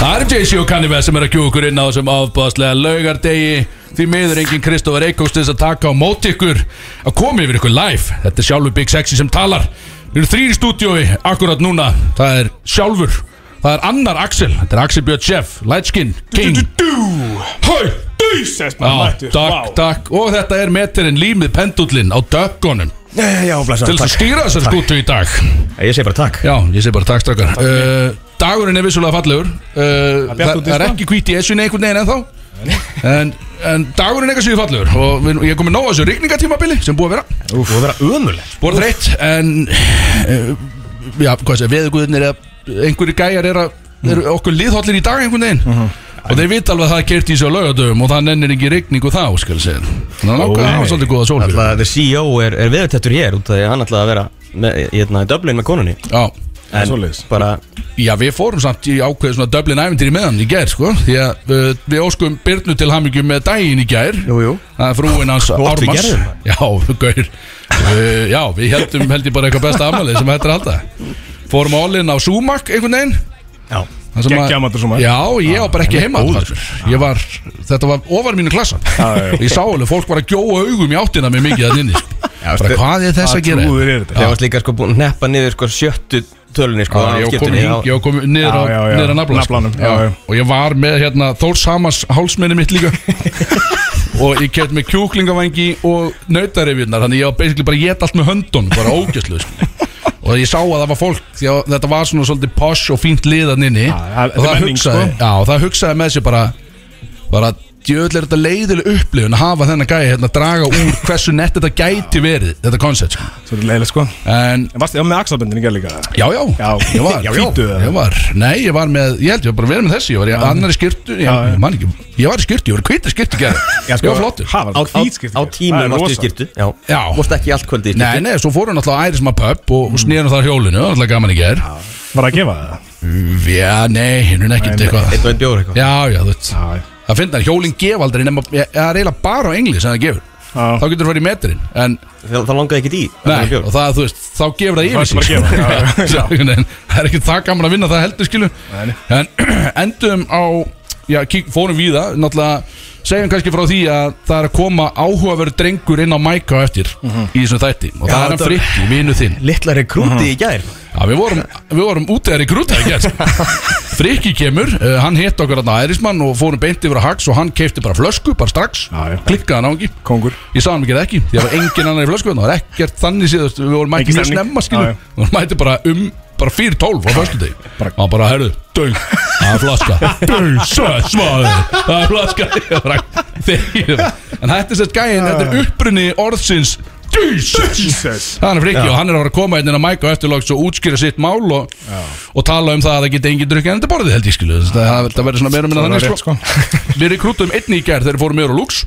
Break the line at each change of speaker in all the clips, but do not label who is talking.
Það er JC og Kanye West sem er að kjúa okkur inn á þessum afbáðslega laugardegi Því miður engin Kristófar Eikóks til þess að taka á móti ykkur að koma yfir ykkur live Þetta er sjálfur Big Sexy sem talar Við erum þrýr í stúdiói akkurat núna Það er sjálfur Það er annar Axel Þetta er Axel Björn Chef, Lightskin, King Hæ,
Jesus, maður
Já,
mættur
takk, takk Og þetta er meterinn límið pendullinn á döggunum
Já, blessa,
Til þess að stýra þessar skútu í dag
Ég segi bara takk
Já, ég segi bara takk strakkar uh, Dagurinn er vissulega fallegur uh,
bjart
Það
út í
það er
sko.
ekki hvít í esjunni einhvern veginn ennþá En, en dagurinn eitthvað séu fallegur Og við, ég er komið nóg að þessu rigningatímabili sem búið að vera
Úf, þú að vera ömurleg
Búið þreitt En, uh, já, hvað sé, veðuguðinir eða einhverju gæjar er að eru okkur liðhóllir í dag einhvern veginn og þeir vita alveg að það er kert í sig á laugadöfum og það nennir ekki rigningu þá, skal ég segja þannig að nákvæmlega hafa svolítið góða sól fyrir.
Alltaf the CEO er, er veðutettur hér út af því að hann alltaf að vera með, hérna, í Dublin með konunni
Já,
En
Svoleiðis.
bara
Já, við fórum samt í ákveð svona Dublin æventýri með hann í gær, sko Því að uh, við óskum Byrnu til hamingju með daginn í gær
Jú, jú.
Það er frúin hans
Þú átt við
Ármanns
gerðum
Já, gaur uh, Já, við heldum held ég bara eitthvað besta afmælið sem hættir alltaf Fórum álinn á Sumac einhvern veginn
Já
Það sem að-
Geggjaður matur Sumac.
Já, ég var bara ekki heima þarna. sko. Ég var, þetta var ofar mínu klassa Ég sá alveg, fólk var að gjóa augum í áttina með mikið þannig inni sko. Bara
veistu,
hvað er þess að gera
Trúður er þetta
Þegar varst líka sko búin að neppa niður sko sjöttu tölunni sko á
Já, ég kom,
skiptunni,
hing,
já.
ég kom niður á,
Já, já, já.
niður á naflan,
Naflanum,
sko.
já, já.
Og ég var með hérna, Þórs Hamas hálsmenni mitt líka Og ég kætt með kjúklingavangi og nautarefjurnar Þannig ég var basically bara að geta allt með höndun Bara ógæslu sko. Og ég sá að það var fólk Því að þetta var svona svolítið posh og fínt liðan inni
það-
Og
þetta er
það
menning, sko.
hugsaði, já, og það hugsaði með sér bara Bara djöðlega er þetta leiðileg upplifun að hafa þennan gæja hérna draga úr hversu nett þetta gæti verið þetta koncept sko.
Svo er þetta leiðilegt sko
en
En varstu, já, með axlaböndin í gæð líka
Já, já,
Já.
ég var
Já, já.
Hvítu, Ég var, nei, ég var með, ég held ég var bara verið með þessi Ég var í annari skyrtu, ég,
Já, já.
ég man ekki Ég var í skyrtu, ég var í hvítu skyrtu gerði Ég var flottur
Ha, sko, var
Á, á,
hvítskipti
á
Það er
tímum varstu í
rosa.
skýrtu Já
Já.
Vorst ekki allt kvöldi í
Nei,
skýrtu
nei, svo fóru hann alltaf á ærisma pöpp og,
Mm.
og snýðan það hjólinu, alltaf gaman ekki er
Var það að gefa það?
Já, nei, hinn er ekkert
Nei,
eitthvað
Eitt og einn bjór eitthvað
Já, já, þú veist
Já, já.
Það finnst það, hjólin gef aldrei nema, ég, það er eiginlega bara á engli sem það gefur
Já.
Þá getur það farið í metrinn, en
Það það langaði ekki í að
Nei,
fá bjór.
og það, þú veist, þá gefur það
Það
yfir
er bara að gefa, já,
Einhvern
já, já.
veginn, Það er ekki það gaman að vinna það heldur skilu
nei.
En endum á, já, kík, fórum víða Náttúrulega, segjum kannski frá því að það er að koma áhugaverð drengur inn á mæka á eftir
Mhm.
Í þessum þætti Og það er hann
þetta-
frikki, vinu þinn
Littla rekrúti í gær
Já, við vorum, við vorum út eða í grúta í gerð Frikki kemur, uh, hann hétt okkur að ærismann og fórum beint yfir að hax og hann keipti bara flösku, bara strax
Já, já.
Klikkaði hann á ekki
Kongur
Ég sá hann ekki ekki, því það var engin annar í flösku þarna, Það var ekkert þannig séð, þú veist, við vorum mætti
Engin
mjög
stemning.
snemma skilu
Já, já.
Við vorum mætti bara um, bara 4.12 á föstu deg
Bara-
Og hann bara, herru, döng, það er flaska Döng, sös, maður, það er flaska Ég bara, þegjum En þetta er sett gæinn, þetta er upprunni orðsins Jesus
Jesus
Hann er frikki og hann er að fara að koma hérna inn en að mæka eftirlóks og útskýra sitt mál og, og tala um það að það geti engin drukki endur borðið held ég skilu Þess að Það, það verður svona meira minna
Það
þannig
er
sko.
rétt sko
Við rekrútum einni í gerð þegar við fórum meður á Lux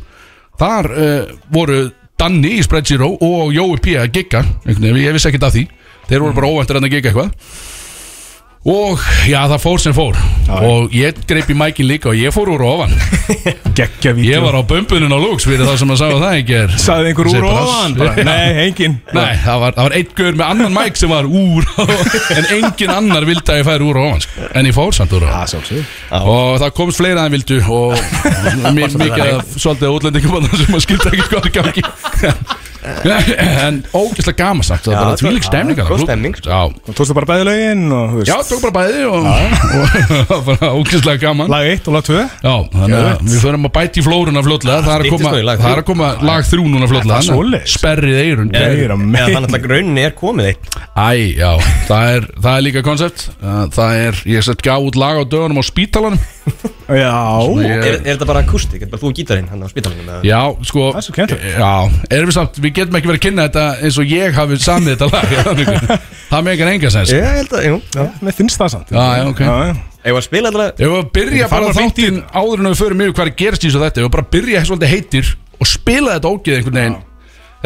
Þar uh, voru Danni í Spread Zero og Jói P að gigga einhvern veginn, ég vissi ekkert af því Þeir voru bara óvæntur en að gigga eitthvað Og já það fór sem fór Og ég greip í mækin líka og ég fór úr ofan
Gekkja vídeo
Ég var á bömbunin á Lux fyrir það sem að sagði það ekki er
Saði einhver úr
Segir bara,
ofan bara, Nei, engin
Nei, það var, það var einn gaur með annan mæk sem var úr á- En engin annar vildi að ég færi úr á hans En ég fór samt úr á
Það sjálfsög
Og það komst fleira en vildu Og mér mikið af svolítið útlendingum þarna Sem að skilta ekki hvað er í gangi En ógeðslega gaman sagt Það
Já,
var
þetta
bara
var-
þvílík stemning
já,
þarna.
góð stemning. sko.
Já,
Og tókstu bara bæði lögin og þú
já
veist
tók bara bæði Og og það var ógeðslega gaman
Lag 1 og lag 2
Já, þannig að við förum að bæti í flóruna fljótlega Það er að
Styttist
koma,
nú í lag
það er að koma lag þrjú núna fljótlega
Það er
þannig að
svoleiðis.
Sperrið eyrun
Nei,
Eða
er að
þannig
meina.
að náttúrulega rauninni er komið eitt
Æ, já, það er, það er líka koncept Það er, ég sett gaf út lag á dögunum á spítalanum
Já
Er,
ég,
er þetta bara akústik? Er bara þú og gítarinn hann á spítalunum? eða?
Já, sko
Það er svo skemmtilegt.
Já, erum við samt, við getum ekki verið að kynna þetta eins og ég hafi samið þetta lag ég, það mikið. Það megar enga sens
Eh.
Ég held að, jú já.
Mér finnst það samt
Já, já, ok.
Ég var að spila alltaf
Ef við að byrja
Þetta
bara
fara beint í
þáttinn áður en við förum yfir hvað er gerst í þessu þetta Ef við bara byrja svolítið heitir og spila þetta ógeð einhvern veginn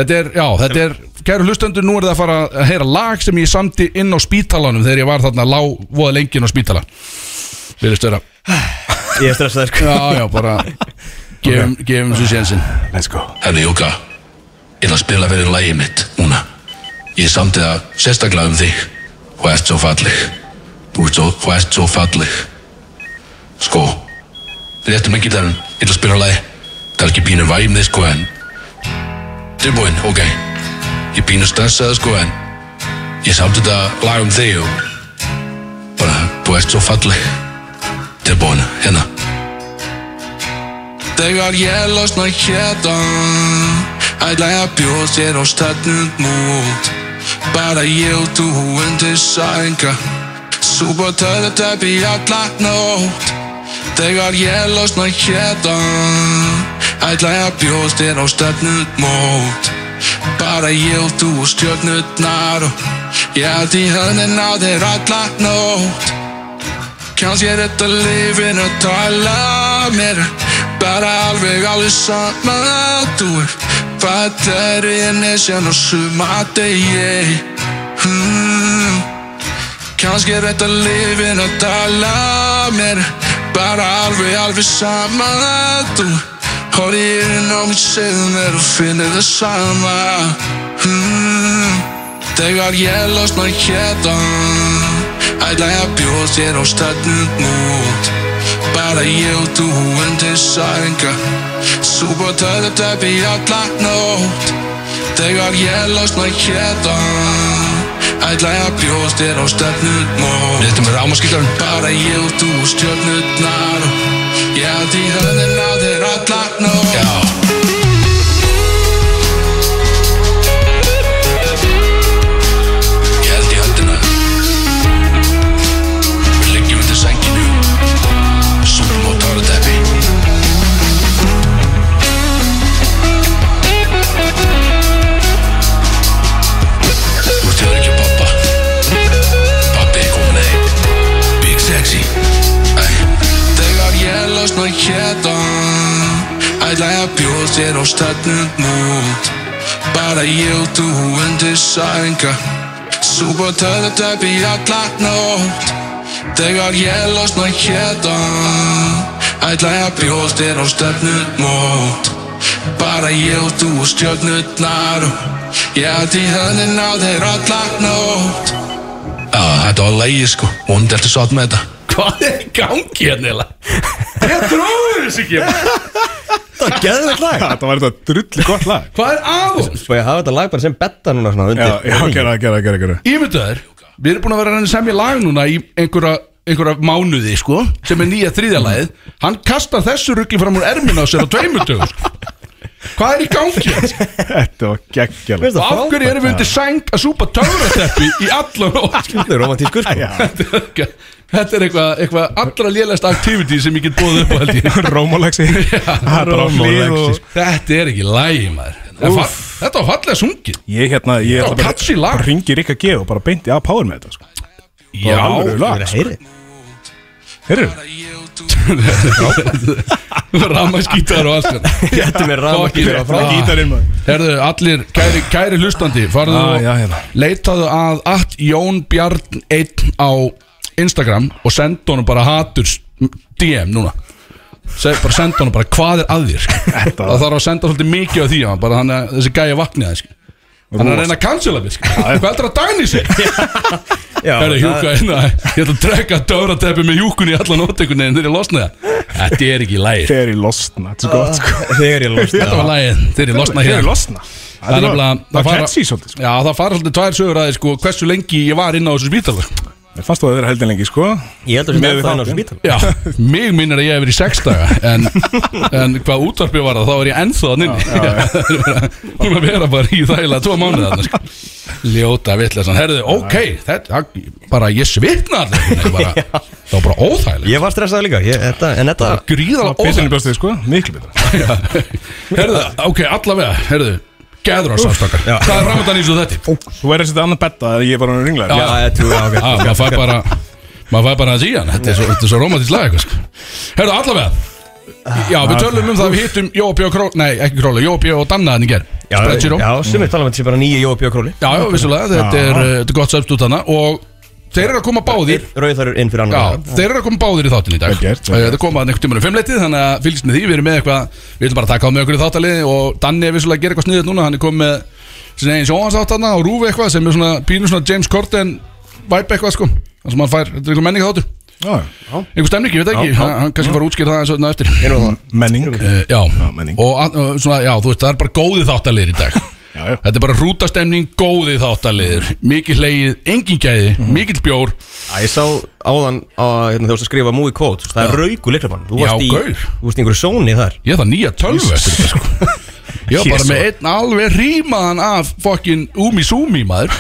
Þetta er, já, þetta er, kæru hlustendur, nú er það að fara að heyra lag sem ég samti inn á spítalanum þegar ég var þarna lá, voða lengin á spítala Við erum störa
Ég er stressaður sko
Já, já, bara Gefum, gefum svo sénsinn
Let's go
Herri Jóka, ég ætla að spila fyrir lægið mitt núna. Ég samti það sérstaklega um þig. Þú ert svo falleg. Þú ert svo, þú ert svo falleg. Sko Réttu mig gítarinn Ég ætla að spila lagi Það er ekki pínu væmið sko en Tilbúinn, ok Ég pínu stressaði sko en Ég samt þetta lag um þig og Bara, þú ert svo falleg Tilbúinn, hérna Þegar ég losna hérna Ætla ég að bjóð þér á stætnund mútt Bara ég og þú undir sænga Súpa töðu tæpi alla nótt Þegar ég losna hérna Ætla ég að bjóð þér á stætnund mútt Bara ég og þú og stjörnutnar og Ég held í höndin á þér alla nótt Kanski er þetta lífin að tala mér Bara alveg alveg sama Þú er fattarinn er sem á sumadegi hmm. Kanski er þetta lífin að tala mér Bara alveg alveg sama Þú horfir inn á mig segðum er og finnir það sama hmm. Þegar ég losna hérna Ætla ég að bjóða þér á stætnund mútt Bara ég og þú undir sænga Súpa töðu tæpi alla nótt Þegar ég losna hérna Ætla ég að bjóða þér á stætnund mútt Þetta með rámaskýtarinn Bara ég og þú stjörnutnar Ég held í höndin á þér alla nótt Já Ég held í höndina Við liggjum undir sænginu Súrum á tárutæpi Þú ert hjá ekki pappa Pappi er komin heim Big Sexy Æ. Þegar ég losna hérna Ætla ég að bjóð þér á stætnum mútt Bara ég og þú undir sænga Súpa töðu tæpi alla nótt Þegar ég losna hérna Ætla ég að bjóð þér á stætnum mútt Bara ég og þú og stjörnutnar Ég held í höndin á þér alla nótt Já, þetta var lægi sko Vond ertu sátt með þetta
Hvað er í gangi hérna eða? Ég trúi þessu ekki maður.
Það var geðveikt lag
Þetta var þetta drulli gott lag
Hvað er aðum?
Svo Sko, ég hafa þetta lag bara sem betta núna svona
Já,
undir
já, gera, gera, gera, gera
Ímyndu þær Við erum búin að vera að reyna að semja lag núna í einhverja einhverja mánuði sko sem er nýja þriðjalagið hann kastar þessu ruggi fram úr ermina á sér á tveimundögu sko. hvað er í gangi hérna?
Þetta var geggjala
og af hverju erum við undir sæng að súpa töfrateppi í allan nótt
Þetta er romantískur sko
þetta er eitthvað eitthva allra lélægsta activity sem ég get búið upp á held ég
Rómalaxi Rómalaxi
sko. þetta er ekki lægi maður En fa- þetta var fallega sungið
Ég hérna, ég
Já,
ætla bara-
catchy lag.
bara Ringi Rikka G og bara beinti að power með þetta sko.
já
alvöru lag. sko.
Það er heyrið
Heyrðu,
rammaskítar og allt
Þetta er mér
Fokkin
rafmagnsgítar
rétt.
og frá-
Ah.
gítarinn maður
Herðu, allir, kæri, kæri hlustandi farðu
Ah,
og
já, hérna.
leitaðu að at Jón Bjarn 1 á Instagram og senda honum bara hatur DM núna Seg, bara senda honum bara hvað er að þér sko.
Þetta-
það þarf að senda svolítið mikið á því hann, bara hann að þessi gæja vakni það sko. hann er að reyna að cancela mig sko. hvað er það að dæni sig
Já,
Herðu,
það-
hjúka, hérna, ég ætla að drekka döfrateppi með hjúkunni í allan ótekunni en þeir eru losnaði þetta er ekki lægir
Þegar ég losna, þetta er svo gott sko.
Þegar ég losna
þetta var lægir, þeir eru losnaði
Þegar ég
hérna
losna
Ah, Það er nefnilega fara-
Það var catchy svolítið sko.
Já, það fara svolítið tvær sögur aðeins sko Hversu lengi ég var inn á þessu spítala sko.
Mér fannst þú að vera heldin lengi sko
Ég heldur að
Með
þetta er
þáttinn.
náttúrulega spítal
Já, mig minnir að ég hef verið í sex daga En, en hvað útvarpið var það Þá er ég ennþá að nynni Hún að vera bara í þægilega tvo mánuð þarna, sko. Ljóta vitleysan Herðu, ok, þetta Bara ég svitna allir einhvern veginn, bara, Það var bara óþægilega
Ég var stressað líka ég, þetta, En þetta
Gríðalega
Betur en ég
óþægilega
bjóst þig sko, miklu betur
Herðu, ok, allavega, herðu Gæður á samstakar
Já.
Hvað er framöndan í svo þetta?
Þú verður þetta annað betta að ég var hann ringlega
Já, ég trú, já, ok
Já, maður fær bara maður fær bara að síðan, þetta er svo, þetta er svo romantísk lag eitthvað, sko. Herðu, allavega Já, við
Ah,
tölum um það, við hittum Jópi og Króli, nei, ekki Króli, Jópi og Danna þannig ger, Spreadsheet Já,
já sumir tala um þetta sé bara nýja Jóa Björkróli
já, vissulega, þetta er, uh, þetta er gott söpstút hana og þeir eru að koma báðir
Rauðarur inn fyrir
Já,
annan
þeir eru að koma báðir í þáttin í dag
Vel gert, vel
Eh, Þeir koma einhvern tímann um fimmleitið Þannig að fylgst með því, við erum með eitthvað Við erum bara að taka á með okkur í þáttalið Og Danni er vissulega að gera eitthvað sniðið núna Hann er komið með sinni eigin sjóhansáttarna og rúfi eitthvað Sem er svona pínu svona James Corden Væp eitthvað sko Það sem hann fær, þetta er einhver menninga þáttur
Já,
Einhver stemning, ég veit ekki,
Já, já.
hann hann kannski fara að útskýra það eins og þetta á eftir
Erum það
menning
Eh, Já,
menning.
og að- og svona, já, þú veist, það er bara góði þáttalegir í dag
Já, já.
Þetta er bara rútastemning, góði þáttalegir Mikið hlegið, engin gæði,
Mhm.
mikill bjór
Æ, ég sá áðan á, hérna, þú varst að skrifa movie quotes Það er rauku leiklabann Þú
Já,
varst í,
gaur.
þú varst í einhverju sóni þar
Ég það nýja tölvu eftir þetta sko Ég var bara
Jesus.
með einn alveg rímaðan af fokkin Umi Sumi maður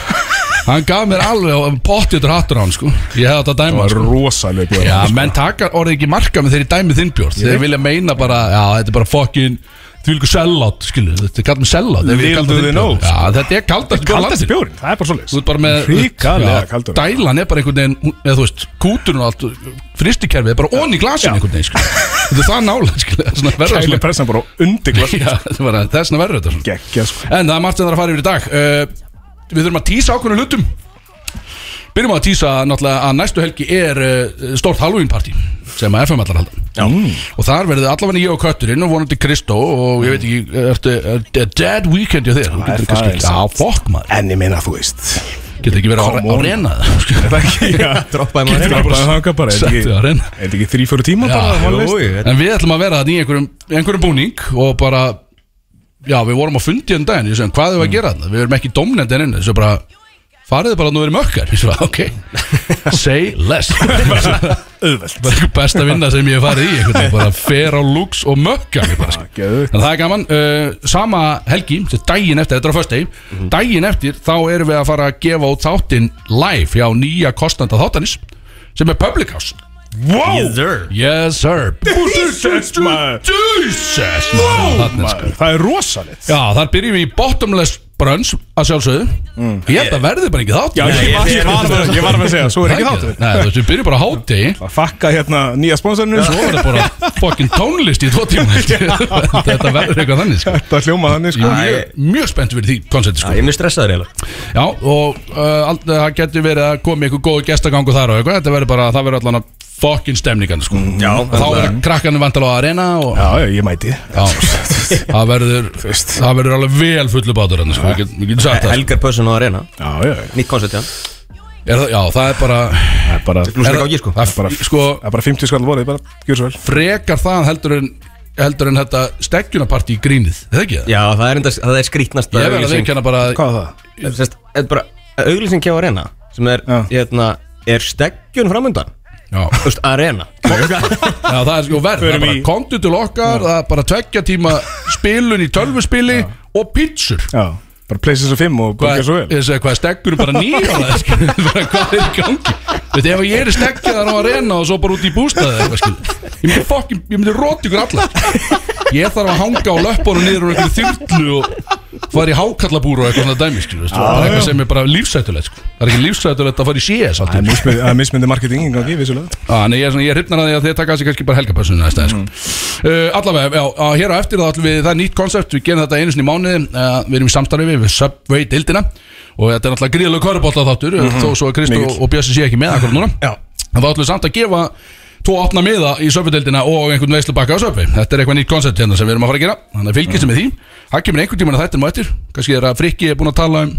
Hann gaf mér alveg pottitur hattur á hann sko Ég hefði þetta
Það
dæma
var
sko
rosalega sko. búið
Já, menn taka orðið ekki marka með þeirri dæmið þinn bjór Þeir vilja meina bara, já, þetta er bara fokkin Því líka sellátt, skilu, þetta er kallt með sellátt þeir vilja
Little
kalla
do
þinn
they
bjór.
know,
Já, þetta er kaldast bjór
Kaldast
landsins.
bjórin, það er bara
Þú ert
svoleiðis
bara með
Hrikalega
Já,
kaldur.
Dælan er bara einhvern veginn, hún- eða þú veist, kúturinn og allt Fristikerfið er bara onni í glasin einhvern veginn, skilu Þetta er það nála, skilu það er svona verra
Kæli
svona-
pressan bara undir glas
Já, þetta er bara- það er svona verður þetta svona
Gekkja sko
En það er margt sem það er að fara yfir í dag uh, Við þurfum að tísa ákveðinu hlutum Byrjum á að tísa náttúrulega að næstu helgi er uh, stórt Halloween party sem að FM allar halda
Já mm.
og þar verður allavega ég og Kötturinn og vonandi Kristó og ég veit ekki ertu, er, er dead weekend hjá þér Þú
er
getur
það
kannski
er
ekki Já, fokk maður
En ég meina þú veist
Getur ekki verið á,
Come
á
on.
reyna það
Það er ekki, já
Droppaði maður
Getur
hérna
bara bara þangað bara Er
Settu á
þetta
reyna
ekki- er þetta ekki þrý, fjóru tíma
Já,
bara
Jú,
vonlaust?
jú, þetta-
En við ætlum að vera þarna í einhverjum, einhverjum búning og bara Já, við vorum á fundi en daginn, ég segum, hvað
Mm.
erum við að gera þarna? Við erum ekki domnend en inn, þessu bara Fariði bara að nú verið mökkar, ég segum, ok Say less Bara
Auðvelt
einhver besta vinna sem ég hef farið í einhvern veginn, bara fer á looks og mökkar mig
Ah,
bara, sko.
Geðveikt.
En það er gaman, uh, sama helgi, sem daginn eftir, þetta er á föstudegi
Mhm.
Daginn eftir, þá erum við að fara að gefa út þáttinn live hjá nýja kostnanda þáttanis Sem er Public House
Either.
Yes sir
Jesus, maður.
Jesus Þarna, sko.
Maður, Það er rosalegt
Já, þar byrjum við í bottomless brunch að sjálfsögðu Ég held að verði bara ekki þátt
Mm. Já, ég var- ég var bara- ég var bara að segja Svo er ekki þáttur
Nei, þú veist, við byrjum bara á hátegi
Að fakka hérna nýja spónsarinu
Svo er það bara fokkin tónlist í tvo tíma Þetta verður eitthvað þannig sko.
Þetta hljóma þannig sko
Jú, ég er mjög spennt fyrir því koncepti
Já,
sko.
ég er mjög stressaður eiginlega
Já, og uh, all, það getur verið að koma eitthvað góð gestagangu þar og eitthvað Þetta verður bara, það verður allan að fokkin stemningan sko.
Já,
Og Þá verður krakkanum vantal á að reyna og
Mm. Já, já, ég mæti
Já, það verður Það verður alveg vel fullu bátur hann sko. Við getum- Við getum sagt það sko.
Helgar Pössun á Arena
Já, já, já.
Nýtt koncept, já
Er það- Já, það er bara
það er bara
Blúsleik
það-
á ég, sko
Það er
bara-
bara, sko,
Það er bara 50 skall vorið, bara gjör svo vel
frekar það heldur en heldur en þetta stegjunarparti í grínið Er það ekki það?
Já, það er, enda, það er skrítnast
Ég verður að viðkjanna bara
Hvað er það?
Sest, er bara auglýsing hjá Arena sem er,
Já.
hérna, er steggjun framöndan
Já,
Þú veist, Arena
Já, það er sko verð, það er
Förum
bara
í-
kontu til okkar, það er bara tveggja tíma spilun í tölvuspili og pítsur.
Já, bara places of 5 og
Hvað,
gjör svo vel
ég segi, hvað er steggurum bara nýja á það, skilur, bara hvað er í gangi? Veit, ef ég er steggjaðar á arena og svo bara út í bústaði, eitthvað, skilur, ég myndi fokkin, ég myndi róti ykkur alla. Ég þarf að hanga á löppunum niður úr einhverju þyrlu og fara í hákallabúru og eitthvað svona dæmi, skilur, veistu, það er eitthvað sem er bara lífsætulegt, sko. Það er ekki lífsætulegt að fara í CS
Það
alltaf.
er mismyndi- það er mismyndi marketing í gangi, vissulega
Já, Þannig ég, er svona- ég hrifnar að því að þið taka þessi kannski bara helgapössunni næsta
Mm.
sko. uh, Allavega, já, á, hér á eftir þá ætlum við, það er nýtt konsept, við gerum þetta einu sinni í mánuði uh, Við erum í samstarfi við Subway dildina Og þetta er náttúrulega gríðalegu körubolla þáttur Þó svo að Kristó
Mhm. Mikill.
og Bjössi sé ekki með akkur núna
Já.
En þá ætlum við samt að gefa tvo opna miða í söfvedeldina og einhvern veislubakka á söfvi Þetta er eitthvað nýtt koncept hérna sem við erum að fara að gera Þannig að fylgjast með því Það kemur einhvern tímann að þetta er mættir Kannski er að Frikki er búin að tala um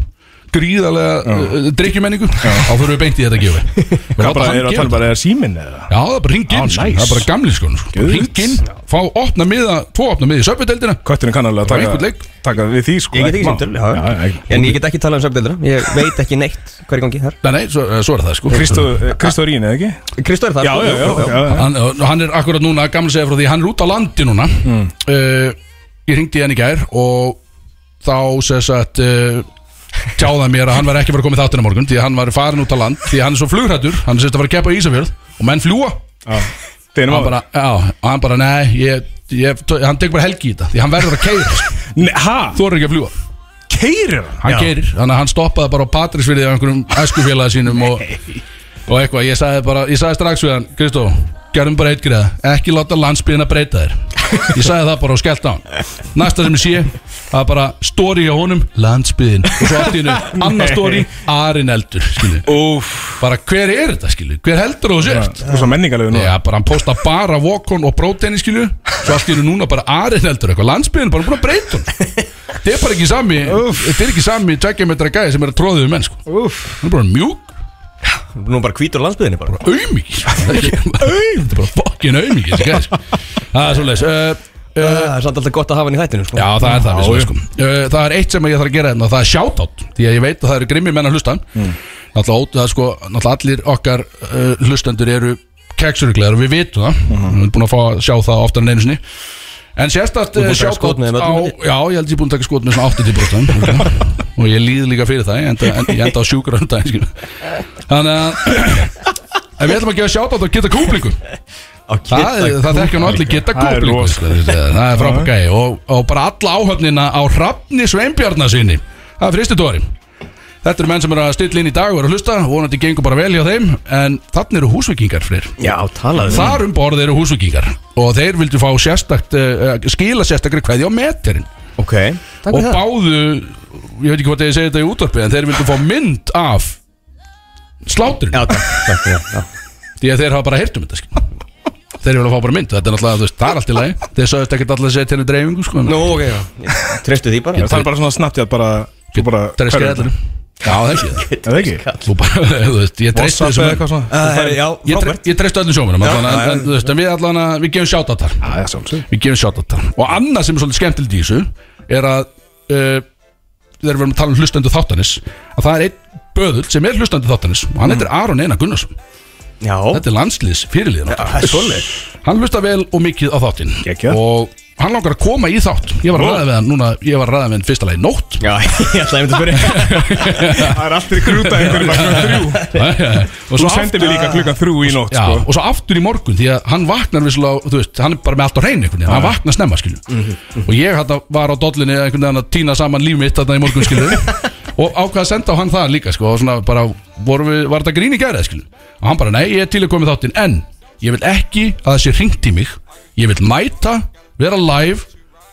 gríðarlega uh, drikkjumenningu Þá fyrir við beint í þetta gefa Við
Það
láta
bara
hann
er að
gefa
tala um bara er síminn eða
Já, það er bara ringin,
Á,
ah, sko.
nice.
það er bara gamli sko, sko. Bara
Geðvikt.
Ring inn, fá opna miða, tvo opna miða í söpjudeldina
Kötturinn kannalega
Það var einhvern leik.
taka, taka við því sko
Ég get ekki
ekkert
sem
mál. Já,
töl
já,
En
ekki-
ég get ekki talað um söpdeildra Ég veit ekki neitt hverju gangi þar
Nei, nei, svo, eh, svo er það sko
Kristó Kristó Rín, eða ekki?
Kristóð er þar
Já, já, já, já, já.
hann, eh, hann er akkurat núna, gamli segja frá því, hann er út á landi núna mm. Ég ringdi í hann í gær og þá sess að uh, tjáða mér að hann var ekki að fara að koma í þáttina morgun því að hann var farin út á land, því að hann er svo flugrættur hann sérst að fara að keppa í Ísafjörð og menn fljúa
Já. Deginum
hann
áður.
bara, já, og hann bara, nei, ég, ég, hann tekur bara helgi í þetta því hann verður að keira,
Nei, Ha?
þú er ekki að fljúa
Keirir hann?
hann keirir, þannig að hann stoppaði bara á Patrísfyrði af einhverjum æskufélagi sínum og, og eitthvað, ég sagði bara ég sagði strax við hann, Kristó, gerum bara eitt greið ekki láta landsbyðina breyta þér ég sagði það bara og skellt á hann næsta sem ég sé, það er bara story hjá honum, landsbyðin og svo allt í hennu, annar story, Arin Eldur skilu,
Úf
bara hver er þetta skilu hver heldur þú að þú sért
Þú er svo menningarlegu nú
Já, bara hann posta bara Vokon og Bróteini skilju Svo allt í eru núna bara Arin heldur eitthvað Landsbyðin bara búin að breyta hún Þetta er bara ekki sami Þetta er ekki sami tveggja metra gæði sem er að tróða við menn sko
Úf
Hann er bara mjúk
Nú bara hvítur á landsbyðinni bara
Auðmikið Þetta er bara fokkin auðmikið þessi gæði, sko. Það er Uh, svolítið
Það er samt alltaf gott að hafa hann í þættinu sko.
Já, það er það vissulega, sko. Uh, Það er eitt sem ég þarf að gera hérna og Það er shoutout Því að ég veit að það eru grimmi menn að hlusta Náttúrulega ótið það er sko Náttúrulega allir okkar uh, hlustendur eru Keksuruglegar og við vitum það Við erum búin að fá að sjá það oftar en einu sinni En sérstakt
búin
uh,
að taka skot
shoutout
með þeim
á
öllum,
Já, ég held ég búin að taka skot með svona 80% Og ég líð líka fyrir það Ég enda, en, ég enda á sjúkra um daginn skilu. Þannig að En við ætlum að gefa sjátátt á geta kúplingu
Á
Það,
Kidda-
er- það þekkja nú allir geta
Það er
kúplingu
rosa.
sko, þetta- Það er frábæk gæi og, og bara alla áhöfnina á Hrafni Sveinbjarnasinni Það er fristutúari Þetta eru menn sem eru að stilla inn í dag og eru að hlusta Vonandi gengur bara vel hjá þeim En þannig eru húsvikingar fleir
Já, talaðu um-
Þar um borð eru húsvikingar Og þeir vildu fá sérstakt uh, uh, Skila sérstakri kveði á meterinn
Ok Takk
Og
fyrir það
báðu Ég veit ekki hvort ég segi þetta í útvarpi En þeir vildu fá mynd af Sláturinn
Já, takk, takk fyrir það já.
Því að þeir hafa bara heyrt um þetta skil. Þeir vilja fá bara mynd Þetta er náttúrulega, þú veist, það er allt í lagi Þeir sagðist ekkert alltaf að segja til henni dreifingu sko,
Nú, ok, já Treystu því bara
Það er bara svona snabbt ég að bara Þú bara
Það er skil allir Já, það er ekki
Er það ekki?
Þú bara, þú veist, ég treystu
WhatsApp
þessum
eða eitthvað svona
Uh, herri, Já,
Ég, tre,
frábært
ég treystu öllum sjómanum
Já,
allan,
já, já.
en, en, þú veist, en við allan að við gefum sjátt á þar
Já, já, sjálfsög
Við gefum sjátt á þar Og annað sem er svolítið skemmtilegt í þessu Er að uh, Þegar við erum að tala um hlustendu þáttanis Að það er einn böðull sem er hlustendu þáttanis Og hann
Mm.
heitir Aron Einar Gunnarsson
Já,
Þetta er landsliðs fyrirliðan
það er svolítið
Hann hlusta vel og mikið á þáttinn
Geggjað.
Og hann langar að koma í þátt Ég var að
Ó.
ræða við hann núna Ég var að ræða við hann fyrsta lagi nótt
Já, ég ætlaði einmitt að byrja
Það er alltaf í grúta einhverjum bara klukkan þrjú
og, svo
Þú
aftur,
sendir mér líka klukkan þrjú í nótt
já,
sko
og svo aftur í morgun Því að hann vaknar vissulega Þú veist, hann er bara með allt á hreinu einhvern veginn Hann vaknar snemma skilju
Mhm.
Og ég hætta var á dollinni einhvern veginn að týna saman líf mitt Þarna í morgun skilju Og ákvað að senda á hann það líka sko Og svona bara, voru við, var þetta grín í gærið skilju Og hann bara, nei, ég er til að koma í þáttinn En ég vil ekki að það sé ringt í mig Ég vil mæta, vera live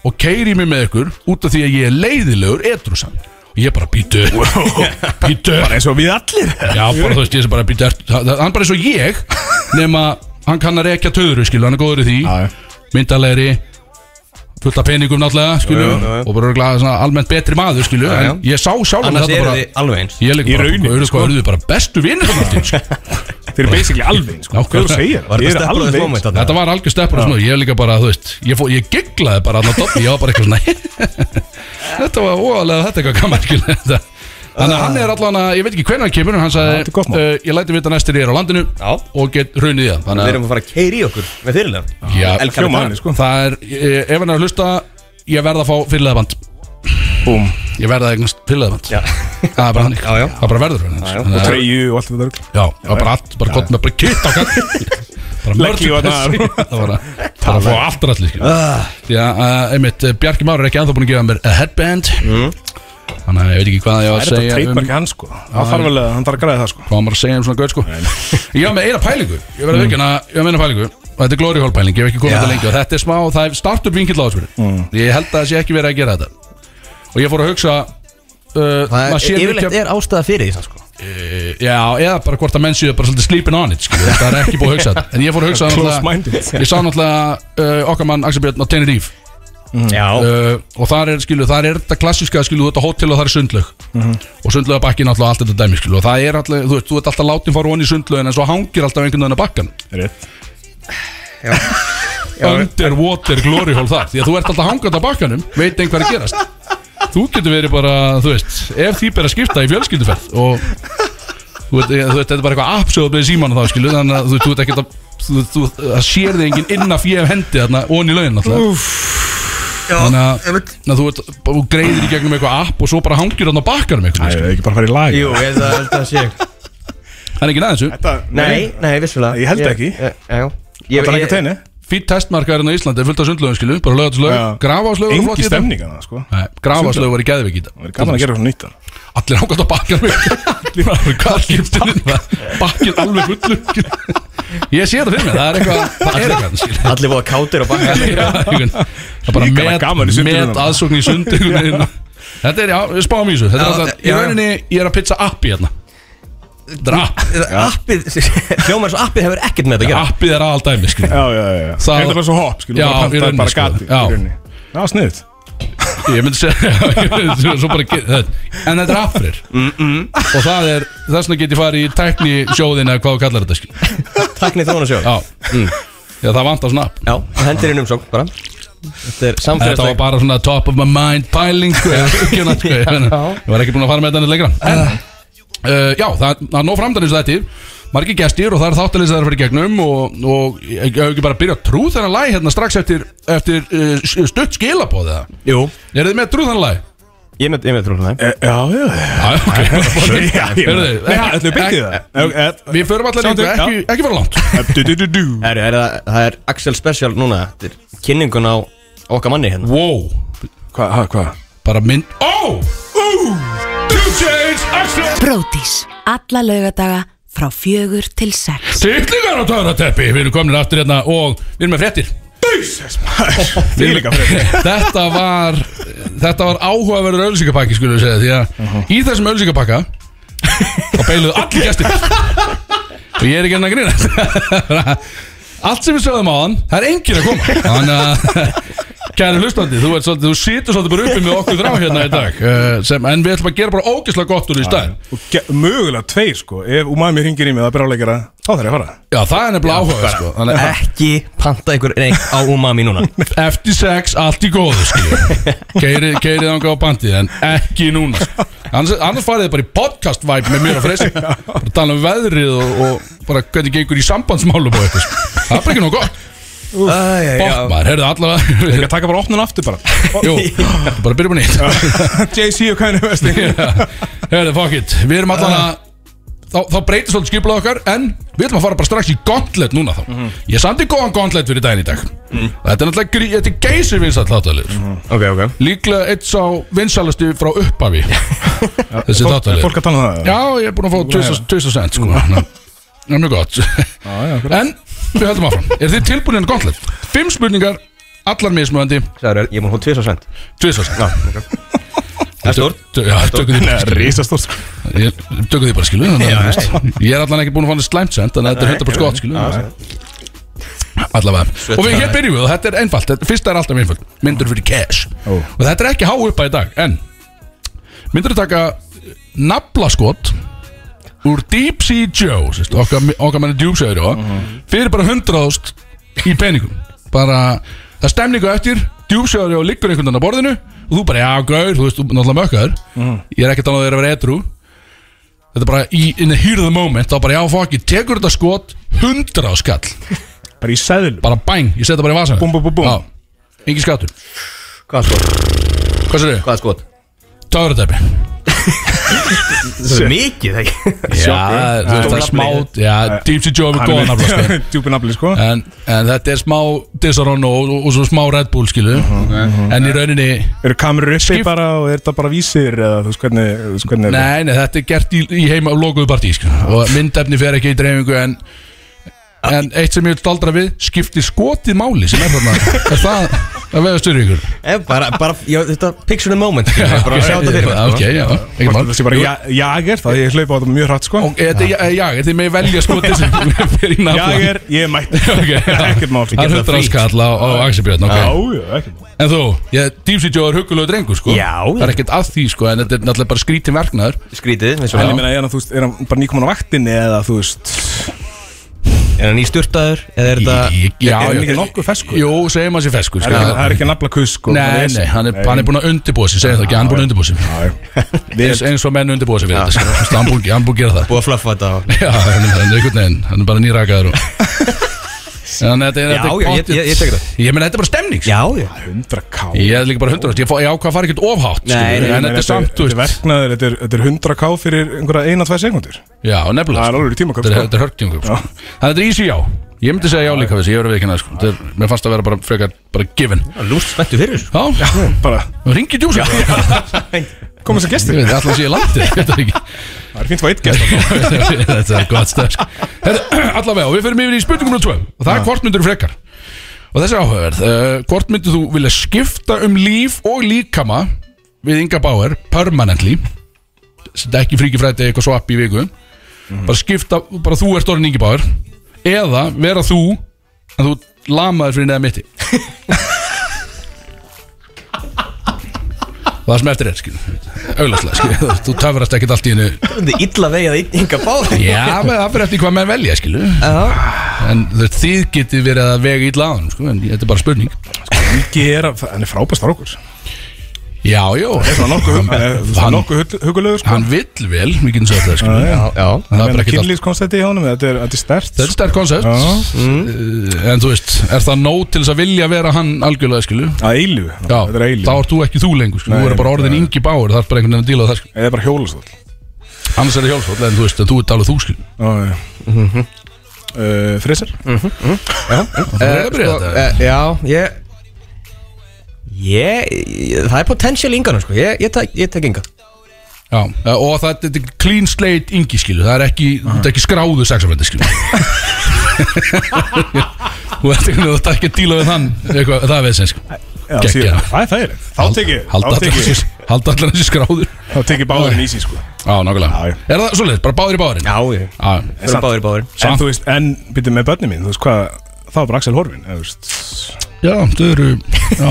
og keiri mig með ykkur út af því að ég er leiðilegur etrusan og ég bara býtu býtu
Bara eins og við allir
já bara þú veist ég sem bara býtu hann bara eins og ég nema hann kann að rekja töðuru skilu hann er góður í því
Já, já.
myndalegri fullt af peningum náttúrulega skilu
Já, já, já.
og bara örugglega svona almennt betri maður skilu
Já, já.
en ég sá sjálf
Annars eru þið alveg eins
ég leik
Í
bara
rauninni,
sko, sko. Sko, bara bestu vinnir
Þeir eru basically alveg eins, sko
Nákvæmlega.
Hvað þú segir?
Var
Þeir
þetta
eru
stefnbróðið
alveg
moment
eins.
þetta var algjör steppur og svona ég líka bara þú veist ég, fó, ég gigglaði bara allan dotni ég var bara eitthvað svona þetta var óalega þetta er eitthvað gaman skilur þetta Þannig að hann er allan að, ég veit ekki hvernig hann kemur en hann
þetta er gott
sagði,
mál.
uh, ég læti vita næstir ég er á landinu
Já.
og get hrunið í það
Við
Þannig
erum að fara að keiri í okkur með fyrirlega
Já,
Elkar
Hljóma
þetta
hann, sko
að það er, eh, ef hann er að hlusta ég verð að fá fyrirleðaband
Búm
Ég verð að eignast fyrirleðaband
Já,
Það er bara hann
Já, já.
Það er bara verður hann
Já, já.
Þannig að-
Treyju og allt þetta rugl.
Já, það var bara allt, bara gott með bara kitt á kall Bara
Leggju
mörgum
þarna.
þessi Það var að bara að fá allt rætt líka Því að, uh, einmitt, uh, Bjarki Már er ekki anþá búin að gefa mér a headband Þannig að ég veit ekki hvað ég á að
Það er þetta
segja um,
treytmarki hans, sko Það þarf alveg að hann þarf að græða það, sko
Hvað á maður að segja um svona gauð sko Ég var með eina pælingu Ég verði ekki að, ég var með eina pælingu Og þetta er glory hall pæling, ég hef ekki komið þetta lengi Og þetta er smá, það er startup vinkill á þessu mm. Ég held að það sé ekki verið að gera þetta Og ég fór að hugsa Uh,
Það
maður
er,
sér mikið-
yfirleitt er ástæða fyrir því samt, sko.
Eh, Já, eða bara hvort að menn séu bara svolítið sleeping on it, skilju, það er ekki búið að hugsa þetta. En ég fór að hugsa
Close-minded.
ég sá náttúrulega uh, okkar mann Axel Björn á Tenerife
Já,
uh, og þar er, skilju, þar er þetta klassíska, skilju, þú ert á hótel og það er sundlög og sundlögabakki náttúrulega allt þetta dæmi, skilju, og það er alltaf, þú veist, þú ert alltaf látin fara onni í sundlögin en svo hangir alltaf einhvern veginn að bakkan
Rétt
underwater glory hole þar, því að þú ert alltaf hangandi á bakkanum, veit einn hvað er að gerast þú getur verið bara, þú veist ef því ber að skipta í fjölskylduferð og þú veit, ég- þú veit, þetta er bara eitthvað absjóð með síman og þá skilu, þannig að þú þú veit ekki að þú, þú, það sér þig enginn inn af ég hendi þarna, onni í laugin alltaf þannig að, þannig að þú veit, bara- þú greiðir í gegnum eitthvað app og svo bara hangir þarna á bakkanum
Æ,
eitthvað,
er ekki bara að fara í lag
jú, ég held að held að sé
það er ekki næðinsu
Þetta,
Nei, nei, vissulega
Ég held ekki.
Já, já
Þetta er ekki teginni
fýtt testmarkaðurinn hérna á Íslandi er fullt af sundlögum skilu, bara
Já.
lögataslaug, grafaslaug
Engi stemning hana, sko
grafaslaug var í geðveik í
Það er
þetta
gaman að gera svona nýtt hana
Allir ákvæmt að bakka mig Hvað skiptir þetta? Bakkin alveg fullu Ég sé þetta fyrir mig, það er eitthvað Það er eitthvað skilur.
Allir voru kátir og bakka
Já, einhvern- Það er
Líka bara
bara
gaman í
met,
sundinu
met
þarna.
aðsókn í sund einhvern veginn. Þetta er, já, spáum í þessu Þetta er
Já,
alltaf, í
já, já.
rauninni, ég er að pizza appi hérna Þetta er app
Appið, hljómar eins og appið hefur ekkert með þetta að gera
Appið er aðaldæmi, skilur
Já, já, já, já
Það-
Þetta var svo hopp, skilur
Já, í
bara pantaði
rauninni,
bara
sko.
gati í
Já.
rauninni. Já, sniðut
Ég myndi segja ég myndi segja, svo bara get- það- En þetta er affrir Og það er, þess vegna get ég farið í tækni sjóðina Hvað þú kallar þetta skil
Takni þrónasjóð
Já, Já það vantar svona app.
Já, og hendir inn umsókn bara Þetta er
En Þetta var
samfélagsleg
bara svona top of my mind pæling sko, eða huggjuna, sko, ég meina, Ég var ekki búin að fara með þetta neitt lengra En, uh, já, það það er nóg framdann eins og þetta Margi gestir og það er þáttalins að það er fyrir gegnum Og, og ég ég hef ekki bara að byrja að trú þennan læg Hérna strax eftir, eftir uh, stutt skilabóð eða
Jú,
Er þið með trú þennan læg?
ég er með, ég er með þrónasjóð
E, Já, já, já
Já, ok, bara bóðið
Já, ég
Heyrðu,
Nei, E, ætlum við byrtið það
Við förum allar
Samt-
lengra,
já.
ekki, ekki fara langt
Du-du-du-du
Herru, er það, það er Axel Special núna Þetta er kynningun á okkar manni hérna
Wow,
Hvað, hvað, hvað?
bara mynd Ó, ú, two chains, axel
Brótis. Alla laugadaga frá fjögur til sex.
Sittlingar á töðrateppi, við erum komin aftur hérna og við erum með fréttir
Þið líka fyrir
Þetta var, þetta var áhugaverður ölsingapakki skulum við segja Því að í þessum ölsingapakka þá beiluðu allir gestir Og ég er ekki enn að grýna Allt sem við sögðum á hann, það er enginn að koma Þannig að, kæri hlustandi, þú, ert svolítið, þú situr svolítið bara uppi með okkur þrá hérna í dag eh, sem, En við ætlum að gera bara ógeðslega gott úr því í stæðin
Og ge- mögulega tveir, sko Ef Umami ringir í mig, það er bráleikara Þá þarf ég að fara
Já, það er nefnilega áhugaverð sko Þannig að
Ekki panta ykkur reyng á umami núna
Eftir sex, allt í góðu skilja Keirið keiri þanga á bandið En ekki núna sko. annars, annars farið þið bara í podcast vibe með mér og freysi Bara tala um veðrið og, og bara hvernig gengur í sambandsmálum og eitthvað sko. Það er bara ekki nóg gott Bótt maður, heyrðu
Ég
allavega
taka bara opnun aftur bara
Jú, bara byrjum að nýtt
JC og Kanye West
Heyrðu, fuck it Við erum allan að Þá, þá breytir svolítið skiplað okkar En við ætlum að fara bara strax í gauntlet núna þá Ég samti góðan gauntlet fyrir daginn í dag Þetta er náttúrulega grí- Þetta er geysir vinsall þáttalegur
Ok, ok
Líklega eitt sá vinsalasti frá upphafi Þessi þáttalir
Fólk að tala um það
Já, ég er búin að fá 2000 cent sko Ná, Það er mjög gott
já, akkurat.
En við höldum áfram Er þið tilbúinir en gauntlet? Fimm spurningar, allar mismöðandi
Sæður, ég mun hún tvis á send
2000 cent
Það er stórt
Já, tökum því bara
Rísastór, sko
Ég- Tökum því bara skilu þannig að, þú veist, Ég er allan ekki búin að fá hann slæmt sent Þannig að þetta er 100% gott skilu Allavega Og við hér byrjum við og þetta er einfalt þetta, Fyrsta er alltaf einfalt Myndur fyrir cash
Ó.
Og þetta er ekki há upp að í dag En Myndur þú taka eh, Naflaskot Úr Deep Sea Joe sérst, Okkar, okkar manni djúpsæður Fyrir bara 100.000 í peningum Bara Það er stemningu eftir Djúpsæður og liggur einhvern veginn á borðinu Og þú bara já gaur Þú veist þú náttúrulega mökkaður Ég er ekkert annað að vera að vera edru Þetta er bara í, in the heat of the moment Þá bara já fokki Tekur þetta skot 100 skall
Bara í sæðil
bara bæng, ég setja bara í vasan
Búm, búm, búm, búm.
Engi skattur
Hvað skot?
Hvað sér þau?
Hvað skot?
Töðratæpi
Það er mikið, ekki?
Já, þú veist það er
Stór
smá
nafni.
Já, Deep Sea Joe er góða nafla sko.
Djúpi nafli, sko
en, en þetta er smá Disaronno og, og, og svo smá Red Bull skilu En í rauninni
Mhm, Eru kamerur uppi
Skip-
bara og er þetta bara vísir eða þú veist hvernig, þú veist hvernig er það?
Nei, nei, þetta er gert í, í heima Lokuðu partí sko. Og myndefni fer ekki í dreifingu En En eitt sem ég vil staldra við Skiptir skotið máli sem er þarna Er það að veða styrri ykkur
Ég, Eh, bara, bara, já, þetta picture in the moment skilur við, Bara að sjá þetta fyrir mér, sko.
Ok, já, ekki mál
Hvort Það sé bara ja- jager, það ég hlaupa á þetta mjög hratt sko
Og þetta er ja- jager, þið með velja sko, skotið sem fyrir í nafla
Jager, ég er mætt
okay,
Ekkert mál
Það er hundra áskall á, á Axel Björn
Já,
okay.
já, ekkert mál
En þú, ég, Deep Sea Joe er huggulegu drengur sko.
Já.
Það er ekkert að því sko, En þetta er náttúrulega bara skrítin verknaður
Skrítið, eins og
En ég
hann
meina, er hann, þú veist, er hann bara nýkomin á vaktinni eða þú veist
Er hann í sturtaður? Eða er þetta
Í- já,
Er hann
já.
ekki nokkuð feskur?
Jú, segjum að sé feskur
Er
sko.
ekki- Það er ekki nafla kus sko
Nei, nei, hann er, hann er búin að undirbúa sig Segjum það ekki, hann er búin að undirbúa sig Eins- Eins og menn undirbúa sig fyrir þetta sko. Hann er búin- Hann er búin að gera það
búið að fluffa þetta? og-
Já, hann er hann er einhvern veginn, hann er bara nýrakaður og Þannig að þetta er
Já,
þetta er
já, ég-
pottþétt-
ég- ég tek það.
Ég meina, þetta er bara stemning sko.
Já, já
100k
Ég er líka bara 100 Ég, fó, ég ákvað að fara ekkert ofhátt
Nei,
skilur,
nei,
En þetta er samt, þú
Þetta er
veist
verknaður, þetta er- þetta er 100k fyrir einhverja eina, tvær sekundur
Já, nefnilega
Það er
sko.
alveg tímakaup,
Þetta er-
sko.
Þetta er hörktímaköp sko.
Já.
Þannig að þetta er easy já Ég myndi segja já líka við þessi, ég verið viðkynna sko. Þetta er- Mér fannst að vera bara frekar bara given
Lúst spenntu fyrir þessu
Já,
Bara,
ringi djúsa
komið sem gestir
Ég veit, alltaf sé ég landið Ég veit það ekki.
Það er fínt að fá eitt gest
Þetta er gott stöð sko. Herra, Allavega, og við fyrir yfir í spurningum nr. 2 Og það er hvort myndir frekar Og þessi er áhugaverð uh, Hvort myndir þú vilja skipta um líf og líkama Við Inga Bauer Permanently Þetta er ekki fríki fræti eitthvað svapp í viku Bara skipta, bara þú ert orðin Ingi Bauer Eða vera þú En þú lamaður fyrir neða mitti það sem eftir er skilur, auðvitað skilur, þú töfrast ekkert allt í hennu
Þetta er illa vegið að ynga báð
já, menn, það fyrir eftir hvað menn velja skilur en þú veist, þið getið verið að vega ítla á hann sko, en þetta er bara spurning
Viki er að, hann er frábæst strákur
já, já,
Það er nokkuð, hann er- það er
hann-
nokkuð hugg- huggulegur sko
hann vill vel við getum sagt það skilur,
Já, já.
Já,
það er
Það
bara
er
ekkert allt
kynlýskonstætti í honum, þetta er, þetta er stert
þetta er sterk koncept Uh, en þú veist, er það nóg til þess að vilja vera hann algjörlega skilur
Að eilu,
Já,
þetta er eilu
þá ert þú ekki þú lengur sko.
Nei,
Þú er bara orðin
nei.
yngi báur, það er bara einhvern veginn að díla við það sko.
Eða bara hjólastóll
Annars er það hjálfsvall, en þú veist að þú ert alveg þú skil
Já, já.
Mhm.
Uh, Friser?
Mm. Það er
sko,
bara þetta
Eh, Já, ég Ég, ég- það er potential yngan sko. ég, ég, tek- ég tek ynga
Já, eh, og það þetta er clean slate yngi skilu Það er ekki, þetta er ekki skráðu sexafrændi skilu Þú ert ekki, þú ert ekki að díla við þann eitthvað, það veist sem sko
Já,
Geggjað.
síðan. Það er þægilegt Þá tekið
Halda allar þessi- halda allar þessi skráður
Þá tekið báðurinn í sig sko
Já, nákvæmlega
Já, já.
Er það svoleiðis, bara báðir í báðurinn?
Já, ég
Já,
Fyrir
Samt-
báðir báðir
Samt.
En þú veist, en byrjuð með börnin mín Þú veist hvað Þá er bara Axel Horfin eða, þú veist.
já, þau eru já.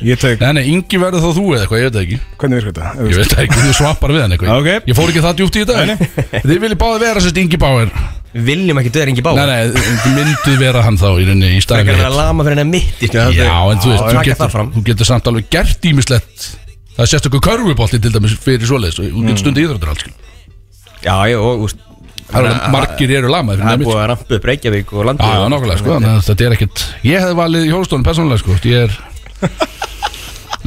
Ég tek
Nei, nei, yngi verður þá þú eða eitthvað, ég veit það ekki
Hvernig virkar þetta?
Ég
eða, þú veist.
veit það ekki, þú svappar við hann eitthvað
Ok.
Ég fór ekki það djúpt í
Nei,
þetta Þið viljið báði vera sérst Ingi Báir
Viljum ekki döðar yngi báð
Nei, nei, þið mynduð vera hann þá í rauninni í
Það er
staðin
ekki að vera að lama fyrir henni mitt Já,
Já, en þú veist, þú
Taka það
getur,
fram
þú getur samt alveg gert ímislegt Það er sérstaklega körfubolti til dæmis fyrir svoleiðis og Þú
Mm.
getur stundið íþróttur alls skilur.
Já, ég, og úst
Það er alveg margir eru lamaði
Það er sko.
fyrir nefnir
búið að rampa upp Reykjavík og
Já,
landið
já, nokkulega, sko, þannig að þetta er ekkert Ég hefði valið hjólastónum persónulega, sko Ég er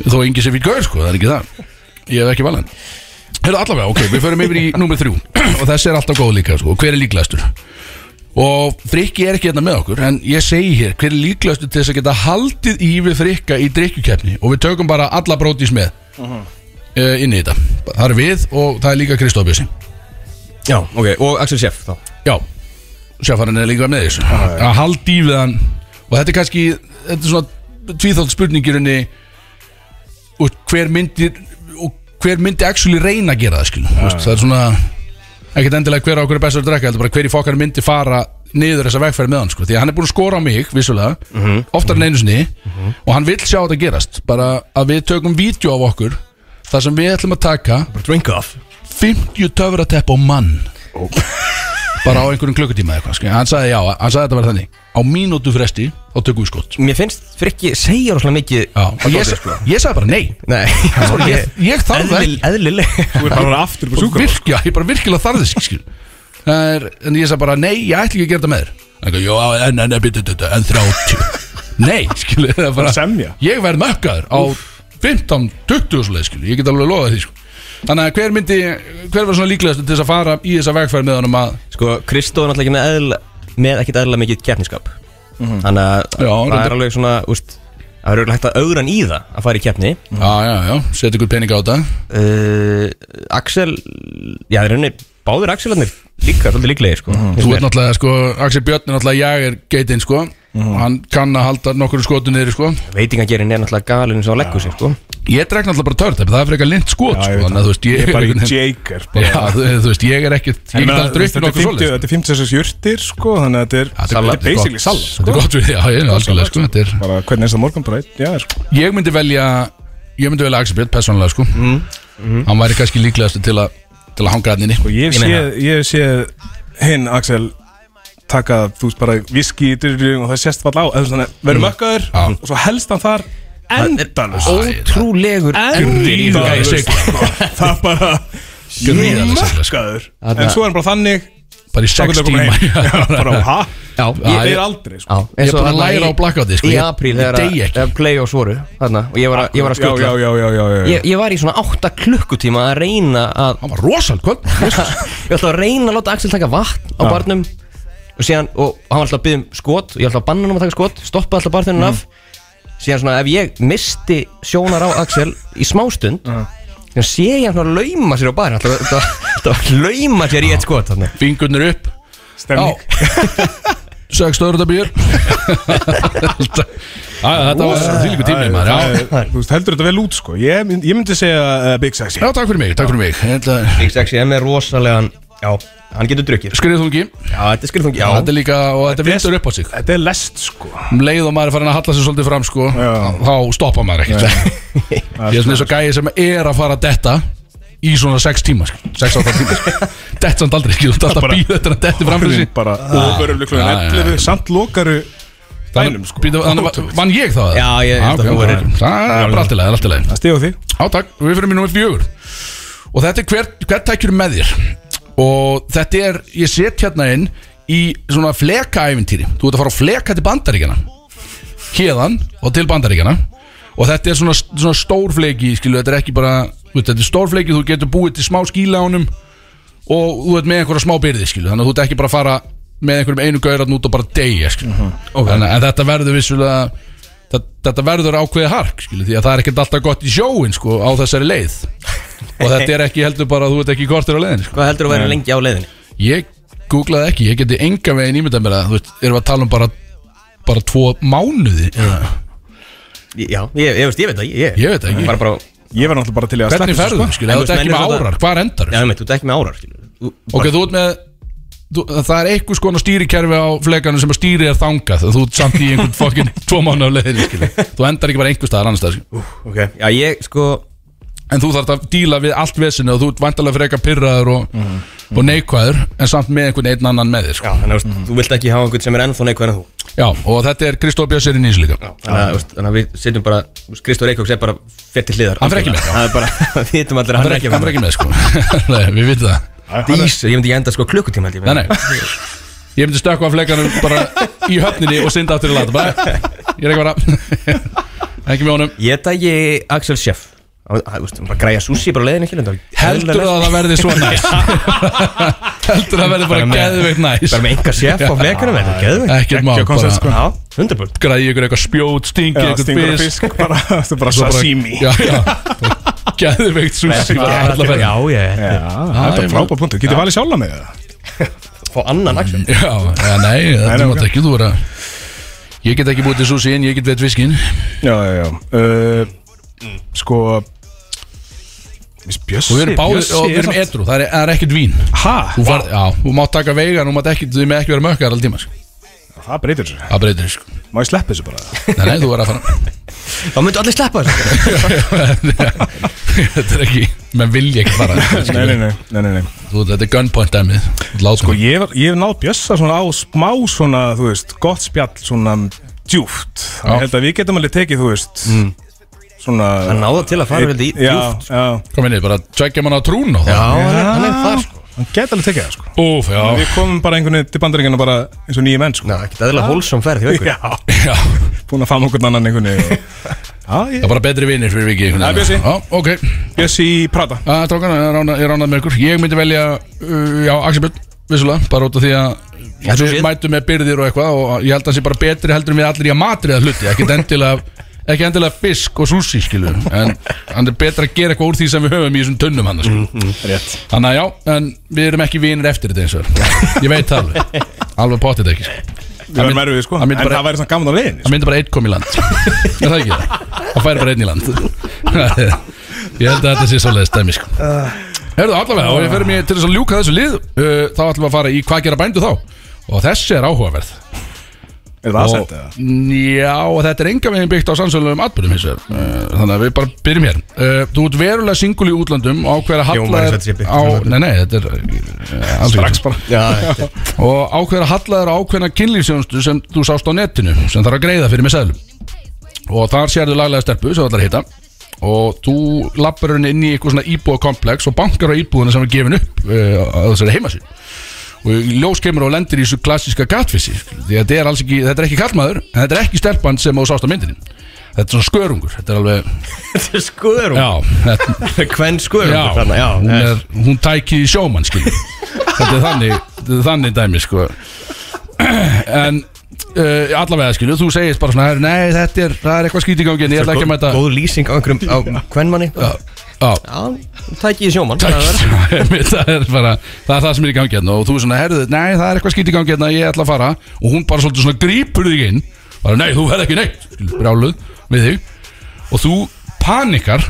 Þó engi sem við gaur, sko, það er ekki það Ég hef ekki valið hann Hefðu allavega, ok, við förum yfir í númer þrjú Og þessi er alltaf góð líka, sko, hver er líklegastur Og frikki er ekki hérna með okkur En ég segi hér, hver er líklegastur til þess að geta haldið í við frikka í drikkjukefni Og við tökum bara alla brótis með uh, Inn í þetta Það er við og það er líka Kristóf Bjössi
Já, ok, og Axel Sjeff þá
Já, sjáfarinn er líka með þessu að haldi í við hann og þetta er kannski, þetta er svona tvíþátt spurningirinni og hver myndi og hver myndi actually reyna að gera það skilum ja. það er svona, ekkert endilega hver á okkur er bestur að drekka, heldur bara hver í fokkar myndi fara niður þessa vegferð með hann sko, því að hann er búin að skora á mig vissulega, oftar en einu sinni og hann vill sjá þetta gerast bara að við tökum vídeo af okkur þar sem við ætlum að taka
Drink off
50 töfratepp á mann bara á einhverjum klukkutíma eða eitthvað sko. hann sagði já, hann sagði þetta var þannig á mínútu fresti, þá tökum við skott
Mér finnst Frikki segja rosalega mikið sko.
já, og ég, sa-
sko.
ég sagði bara nei
Nei
ég, ég þarf það ekki
Eðlil- Eðlileg
Þú er bara aftur upp á
Bara
sjúkur
virk- já, ég bara virkilega þarf þess ekki það er, en ég sagði bara nei, ég ætla ekki að gera þetta með þér hann sagði, já, en, en, en, en, en, en 30 nei, skilu, það er bara
Bara semja.
ég verð mökkaður á 15-20 svo leið, skilu, ég get alveg lofað því, sko Þannig að hver myndi, hver var svona líklegast til þess að fara í þessa vegfæri með honum að
Sko, Kristó er náttúrulega ekki með eðl með ekkit eðla mikið keppniskap Þannig að
Mhm. Já,
það
reyndar.
er alveg svona, úst Það er auðvitað hægt að augra hann í það að fara í keppni
Mm.
Já, já, já, setja ykkur pening á þetta
uh, Axel, já það er henni Báðir Axelarnir líka, svolítið líklegir sko
Þú ert náttúrulega, sko, Axel Björn er náttúrulega ég er geitinn, sko Hann kann að halda nokkur skotu niður, sko
Veitingagerinn er náttúrulega galinn eins og hann leggur sig sko
Ég dreg náttúrulega bara törn, það er frekar lind skot,
Já, ég
sko
veit
Þannig að þú veist, ég,
Ég er bara í
einhvern veginn-
Jaker
Já, þú, þú veist, ég er ekkert Ég get aldrei upp nokkur svoleið
Þetta er 56 jurtir sko Þannig að þetta er Þetta er basically sal
Þetta er gott við, já, ég sko. er algjörlega, sko þetta er,
Bara hvernig er það morgun bara einn Já, sko
Ég myndi velja, ég myndi velja Axel Björn, persónulega, sko Hann væri kannski líklegast til að til að hanga hann inni
Og
Ég
ég sé,
meina
ég sé hinn Axel taka, þú veist bara viski í dyrri og það sést fall á eða svona verður mökkaður
Mm. Já.
og svo helst hann þar endalus
Ótrúlegur
Gríðarlega í siglu.
það bara
Gríðarlega siglu, sko.
mökkaður en svo er hann bara þannig
Bara í
þá
sex
getur komin
tíma
heim.
já,
Já, bara ha
Já,
það
ég-
er aldrei
Já,
sko
Ég er
eins og
bara að
þarna
læra á
í-
blackouti, sko,
Í
ég-
apríl
ég
þegar
dey ekki.
að play-offs voru Þarna, og ég var að- ég var að
já, já,
skutla
já, já, já, já, já.
Ég, ég var í svona 8 klukkutíma að reyna að
Hann var rosal, hvað?
Ég ætla að reyna að láta Axel taka vatn á barnum og, síðan, og hann var alltaf að byggja um skot og ég ætla að banna hann að taka skot, stoppa alltaf barþunum af síðan svona ef ég misti sjónar á Axel í smástund síðan sé ég hann svona lauma sér á barn alltaf, alltaf, alltaf að lauma sér í eitt skot þannig.
Fingurnir upp
stemning
Sex stöðröndabýr Þetta var því líku tími maður
Það
já.
er- Þú veist, heldur þetta vel út sko Ég, mynd- ég myndi segja uh, Big Sexy
Já, takk fyrir mig, takk fyrir mig Þetta-
Big Sexy M er rosalegan já, Hann getur drukkið
Skriðþungi
Já, þetta er skrifungi Já,
Þetta er líka, og þetta
Þetta er-
vindur upp á sig
Þetta er lest sko
Um leið og maður er farin að halla sér svolítið fram sko
Já.
Þá stoppa maður ekkert Ég er svona eins og gæi sem er að fara að detta Í svona 6 tíma 6 átta tíma sko. Dett samt aldrei ekki Þú ert alltaf að býða eftir að detti fram fyrir sig
bara óbörjum
Ah. Já, já,
klukkan
já.
11 samt lokaru bænum, sko.
Býta- Þannig var- vann ég þá það?
Já, ég held að
ok,
þú
ok.
verður-
Það er bara allt í lagi, það er allt í lagi
það stíðu því
Já, takk, við fyrir mínum með fjögur Og þetta er hver, hver tækjur með þér Og þetta er, ég set hérna inn Í svona fleka-ævintýri Þú ert að fara að fleka til bandaríkjana Hérðan og til bandaríkjana Og þetta er svona, svona stórfleiki Skilu, þetta er ekki bara þú veist, Þetta er stórfleiki, þú getur búið til smá skíla ánum Og þú ert með einhverja smá byrði skilu, Þannig að þú ert ekki bara að fara Með einhverjum einu gauratn út og bara deyja skilu. Þannig að þetta verður vissulega þetta, þetta verður ákveðið hark skilu, því að það er ekkert alltaf gott í sjóin sko, á þessari leið og þetta er ekki heldur bara að þú ert ekki kortur á leiðin sko.
Hvað heldur þú að vera lengi á leiðinni?
ég googlaði ekki, ég geti enga veginn ímyndað mér að þú veist, erum við að tala um bara bara tvo mánuði eða,
Já, ég, ég, veist, ég veit það, ég,
ég veit ekki,
Bara bara
ég var náttúrulega bara til í að
hvernig
sleppa þessu,
ferðu sko? skil,
En
ef
þú
þú ert
veist, menn
ekki með
eru þetta-
árar, hvar endar
Já, ég veit, þú ert ekki með árar, skilur Þú-
ok, þú ert með þú, það er eitthvað skona stýrikerfi á flekanum sem að stýri er þangað þú ert samt í einhvern fokkin tvo mánuði á leiðin skil, þú endar ekki bara einhver staðar annars staðar skilur.
Ok Já, ég, sko
en þú þarf að díla við allt vesinu og þú ert vantarlega frekar pyrraður og, og neikvæður en samt með einhvern einn annan með þér
Já,
sko.
þannig að veist, þú vilt ekki hafa einhvern sem er ennþá neikvæðan þú
já, og þetta er Kristóf Björnsson í nýs líka
Þannig að, veist, þannig að við setjum bara Kristóf Reykjóks er bara fett til hliðar
Hann fer ekki með.
Það er bara, við vitum allir að
hann er ekki, hann er ekki með sko. nei, við vitum það
Dís, ég myndi ekki enda sko klukkutíma held ég
nei, nei. ég myndi stökkva af flekanum bara í höfninni og synda aftur í lata bara, ég er ekki bara ekki með honum
Ég dægi Axel Schiff Á- á- þú veist, bara græja sushi bara á leiðinni skilur
heldur það að það verði svo næst heldur það að verði bara geðveikt næst
Bara með enga chef á flekanum Þetta er geðvegt
ekkert má
Ekki að konsert, sko.
bara
Já, hundarbröld
græði ykkur eitthvað spjót, stingi
Já, stingur
ykkur
og
fisk
fisk bara, þetta er bara
Svo bara-
sashimi
Já, já Gæðveikt sushi bara alla ferðina.
Já, ég
Já, þetta
ég
er frábæð punktur, getið valið sjálfa með það
Fá annan Axel
Já, já, nei,
nei,
þetta
ok.
mátt ekki þú vera Ég get ekki búið til sushi en ég get veit fiskin
Já, já, já uh, Sko Miss Bjössi
Og við erum báðir, og við erum edru, það er, það er ekkert vín
Hæ?
Þú far, já, þú mátt taka vegan, þú mátt ekki, þú með ekki vera mökkar alltíma sko.
Það breytir þessu,
Það breytir þér, sko
má ég sleppa þessu bara
Nei, nei, þú verður að
Þá myndu allir sleppa þessu
fara Þetta er ekki, menn vilja ekki fara
Nei, nei, nei, nei, nei, nei.
Þú, þetta er gunpoint dæmið Lát
Sko,
sko
ég, var, ég hef náð Bjössa svona á smá svona, þú veist, gott spjall svona djúft
Já. Mm.
Ég held að við getum alveg tekið, þú veist Svona
Hann náða til að fara vel í
Já,
djúft
já,
Kom inn, bara tveggja manna á trún og
Já,
það
hann er- hann er þar sko
hann geti alveg tekið það, sko
Úf, já,
Við komum bara einhvern veginn til bandaríkjana bara eins og nýjum menn, sko
Ná, ekkert aðeins hólsum ferð hjá ykkur
Já,
já
búin að fama okkur annan einhvern veginn Já,
Það
ég
er bara betri vinir fyrir viki einhvern
Það er Bjössi.
veginn. Já, ok
Bjössi Prata
Það er tókan, ég er rána- ég er ránað með ykkur Ég myndi velja, uh, já, Axel Björn Vissulega, bara út af því að
svo
Við
séð.
mætum með byrðir og eitthvað Og ég held að það sé bara betri heldur en við allir í að matri að hluti Ekki endilega, ekki endilega fisk og sushi skilu En hann er betra að gera eitthvað úr því sem við höfum í þessum tunnum hann mm, mm.
Rétt
Þannig að já, en við erum ekki vinir eftir þetta eins og er. Ég veit það alveg Alveg potið ekki sko.
Við varum erfið sko
hann
En
myndi bara-
það væri svona gaman á sko. leiðinni
Það myndi bara einn kom í land Er það ekki það? Það færi bara einn í land Ég held að þetta sé svolítið stæmi sko Herðu allavega og ég fer mér til þess að ljúka þessu lið uh, Þá ætlum við að fara í hvað gera bændu þá Og þessi er áhugaverð
Er það
og,
aðsett eða?
Já, og þetta er enga veginn byggt á sannsölulegum atbyrðum hins vegar Eh, Þannig að við bara byrjum hér Eh, Þú ert verulega singul í útlöndum og ákveður að
Hljómar
halla
eins og þetta sé
þér
byggt á
á,
samsölum.
Nei, nei, þetta er eh, alls ekki
Strax bara
Já, þetta
og ákveður að halla þér á ákveðna kynlífsjónustu sem þú sást á netinu sem þarf að greiða fyrir með seðlum og þar sérðu laglega stelpu sem þú ætlar að hitta og þú lappar henni inn í eitthvað svona íbúðakomplex og bankar á íbúðuna sem er gefin upp uh, að þessari heimasíð og í ljós kemur og lendir í þessu klassíska gatfissi því að þetta er, alls ekki, þetta er ekki kallmaður en þetta er ekki stelpan sem þú sást á myndinni þetta er svona skörungur þetta er alveg,
Þetta er skoður
já, þetta,
Hvern skoður
Já,
þarna, já
hún, er, hún tæki í sjómann skil Þetta er þannig, þetta er þannig dæmi sko En uh, allavega skilu, þú segist bara svona "Herru, Nei, þetta er, það er eitthvað skýt í gangi En ég ætla ekki að
Góð-
mæta
Góð lýsing á einhverjum á hvern manni Já,
Já,
tæki í sjómann
takk
það er-
Einmitt, Það er bara, það er það sem er í gangi hérna Og þú er svona, herðu, nei, það er eitthvað skýt í gangi hérna Ég ætla að fara Og hún bara svolítið svona grípur þig inn Bara, nei, þú verð ekki neitt Skilu, brjáluð við þig Og þú panikar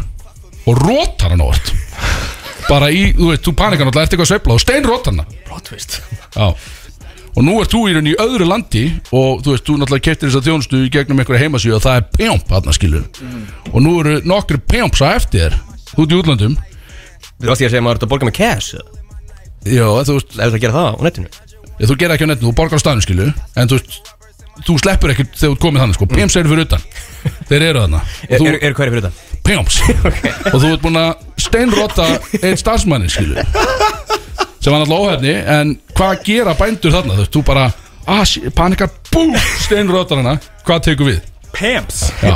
Og rótar hann óvart bara í, þú veist, þú panikar náttúrulega, ert eitthvað að sveifla og steinrót hana
Plot twist
Já Og nú ert þú í rauninni í öðru landi og þú veist, þú náttúrulega keftir þess að þjónustu í gegnum einhverja heimasíu og það er pjomp hann að
Mm.
Og nú eru nokkri pjomps á eftir þér, þú ert í útlandum
Þú varst ég að segja maður ert að borga með cash eða?
Já, þú veist,
Ef það gera það á netinu
ég, þú gerir ekki á netinu, þú borgar á staðinu skilu En þú veist, þú sleppur ekkert þegar þú ert komið þannig sko Pjomps eru fyrir utan, þeir eru þarna Og
Er,
þú-
er, er hverju fyrir þetta?
Pjóms Og þú ert búin að steinrotta einn starfsmanni skilu sem var náttúrulega óhefni en hvað gera bændur þarna þú veist, þú bara ah, sí- panikar, bú, steinrotta hana hvað tekur við?
Pamps
Já,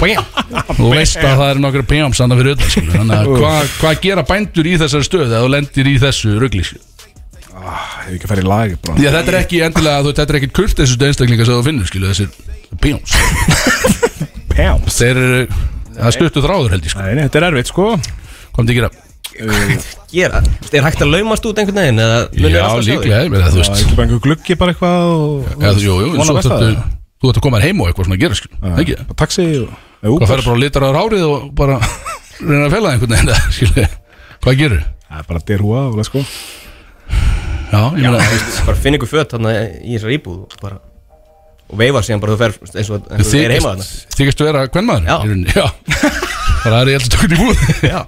þú veist að það eru nokkru pjóms þannig fyrir utan skilu þannig að hvað hva gera bændur í þessari stöðu að þú lendir í þessu rugli skilu
Hefur Ah, ekki að fara í lagi brá
því að þetta er ekki endilega þú veist, þetta er ekkit kult þessu einstaklinga sem þú finnur skilu þessir pjóms
Pamps
þeir eru það er stuttu þráður held ég sko
Nei, nei, þetta er erfitt sko
hvað myndi ég gera?
Gera Þú veist, Er hægt að laumast út einhvern veginn? eða munir
Já,
alltaf sjá þig?
líklega, ég meina, þú
Það er
veist
ekki bara einhver gluggi bara eitthvað og
Já, þú, jú, jú, en
Vona
svo
besta
þarftu
það.
Þú ert að koma þér heim og eitthvað svona að gera, skil Ekki,
Já, bara Taxi og
hvað
Uber
færi bara að litra á rárið og bara reyna að fela einhvern veginn það, skil Hvað gerur?
Það er bara derhúa og sko
Já, ég meina, þú veist
Bara finn ykkur föt þarna í þessari íbúð og bara Og veifa síðan bara þú fer eins og eins og þú er heima þarna
þykist- Þykist þú vera hvern maður?
Já.
Já Það er ég alltaf tökni búð
Já.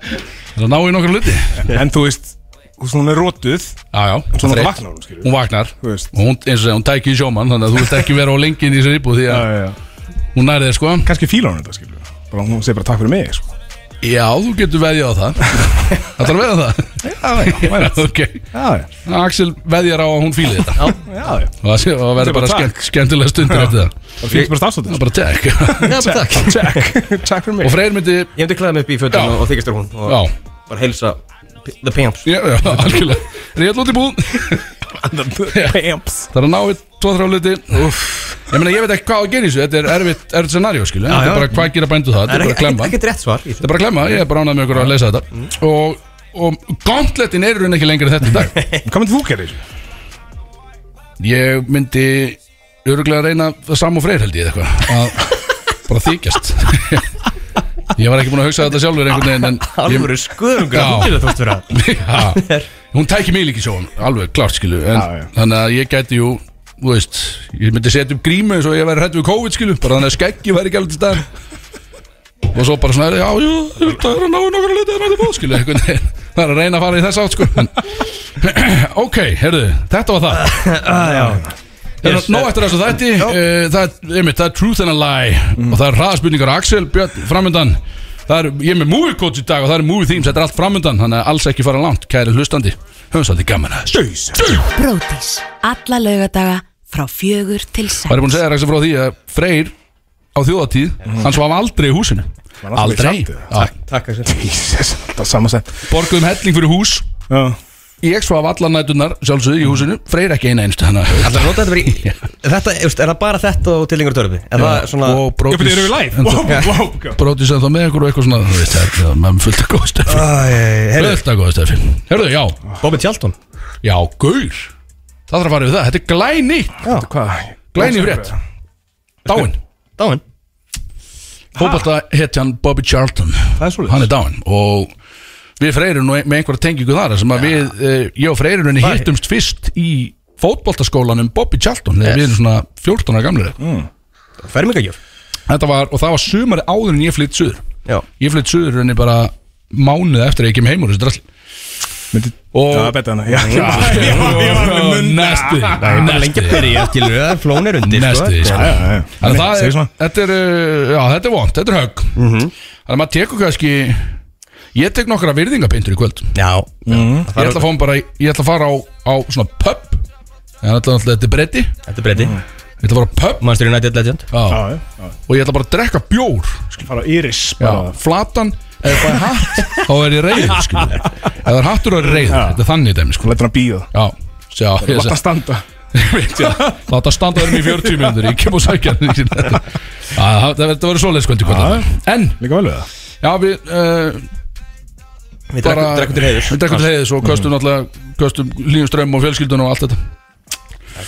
Það ná í nokkra luti Já,
En þú veist, þú veist, hún er rótuð
já
Svo
þreytt.
náttúrulega vaknar hún, skilur
Hún vaknar
Þú veist.
Og hún, eins og segja, hún tæki í sjómann Þannig að þú vilt ekki vera á lengin í þessari íbúð Því að hún næri þér, sko
Kanski fíla hún þetta, skilur Bara hún segir bara takk fyrir mig, sko
Já, þú getur veðjað á það Það að veða það?
Já, já, væri þetta.
Ok
já, já,
Axel veðjar á að hún fíli þetta
já, já
og það sé- og það verður bara
Takk.
skemmt, skemmtilega stundir eftir það
Það finnst bara
það
stafsóttir
er bara tek
Já, bara takk
Check, check fyrir
og Freyr myndi
Ég hefndi klæðið mig upp í fötum
Já.
og, og þykist þér hún og
já,
bara heilsa p- The Pamps
já, já algjörlega rétt út í búð það
mig Pamps
er að ná við tvo þrjá hluti ég meina ég veit ekki hvað að gera í þessu þetta er erfitt, erfitt scenario skilu þetta
já.
er bara hvað gera bændu það þetta er bara að klemma
ekkert rétt svar í
þetta er bara að klemma ég er bara ánað með ykkur að lesa þetta og og gauntletin er í raun ekki lengri en þetta í dag
Hvað myndir þú gerir?
Ég myndi öruglega að reyna það sam og freyr held ég eitthvað að bara þykjast Ég var ekki búin að hugsa þetta sjálfur einhvern veginn en
Alvöru
ég,
skuðungur
Já.
að hundir það þótt vera
ja, Hún tæki mig líka í sjón, alveg klart skilu en,
Já, já.
Þannig að ég gæti jú, þú veist Ég myndi setja upp grímu eins og ég væri hrætt við COVID skilu bara þannig að skeggi væri ekki alveg til stað og svo bara svona, já, já, þetta er að ná nokkra liti að næta bóð, skilu, einhvern veginn það er að reyna að fara í þess átt, sko en, ok, heyrðu, þetta var það
Ah,
Yes, Nó eftir þessu þætti uh, það, er- einmitt, það er Truth and a Lie Og það er hraðspurningar Axel Björn framöndan Það er, ég er með movie coach í dag og það er movie themes Þetta er allt framöndan, þannig að alls ekki fara langt Kæri hlustandi, höfum svolítið gaman að þessu.
Brótis. Alla lögadaga frá fjögur til sex.
Var ég búin að segja Axel frá því að Freyr á þjóðatíð, hann svaf aldrei í húsinu
Mm. Var alltaf í
Aldrei
sandi, það.
Já.
Takk að sér
Jesus, það er samansett
Borguðum helling fyrir hús
Já,
Ég svaf allar nætunar sjálfsögðu í húsinu Freyr ekki eina einstu hana
Alltaf nota þetta verið Þetta, you know, er það bara þetta og tilengur törfi? Er það svona
Og
ég byrja yfir
brótis
live Wow, wow, wow
Brótis en þá með ykkur og eitthvað svona þú veist, það er- Maður er fullt að góða stöfi
Heyrðu,
Fullt að góða stöfi Herðu, já,
Bobby Tjaldon
Já, gaur Það þarf að fara yfir það, þetta er glæni
Hvað?
Glæni frétt Dáin
Dáin
Fóbalta hetjan Bobby Charlton
Það er svoleiðis.
Hann er dáin og við Freyrir nú e- með einhverja tengingu þar sem að við, eh, ég og Freyrirunni
Það er-
hittumst fyrst í fótboltaskólanum Bobby Charlton þegar við erum svona 14 ára gamlir
Fermingagjör
Þetta var, og það var sumari áður en ég flytt suður
Já
Ég flytt suður henni bara mánuð eftir að ég kem heim úr þessu drasli
Myndi
Og-
Já, betta hana Já, já,
Næsti Næsti
byrja skilur Það er flónir undir
Næsti sko.
já, já.
Þannig að
Segðu
það er,
svona. Mhm.
þetta er, uh, já, þetta er vond, þetta er högg Þannig að maður tekur kannski Ég tek nokkra virðingapintur í kvöld
Já
Ég ætla að fá hann bara, í- ég ætla að fara á, á svona pub Ég ætla að þetta er bretti Ég
Þetta er breyti
ætla að fara á pub
Manchester United legend
já.
já, já.
Og ég ætla bara að drekka bjór
Fara á Iris
já.
bara.
Flatan, ef það er hatt Þá er ég reyður, skilur Ef það er hattur þá er ég reyður,
Já.
þetta er þannig dæmi, sko
Lætur hann býða
Já, sjá, ég
Láta
seg-
hann standa
Veit, já. Láta standa þeim í 40 minnur Ég kem og sækja hann Þetta það- þetta verður svoleiðis kvöldi
Já.
kvöldi En,
Líka vel við það
já við uh,
Við
bara
drekkum til heiður
Við drekkum til Mm. heiðis og köstum náttúrulega Köstum lífum strömm og fjölskyldun og allt þetta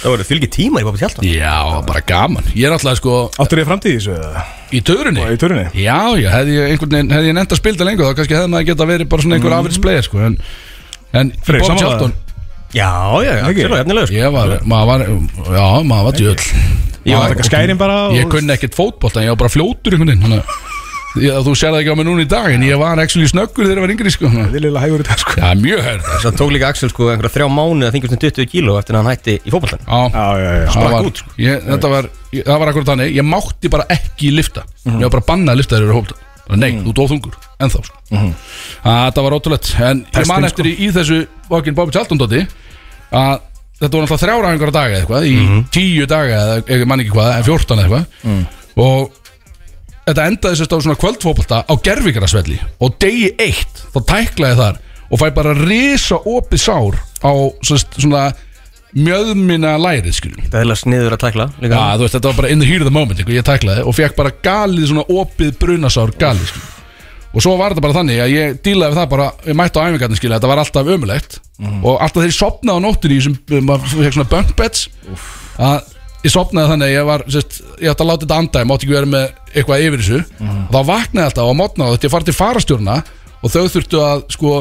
Það voru fylgi tíma í Bobby Tjaldon
Já, bara gaman Ég er náttúrulega sko
Áttur ég framtíð í þessu eða?
Í törunni?
Í törunni.
Já, já, hefði ég einhvern veginn, hefði ég nefnt að spilda lengur þá kannski hefði maður geta verið bara svona einhver mm. afritsplegir sko, en, en
Freyr,
Bob
sammála
Charlton
Já, já, já,
Ekki?
Axel var efnilegur sko.
Ég var, maður var, já, maður var djöl
Ég var að taka skærin bara og-
Ég kunni ekkert fótbolt, en ég var bara fljótur einhvern veginn þannig að- Ég- Þú sér það ekki á mig núna í dag, en ég var actually snöggur þegar ég var yngri sko
Þið lilla hægur í dag sko
Já, mjög hörð
Svo tók líka Axel sko einhverja þrjá mánu að þingjast um 20 kíló eftir að hann hætti í fótballtan
Já,
Já, já, já
það
sprakk
var,
út, sko.
ég, þetta var, ég, það var akkur þannig Ég mátti bara ekki lifta Ég var bara bannað að lifta þegar ég var hóflta Bara, Nei, þú dóð þungur, ennþá sko. mm Það var ótrúlegt En ég man
Pestin,
eftir í, í þessu Vokin Bobby Charlton dóti Að þetta voru alltaf þrjára einhverja daga eða eitthvað Í tíu daga, eða, ég man ekki hvað En fjórtán eitthvað Og þetta endaði sérst á svona kvöldfóbalta á gerfingarasvelli og degi eitt þá tæklaði ég þar og fæ bara risa opið sár á sérst, svona mjöðmina lærið skiljum
Það er heila sniður að tækla líka
Já, þú veist, þetta var bara in the heat of the moment ykkur, ég tæklaði og fekk bara galið svona opið brunasár galið skilur. og svo var þetta bara þannig að ég dílaði við það bara ég mætti á æfingarnir skilja, þetta var alltaf ömulegt og alltaf þegar ég sopnaði á nóttinni í þessum, maður fekk svona bunk beds að ég sopnaði þannig að ég var sérst, ég ætti að láta þetta anda, ég mátti ekki vera með eitthvað yfir þessu, þá vaknaði ég alltaf og mótnaði þetta, ég farið til farastjórna og þau þurftu að sko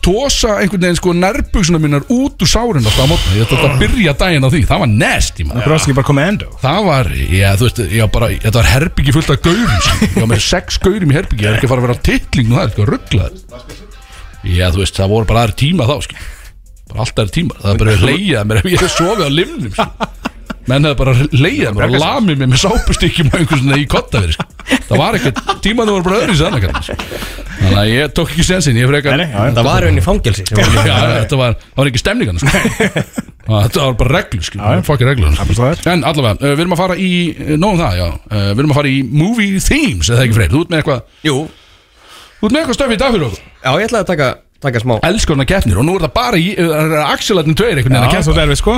tosa einhvern veginn sko nærbuksuna mínar út úr sárin alltaf á mótnaði, ég ætti að byrja daginn á því, það var nest í maður
Akkur ástu ekki bara að koma endo
Það var, já, þú veist, ég var bara, þetta var herbyggi fullt af gaurum, sko. ég var með sex gaurum í herbyggi, ég er ekki að fara að vera á titling og það, er sko, rugglaður. Já, þú veist, það voru bara aðri tíma þá, sko, bara alltaf aðri tíma, það er bara að leiða mér ef ég hef sofið á limnum, sko. Menn hefði bara leiðað mér og lamið mér með sápustykkjum og einhvers veginn í kottaveri, sko. Það var ekkert, tímaðu voru bara öðru í sann, sko. Þannig að ég tók ekki sensin, ég frekar...
Nei, nei, já, já.
Það var rauninni fangelsi sem var
Já,
líka-
þetta var, það var ekki stemningan sko. Ah, Þetta var bara reglu sko. Fokki reglu
er bara svo
En allavega, uh, við erum að fara í uh, Nóum það, já uh, Við erum að fara í movie themes Eða ekki freyr, þú ert með eitthvað
Jú,
Þú ert með eitthvað stöfið í dag fyrir okkur
já ég ætlaði að taka, taka smá
Elsku hann að keppnir Og nú er það bara í uh, Axelarnir tveir einhvern veginn að
Já, svo
keppa
derfið sko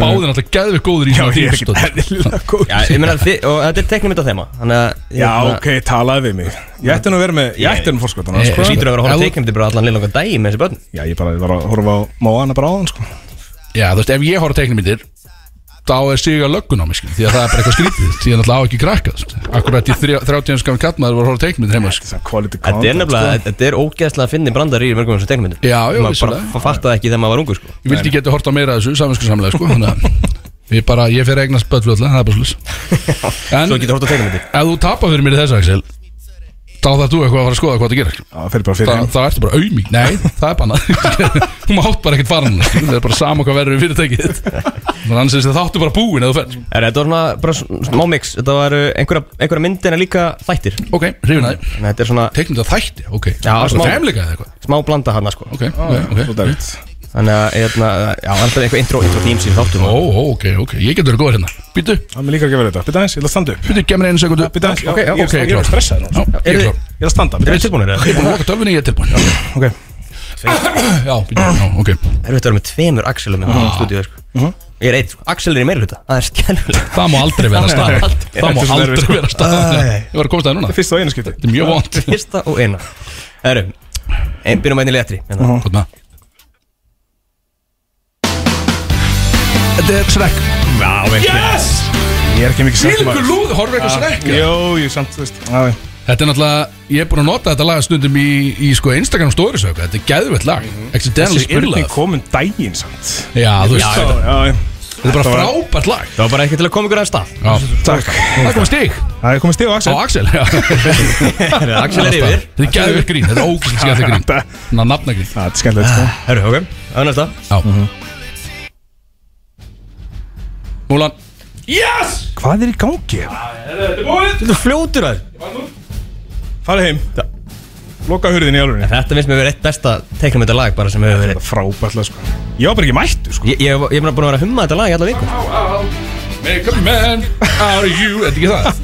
Báðir alltaf geðvið góður í
Já,
svona
ég er ekki
tímastöð.
eðlilega góð
Já, ég meina að þið, og þetta er teknimynda þema Þannig að hérna,
Já, ok, talaði við mig Ég ætti nú að vera með, ég ætti nú fórskotana
Ég-
sko
ég-
Sýtur að vera að horfa
Ef-
teknimynda bara allan liðlangan dag með þessi börn
Já, ég bara var að horfa á móana bara áðan sko
Já, þú veist, ef ég horf teiknumyndir Þá er siga löggun á mig, skil Því að það er bara eitthvað skrítið Því að náttúrulega á ekki krakka Akkurat í 30 skamum kallmaður var að horfa teiknumyndir heima sko.
Sem Quality
Þetta er
content sko.
nefnilega, þetta er ógeðslega að finna brandar í mörgum þessum teknimyndum
Já, já,
Maður bara
vissulega.
fa- fattaði ekki þegar maður var ungur sko
Ég vildi geta horta meira af þessu saminskursamlega sko Þannig að ég bara, ég fer að eignast böllvölda Það er bara slús En
Svo getur horft á teknimyndir
ef þú tapar fyrir mér í þessu Axel Þá þarf þú eitthvað að fara að skoða hvað það gerir
sko. Já, fyrir bara fyrir
Það,
heim.
það ertu bara auðmík, nei, það er bannað Þú mátt bara ekkert fara hann Það er bara sama hvað verður við fyrirtækið þitt. Þannig að annars er það þáttu bara búin eða þú ferð
Er þetta var svona, bara sm- smá mix Þetta var uh, einhverja, einhverja myndina líka þættir
Ok, hrifin að þið
Þannig að þetta er svona
Teiknum þetta þætti, ok
Já,
Það
smá.
er svona fremleika eða eitthvað
smá blanda hana sko
Ok,
Ah,
ok,
Svo
ok
derfið
Þannig að, hérna, já, alltaf eitthvað intro, intro themes í þáttum
Ó, ó, ok, ok, ég getur verið góður hérna Býtu,
Það er líka ekki að vera þetta Býta aðeins, ég ætla að standa upp
býtu, gem mér einu sekundu
Býta aðeins, já,
Ok,
ég
ok,
er-
klár
ég er stressað nú
Já, ég er
Eruð-
klár
Ég er að standa,
Er
býta
þið tilbúinir?
aðeins
Ég er búin að loka tölvunni, ég er tilbúin Já,
Ok,
já, býtum, já, ok
Er þetta að vera með tveimur Axelum í stúdíu sko. Ég er eitt, sko. Axel er í meirhluta Það er skjælulegt
Það má aldrei vera staðan Það má
Þetta er svo
aldrei
nervið, sko.
vera staðan Ég var að komast að það núna
fyrst og einu skipti
Þetta er mjög vond
Fyrsta og eina Herru, ein byrjum að einu letri hérna.
Hvað með? Þetta er Shrek Yes!
Ég er ekki mikið samt
Fylgur
maður.
lúð, horfum við eitthvað Shrek eða?
Jó, ég samt, þú veist Já, já.
Þetta er náttúrulega, ég er búin að nota þetta lag stundum í, í sko Instagram stories og eitthvað. Þetta er geðvett lag
Mhm. Þessi
Accidentally in
spurning
love
kom um daginn samt
Já, þú veist,
Já,
þetta
já, já
þetta er bara frábært lag
Það var bara ekki til að koma ykkur að stað
Já,
Takk
það kom stig
Það er komið stíð á
á
Axel
Axel já.
Axel er yfir
Þetta er geðvett grín, þetta er ógæðvett skemmtilegt grín
Þetta-
Ná, nafnagrín
Það er skemmtilegt sko
Ah.
Herru, ok, það er næsta
Já Múlan
Hvað er í gangi?
Þetta er fljótur að þér.
Farið heim Loka hurðin í alvörinni
Þetta finnst mér verið eitt besta teknumyndalag bara sem hefur verið
Frábært lag, sko Ég var bara ekki mættu sko
Ég, ég, ég er bara búin að vera að humma þetta lag í alla viku
Make a man out of you Þetta er ekki það?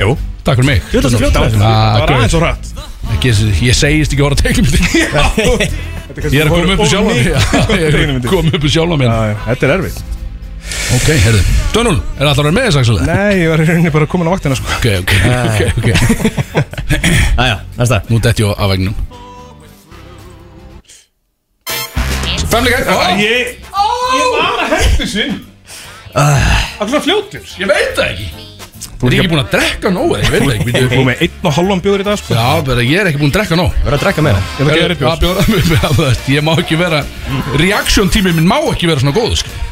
Jú Takk fyrir mig
Þú veist það fljótur að þér.
Það
Ah,
var
guð.
aðeins og hratt
ekki, Ég segist ekki voru að teikla mér Ég er að koma upp um sjálf Ég kom upp um sjálf á mér
Já, já, Þetta er erfitt
Ok, herðu Stönul, er alltaf að vera með þess aðsala?
Nei, ég var í rauninni bara komin á vaktina sko
Ok, ok, ok, ok
Jæja, næsta
Nú dætt ég á- á vegnum Femleikar Ég
Ég
Ah.
Ég var að hættu sinn Það er svona fljótur
veit það ekki Ég er ekki búin að drekka nóg eða, ég veit það ekki
Við
býtu.
erum með einn og halvan bjóður í dag sko
Já, bara ég er ekki búin að drekka nóg
Verður að drekka meira
Ég það gerir bjóð
Að bjóða mig með að það, Ég má ekki vera Reaction tímið minn má ekki vera svona góð sko.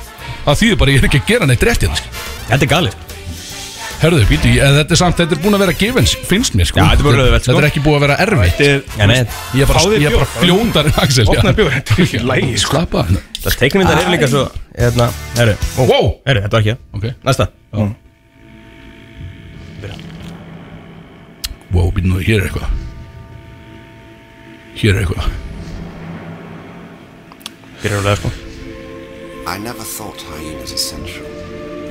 Það þýðir bara, ég er ekki að gera neitt rétt hérna sko.
Þetta er galið
Herðu, býtu, en þetta er samt, þetta er búin að vera gefins Finnst mér, sko
Já, þetta er bara auðvelt, sko.
Þetta er ekki búin að vera erfitt
Já, nei,
Ég er bara,
Fáðu þér
ég er bara
bjór.
fljóndar Axel já.
Opnaðu bjór, þetta er ekki í lagi, sko.
Slappa hérna. af.
það teiknum þetta hefur líka svo Hérna, herru, ó,
Wow,
herru, þetta var ekki það.
ok
Næsta
Wow, býtu nú, hér er eitthvað Hér er eitthvað
Byrjar að lega sko
I never thought hyenas essential.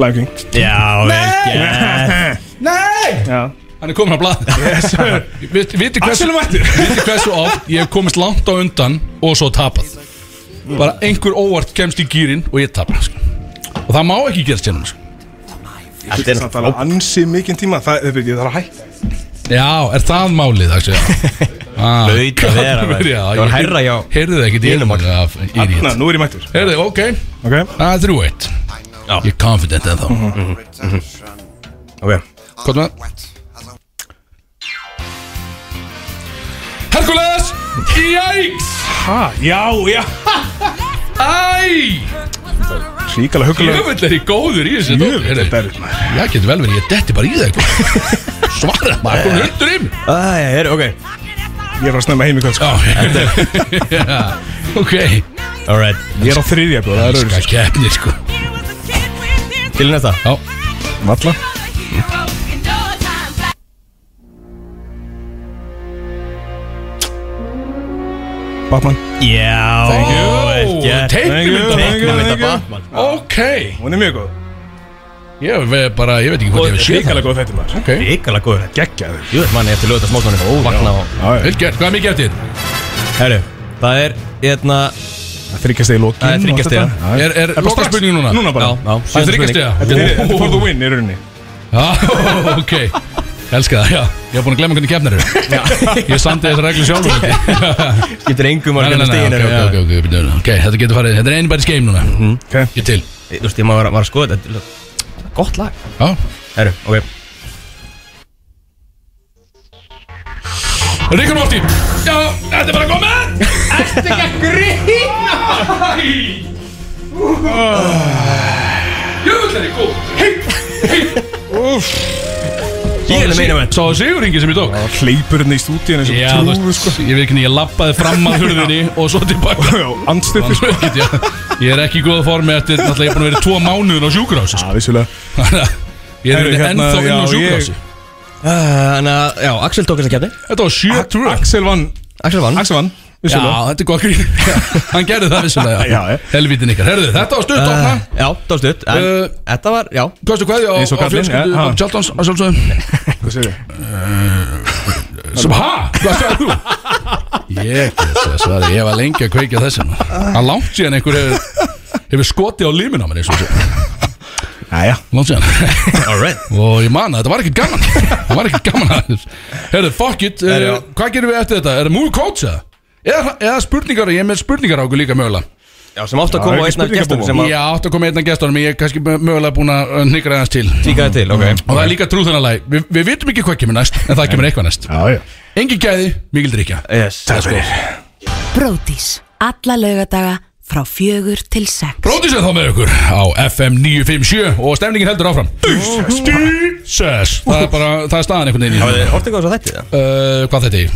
Lion King
Já, vel gert
Já
Hann er komin á blað yes, Viti hversu Viti hversu oft Ég hef komist langt á undan Og svo tapað Bara einhver óvart kemst í gýrin Og ég tapar sko. Og það má ekki gerast hérna sko.
Þetta er
Samt alveg ansið mikinn tíma Það er byrjuð, ég þarf að hætta
Já, er það málið Axel? Ah,
Hlaut að vera, maður. Það var hærra hjá
Heyrðu ekkert í
hinum, Axel.
Anna,
einum
Hérna, nú er ég mættur
Heyrðu, ok
Ok
Það er 3-1 Ég er confident en þá
Retention.
Ok
Hvað með?
Wet as a
Herkules Jæks
Ha, já, já
Æ
Ríkala hugulega
Jöfull er ég góður í þessu dóti.
Mjög
Heyrðu,
þetta er erfitt, maður
Já, getur vel verið, ég detti bara í það eitthvað Svara, maður komið hundur í mig
Æja, herru, ok
Ég er að snemma heim í kvöld sko
Já, já, ok
Alright
Ég er á þriðja bjóð, það er
Ska
öðru
keppni, sko
Til í næsta
Já,
Valla sko. Batman
Já,
Thank you.
vel gert
Thank you, thank
you,
Teiknum þetta
thank you.
Batman
ok
Hún er mjög góð
Ég veit bara, ég veit ekki hvort ég hef séð
Ríkala
það
góð þetta maður
Ok,
Ríkala góður þetta
Gekkjaður
Jú, manni, eftir lögða smásmanni Ó, vakna og
vel gert, hvað er mikið eftir?
Herru, það er, hérna
Þryggjast eða lókin
Það er þriggja stiga.
Er, er
bara
loka
strax.
spurning núna?
Núna bara.
Já,
Það er þryggjast
Þetta er þetta er for the
eða?
win í rauninni
Já, ok Elska það, já Ég hef búin að glemma hvernig keppnir eru Ég samdi þessar reglu sjálfur ekki
Getur engum
Nei,
að
nei,
hérna stegin
nei, ok, ok, ok, ok, ok, ok, þetta getur farið, þetta er anybody's game núna
Ok
Ég er til
Þú veist, ég maður var að skoða þetta Gott lag
Já,
Herru, ok
Rick and Morty Já, þetta er bara komið Þetta er ekki að grína Jöfull er ég góð Hei,
Ég er meina menn
Sá það Sigur Ingi sem ég tók
Hleypurinn í stúdíun eins
Já,
og
þú
trúðu
veist,
sko
ég veit ekki, ég labbaði fram að hurðinni og svo tilbaka
Já, andstutti sko
Get ég- Ég er ekki í góða formi eftir, náttúrulega ég er búin að vera í tvo mánuður á sjúkurhási
Já, vissulega
sko. Ég er
Herru,
hérna,
hérna,
ennþá inn á
já, ég-
sjúkurhási
Þannig að, Eh, já, Axel tók þess að kefni
Þetta var 7-2
Axel vann
Axel vann
Axel vann
Já,
Vissulega
þetta er gott grín Hann gerði það vissulega
Já, já.
Helvítin ykkar, herðu, þetta var stutt opna
Uh, Já, það var stutt En
Uh,
þetta var, já
Kostu hvað á,
Eins og
á
kallinn,
fjölskyldu
ja, ha.
Bob Charltons að sjálfsögum
Hvað segir þið?
Sem ha? Hvað sagði þú? Ég get þess að svara, ég var lengi að kveikja þessum Hann langt síðan einhver hefur hefur skotið á límin á mér eins og þessu
Jæja
Langt síðan
Alright
Og ég man að þetta var ekkert gaman Það var ekkert gaman aðeins Herðu, fuck it,
Herru,
uh,
já.
hvað gerum við eftir þetta? Er það movie coach eða? Eða, eða spurningar, ég er með spurningar á okkur líka mögulega
Já, sem átt að koma á
ekki
einna gestum
spurningabók.
sem að
Já, átt að koma einna gestunum Ég er kannski mögulega búin að uh, hnigra aðeins til
tíkaði til, ok
Og það er líka trúðanalagi Vi, Við vitum ekki hvað kemur næst En það kemur eitthvað næst
Já, já
Engi gæði, mikil drikja
Yes, let's go
Bródís. Alla laugardaga frá fjögur til sex.
Bróðisveið þá með ykkur á FM 957 Og stemningin heldur áfram Jesus Það er bara, það er staðan einhvern veginn í
Hafið þið hort eitthvað svo þætti það?
uh, Hvað þetta er?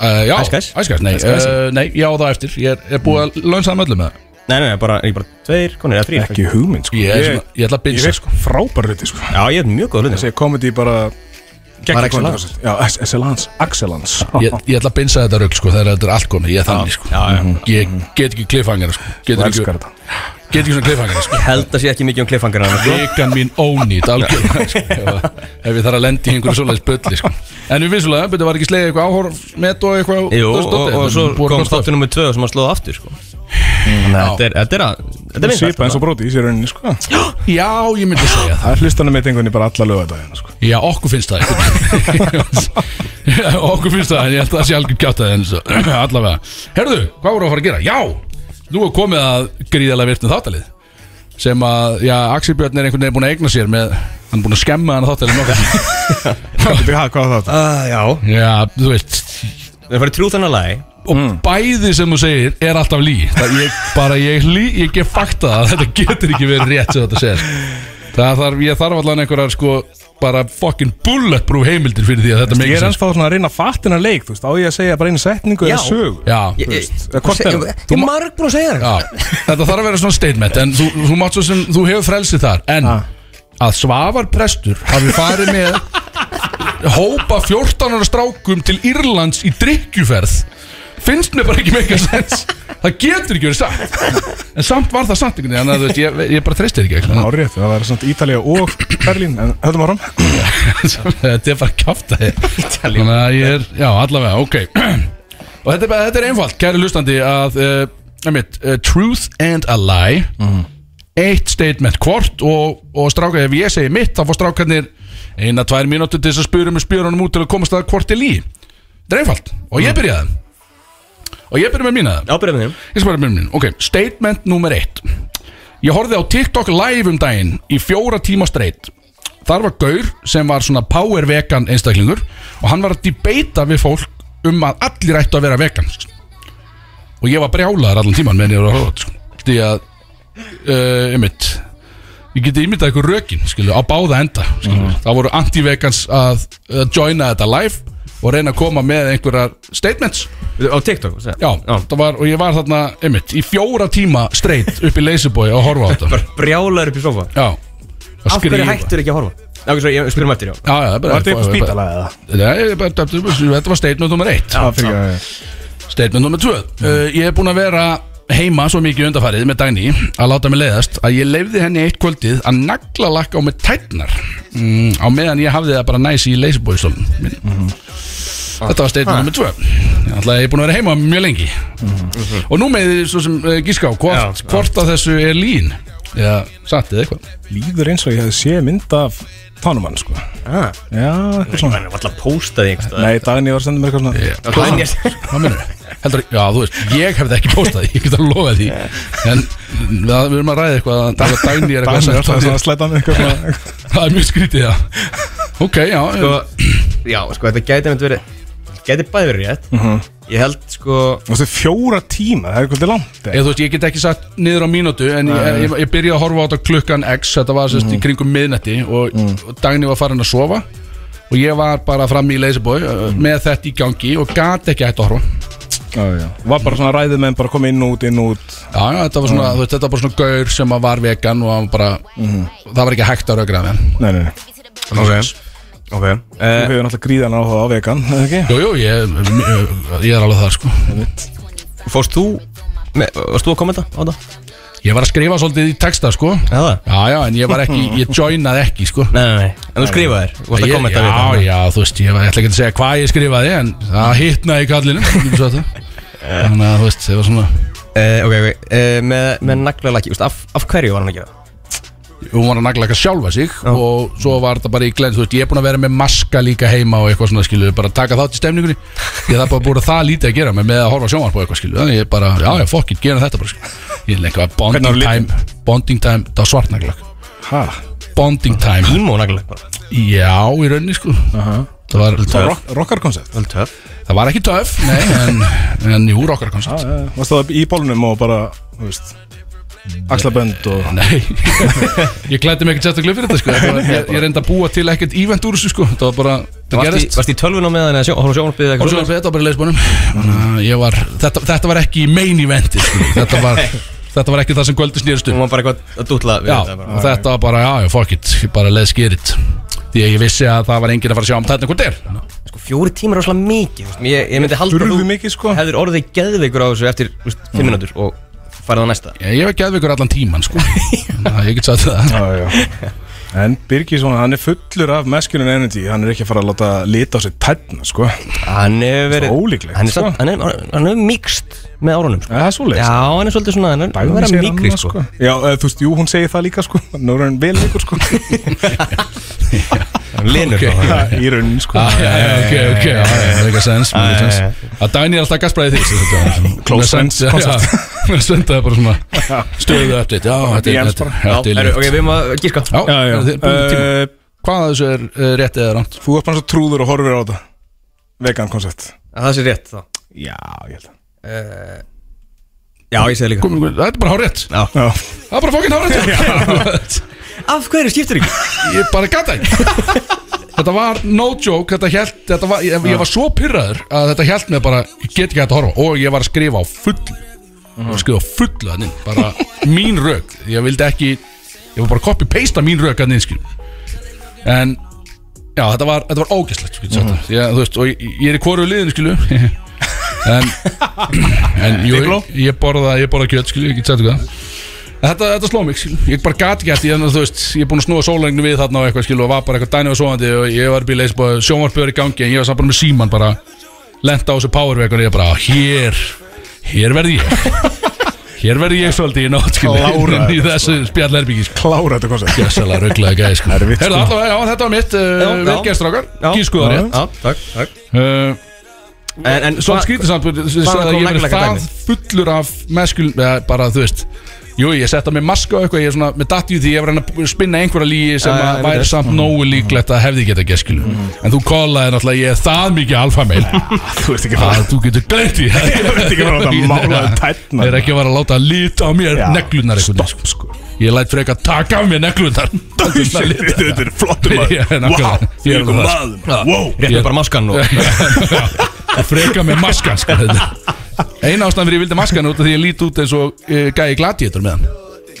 Uh, já,
Æskæs?
æskæs, nei, uh, nei, já það eftir Ég er, er búið að launsa það með öllum með það
Nei, nei, bara, ekki bara tveir konir eða þrír
Ekki hugmynd sko
Ég er svona- ég ætla að binsa,
Ég veit sko Frábær hluti sko
Já, ég er mjög góð hlutin
Þessi komedi bara
Var
Geggjum
excellence.
kontrastist. Já, ex- excellence Excellence
Ég, ég ætla að binsa þetta rugg sko þegar þetta er allt komið Ég er þannig sko
Já, já.
Ég get ekki klifangar sko Get
Þú
ekki,
elskar þetta
get ekki svona klifangar sko
Held að sé ekki mikið um klifangar hann
vikan mín ónýtt algjörlega sko, ef, ef ég þarf að lendi í einhverju svoleiðis bölli sko. en við vissulega, betur var ekki slegið eitthvað áhorf met og eitthvað
Jú, og, og, og svo kom
státtur
státtur nummið tvö sem að slóða aftur, sko Þannig að þetta er, þetta er að, þetta er
Svipa eins
vinsælt,
og bróti í sér rauninni sko
já, ég myndi segja það
Það er hlustanum með einhvernig bara alla lögadagina sko
já, okkur finnst það eitthvað okkur finnst það, en ég held að það sé algjör kjátt að það allavega herðu, hvað voru að fara að gera? já, nú er komið að gríðalega virtum þáttalið sem að, já, Axel Björn er einhvern veginn búin að eigna sér með Hann er búin að skemma hann þátt eða nokkuð
Bíddu, ha, Hvað var það?
uh, Já
Já, þú veist
Það er farið trú þannig að lagi
Og bæði sem þú segir er alltaf lí Það ég, bara ég lí, ég gef fakta það Þetta getur ekki verið rétt sem þetta segir Það þarf, ég þarf allan einhverjar sko Bara fucking bulletproof heimildir fyrir því að þetta
Ég
meikir
er ennþá svona að reyna að fatta hennar leik Þú veist, á ég að segja bara einu setningu
Já.
eða sög
Já.
Þú veist, eða hvort
Ég
er
ég er marg búin að segja það
Já, þetta þarf að vera svona statement En þú, þú mátt svo sem, þú hefur frelsið þar En
Ah.
að Svavar Prestur hafi farið með Hópa 14 ára strákum til Írlands í drikkjuferð Finnst mér bara ekki meika sens Það getur ekki verið satt En samt var það satt einhvern veginn Þannig að þú veist, ég, ég bara treysti þér ekki
Ná, rétt, það var svona Ítalía og Berlín En höfðum áram
Þetta er bara kjáft að Þannig að ég er, já allavega, ok Og þetta er, bara, þetta er einfalt, kæri lustandi að uh, einmitt, uh, Truth and a lie Eitt statement hvort og, og stráka, ef ég segi mitt þá fór strákarnir eina, tvær mínútur til þess að spyrja með spjörunum út til að komast að hvort er lí Þetta er einfalt og ég byrjaði Og ég byrja með mína
Ábyrðum þeim
Ég skal bara byrja með mína, ok, statement nummer eitt Ég horfði á TikTok live um daginn í fjóra tíma streitt Þar var Gaur sem var svona power vegan einstaklingur og hann var að debata við fólk um að allir ættu að vera vegan sko. og ég var brjálaður allan tíman meðan ég var að horfa á þetta, sko. því að uh, einmitt ég geti ímyndað ykkur rökin skilu, á báða enda skilu. það voru anti-vegans að, að joina þetta live og reyna að koma með einhverjar statements
Á TikTok sagði-
Já, það var, og ég var þarna, einmitt, í fjóra tíma streitt upp í Leysibói og horfa á þetta
Bara brjálaður upp í sofa
Já, að
Af hverju hættur ekki að horfa? Já, ok, svo ég spyrum eftir, já
Já, já, bara
Var þetta eitthvað spítalega eða?
Nei, ég bara- þetta var statement nummer eitt
Já, fyrir ekki
Statement nummer tvö uh, Ég hef búin að vera heima svo mikið undarfarið með Dagný að láta mig leiðast að ég leifði henni eitt kvöldið að nagla lakka á mig tætnar mm, á meðan ég hafði það bara næsi í leysibóðistólun minn Þetta var statement nummer tvö Þannig að ég er búin að vera heima mjög lengi Og nú með þið svo sem uh, gíská hvort, hvort að þessu er lín eða satt eða eitthvað
Líður eins og ég hefði séð mynd af tánumann, sko
Ah.
Já, eitthvað svona
Það er alltaf póstaði einhverstað
Nei, Dagný var að senda mér eitthvað svona
Hvað Hvað mennur Heldur, já, þú veist, ég hefði ekki postað því, ég get að lofa því En það, við erum að ræða eitthvað að Dagný er eitthvað að
Dagný var
senda
alltaf
þér.
svona að slæta mér eitthvað svona
Það er mjög skrítið, já Ok, já
sko, Já, sko, þetta gæti einmitt verið Gæti bæði verið rétt Ég held, sko
Þú veist, Fjóra tíma, það er eitthvað langt eða?
Ég, þú veist, ég get ekki sagt niður á mínútu En ég, ég, ég byrja að horfa á þetta klukkan x Þetta var sérst
Mm.
í kringum miðnætti og, og Dagný var farin að sofa Og ég var bara fram í leysibói mm. Með þetta í gangi og gat ekki hægt að horfa
Já, já. Var bara svona ræðið menn, bara komið inn og út, inn og út
Já, já, þetta var svona,
Mm.
þú veist, þetta var bara svona gaur Sem að var vegan og hann bara Það var ekki hægt að rökraða með hann.
Nei, nei, nei
Ok, ok
Þú hefur náttúrulega gríðan áhuga á vegan, eða ekki?
Jú, jú, ég, ég er alveg það, sko
Fórst þú með, Varst þú að kommenta á það?
Ég var að skrifa svolítið í texta, sko
Já, það
Já, já, en ég var ekki, ég joinaði ekki, sko
Nei, nei, nei En þú skrifaði þér Þú varst að
Ég-
kommenta við
já,
það
já, þú veist, ég, var- ég ætla ekki að segja hvað ég skrifaði En það hittnaði í kallinu Þannig að, þú veist, það var svona
Eh, Ok, ok Eh, Með, með naglalaki, veist, af, af hverju var hann ekki það?
Hún var að nagla ekki að sjálfa sig Og svo var þetta bara í glenn, þú veist, ég er búin að vera með maska líka heima Og eitthvað svona, skilu, bara taka þátt í stemningunni Ég þarf bara búin að það lítið að gera með, með að horfa sjónvarp og eitthvað, skilu Þannig ég bara, já, já, fuck it, gera þetta bara, skilu Ég er lengur að
Hvernig
bonding
var litinn?
time Bonding time, það var svart nagla
Hæ?
Bonding time,
Ímó naglalaki bara
já, í rauninni, sko Það var, það var,
Rockarkoncept?
Vel töf
það var ekki töf, nei, en, en jú, rockar konsert
Varst það í bólunum og bara, þú veist Axlabönd og
Nei, ég klætti mig ekkert sérstaklega fyrir þetta sko Þetta var- Ég, ég reyndi að búa til ekkert ívent úr þessu sko Það var bara, það
Varst í,
gerist
varst í tölvun á meðan eða sjó, horfum sjónarbyðið
Og svo þetta var bara í leisbónum Ég var, þetta, þetta var ekki í main eventi sko Þetta var, þetta var ekki það sem kvöldi snýrstu
Hún var bara eitthvað að dútla við
Já,
þetta bara.
og þetta var bara, já, já, fuck it Ég bara leið skýrit Því að ég vissi að það var enginn að fara að sjá um þetta hvort er
Sko, fjóri tímar er rosalega mikið þú veist, Ég, ég myndi halda að
Burðu
þú
mikið, sko
hefðir orðið geðveikur á þessu eftir þú veist, fimm minútur og farið á næsta
Ég, ég var geðveikur allan tíman sko Það, Ég get sagt það
Já, já En Birgisson, hann er fullur af masculine energy Hann er ekki að fara að láta lita á sig tætna, sko Það
Hann hefur verið
Svo ólíklegt,
Hann er,
sko.
sko? hann er, hann er mikst með árunum sko.
er svoleiðis
Já, hann er svolítið svona Hann er hann er að vera mikri sko.
Já, eh, þú veist, jú, hún segir það líka, sko Nú er hann vel líkur, sko
Hann linur
Ok.
okay.
Í raunin, sko
Ah, já, já, ok, ok, já, já, það er eitthvað sens
Já, já,
maður,
já.
sens. Að Dæni er alltaf gasbræðið þig
Close friends concept.
Mér sendaði bara svona stöðu update Já, þetta
Í
er
ems
þetta
bara.
er- þetta er
Ok,
líkt.
við erum að gíska
Já,
Já, já
eru þið búin með tíma?
Eh,
hvað af þessu er uh, rétt eða rámt
Þú ert bara svo trúður og horfir á þetta Vegan koncept
Að það sé rétt þá
Já, ég held að
Já, ég segi líka
Kom- þetta er bara hárétt
Já,
það er bara fokkin hárétt
Af hverju skiptir ekki?
ég bara gata ekki þetta var no joke þetta held, þetta var, ég, ég var svo pyrraður að þetta held mig bara, ég get ekki hægt að horfa og ég var að skrifa á fullu mm. skrifa á fullu hann inn, bara mín rök ég vildi ekki, ég var bara að copy-pasta mín rök hann inn skil en já, þetta var, þetta var ógæslegt skil, mm. ég, þú veist, og ég, ég er í hvoru liðinu skilu en, en jú, ég, ég borða ég borða kjöt skilu, ég get sagt það Þetta, þetta sló mig, skil. ég bara gat ekki eftir þú veist, ég er búin að snúa sólengni við þarna og eitthvað skil, og var bara eitthvað dæni og svoandi og ég var bíl eða sjónvarpjóður í gangi en ég sko, var samt bara með síman bara lenda á þessu powerveik og ég bara hér, hér verði ég hér verði ég svolítið í nótt skil,
Klára
í þessu spjallherbyggi sko.
klára þetta koncept
gæsalega rugglega gæði sko.
Erfitt, sko.
Herðu, allavega, já, þetta var mitt uh,
Já, já.
viðgerstrákar, gískuðar
já.
rétt
Já, takk, takk
Uh,
En, en
Svo skrítið samt svo
hvaðan
að
kom
ég verið
naglakka
það
dæmið?
fullur af meskul eða bara þú veist Jú, ég setja mig maska og eitthvað, ég er svona með datt í því ég var hann að spinna einhverja líi sem
Já, já,
að
ég veit
væri
það.
Mhm.
samt nógu líklegt að hefði geta geskilu En þú kollaði náttúrulega, ég er það mikið alfameil
Þú ert ekki
að
frá
þú getur gleymt því
Ég veit ekki bara að láta mála um tærnar.
Ég er ekki að fara að láta lít á mér
Já,
neglunar einhvern veginn, sko. Ég læt frekar taka af mér neglunar
Shit, Þetta er flottum
Já,
maður
nákvæmlega.
Wow,
Ég
ég
er
er
alveg það. sko.
maður Wow
Réttu bara maskan og
og freka með maskan sko, eina ástæðan fyrir ég vildi maskan er út af því ég lít út eins og uh, gæi gladiðtur með hann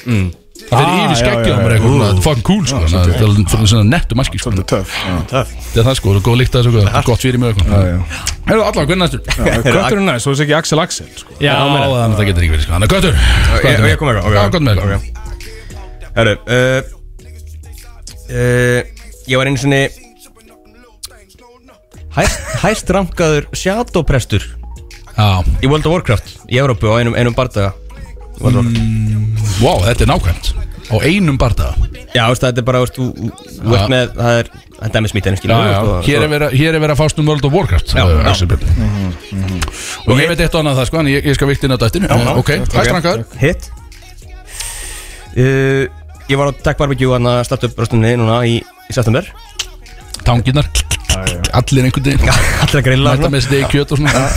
það fyrir
Ah,
yfir
já,
skeggið á
já,
mér
já.
eitthvað
Ú.
það er fucking cool sko, það er alveg fyrir svona nettu maski sko.
Svolítið töff
það er það sko, það er góð líkt að þessu sko, gott fyrir mig eitthvað hefur allavega, hvernig næstur?
Kötturinn næst, svo er ekki Axel Axel sko.
já, þannig að það getur ekki verið sko, þannig að göttur
Ég- ég kom með eitthvað, ok.
já, gott með eitthvað
Herru uh, uh, Ég var einu sinni Hæst, hæst rankaður Shadowprestur
já,
Í World of Warcraft Í Európu á einum, einum bardaga mm.
wow, þetta er nákvæmt á einum bardaga
Já, veist, þetta er bara veist, þú- þú- Þú ert
Já.
með Það er Þetta er með smítanum
Já,
skilur
já,
þú, veist, og-
hér er verið- hér er verið að fást um World of Warcraft
Já,
uh,
já.
Axel Björn. og ég veit eitt og annað það sko en ég, ég skal vikti inn á dættin ok, hæstrankaður
Hitt uh, Ég var á Tech Barbecue Þannig að starta upp röstunni núna í, í september
tanginnar allir einhvern veginn
Allra grilla
mæta með stegi kjöt og svona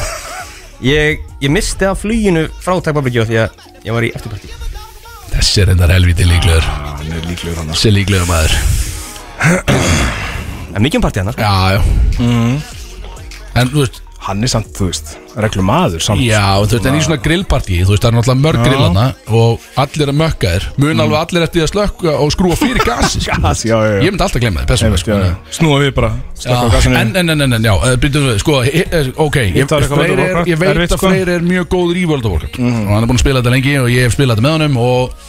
ég, ég misti af fluginu frá Tech Barbecue Því að ég var í eftirparti
þessi er reyndar helviti líklegur
Hann er líklegur hann
þessi er líklegur maður
En mikið um partí hann
já, já en þú veist
Hann er samt, þú veist, reglum maður samt
já, þú veist en í svona grillpartí þú veist það er náttúrulega mörg grillana og allir að mökka þér mun alveg allir eftir því að slökka og skrúa fyrir gasi sko.
Gas, já, já, já.
ég myndi alltaf glemma þið
Einmitt,
persónulega
já,
sko.
já. Snúa við bara Slökka á
Já,
gasinu
en, en, en, en, en, já, eh, býtum við, sko, hi- eh, ok, ég,
Hitt var eitthvað World
fleiri
of
er,
Warcraft,
ég veit
erfitt,
að
sko. Mhm.
Freyr er mjög góður í World of Warcraft og hann er búin að spila þetta lengi og ég hef spilað þetta með honum og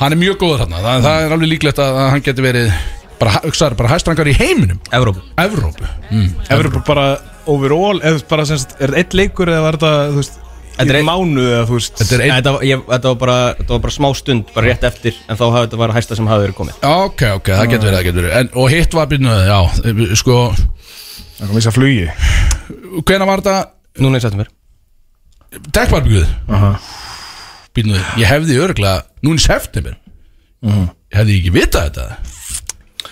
hann er mjög góður þarna, það, það er alveg líklegt að að hann geti verið bara, hugsaður, bara hæstrangar í heiminum
Evrópu
Evrópu mm.
Evrópa bara overall eða bara sem sagt, er þetta eitt leikur eða var þetta, þú veist
Þetta er
í
ein-
mánu eða þú veist
Þetta er
Nei,
einn,
Þetta var, ég, þetta var bara, þetta var bara smá stund, bara rétt eftir En þá hafði þetta var hæsta sem hafði verið komið
ok, ok, það getur verið, það getur verið en, og hitt var býtum við, já, eh, sko
Það kom missa flugi
hvenær var þetta,
Núna í september
Dekkbarbygguð uh við, Ég hefði örgla Núna í september
Mhm.
Ég hefði ekki vitað þetta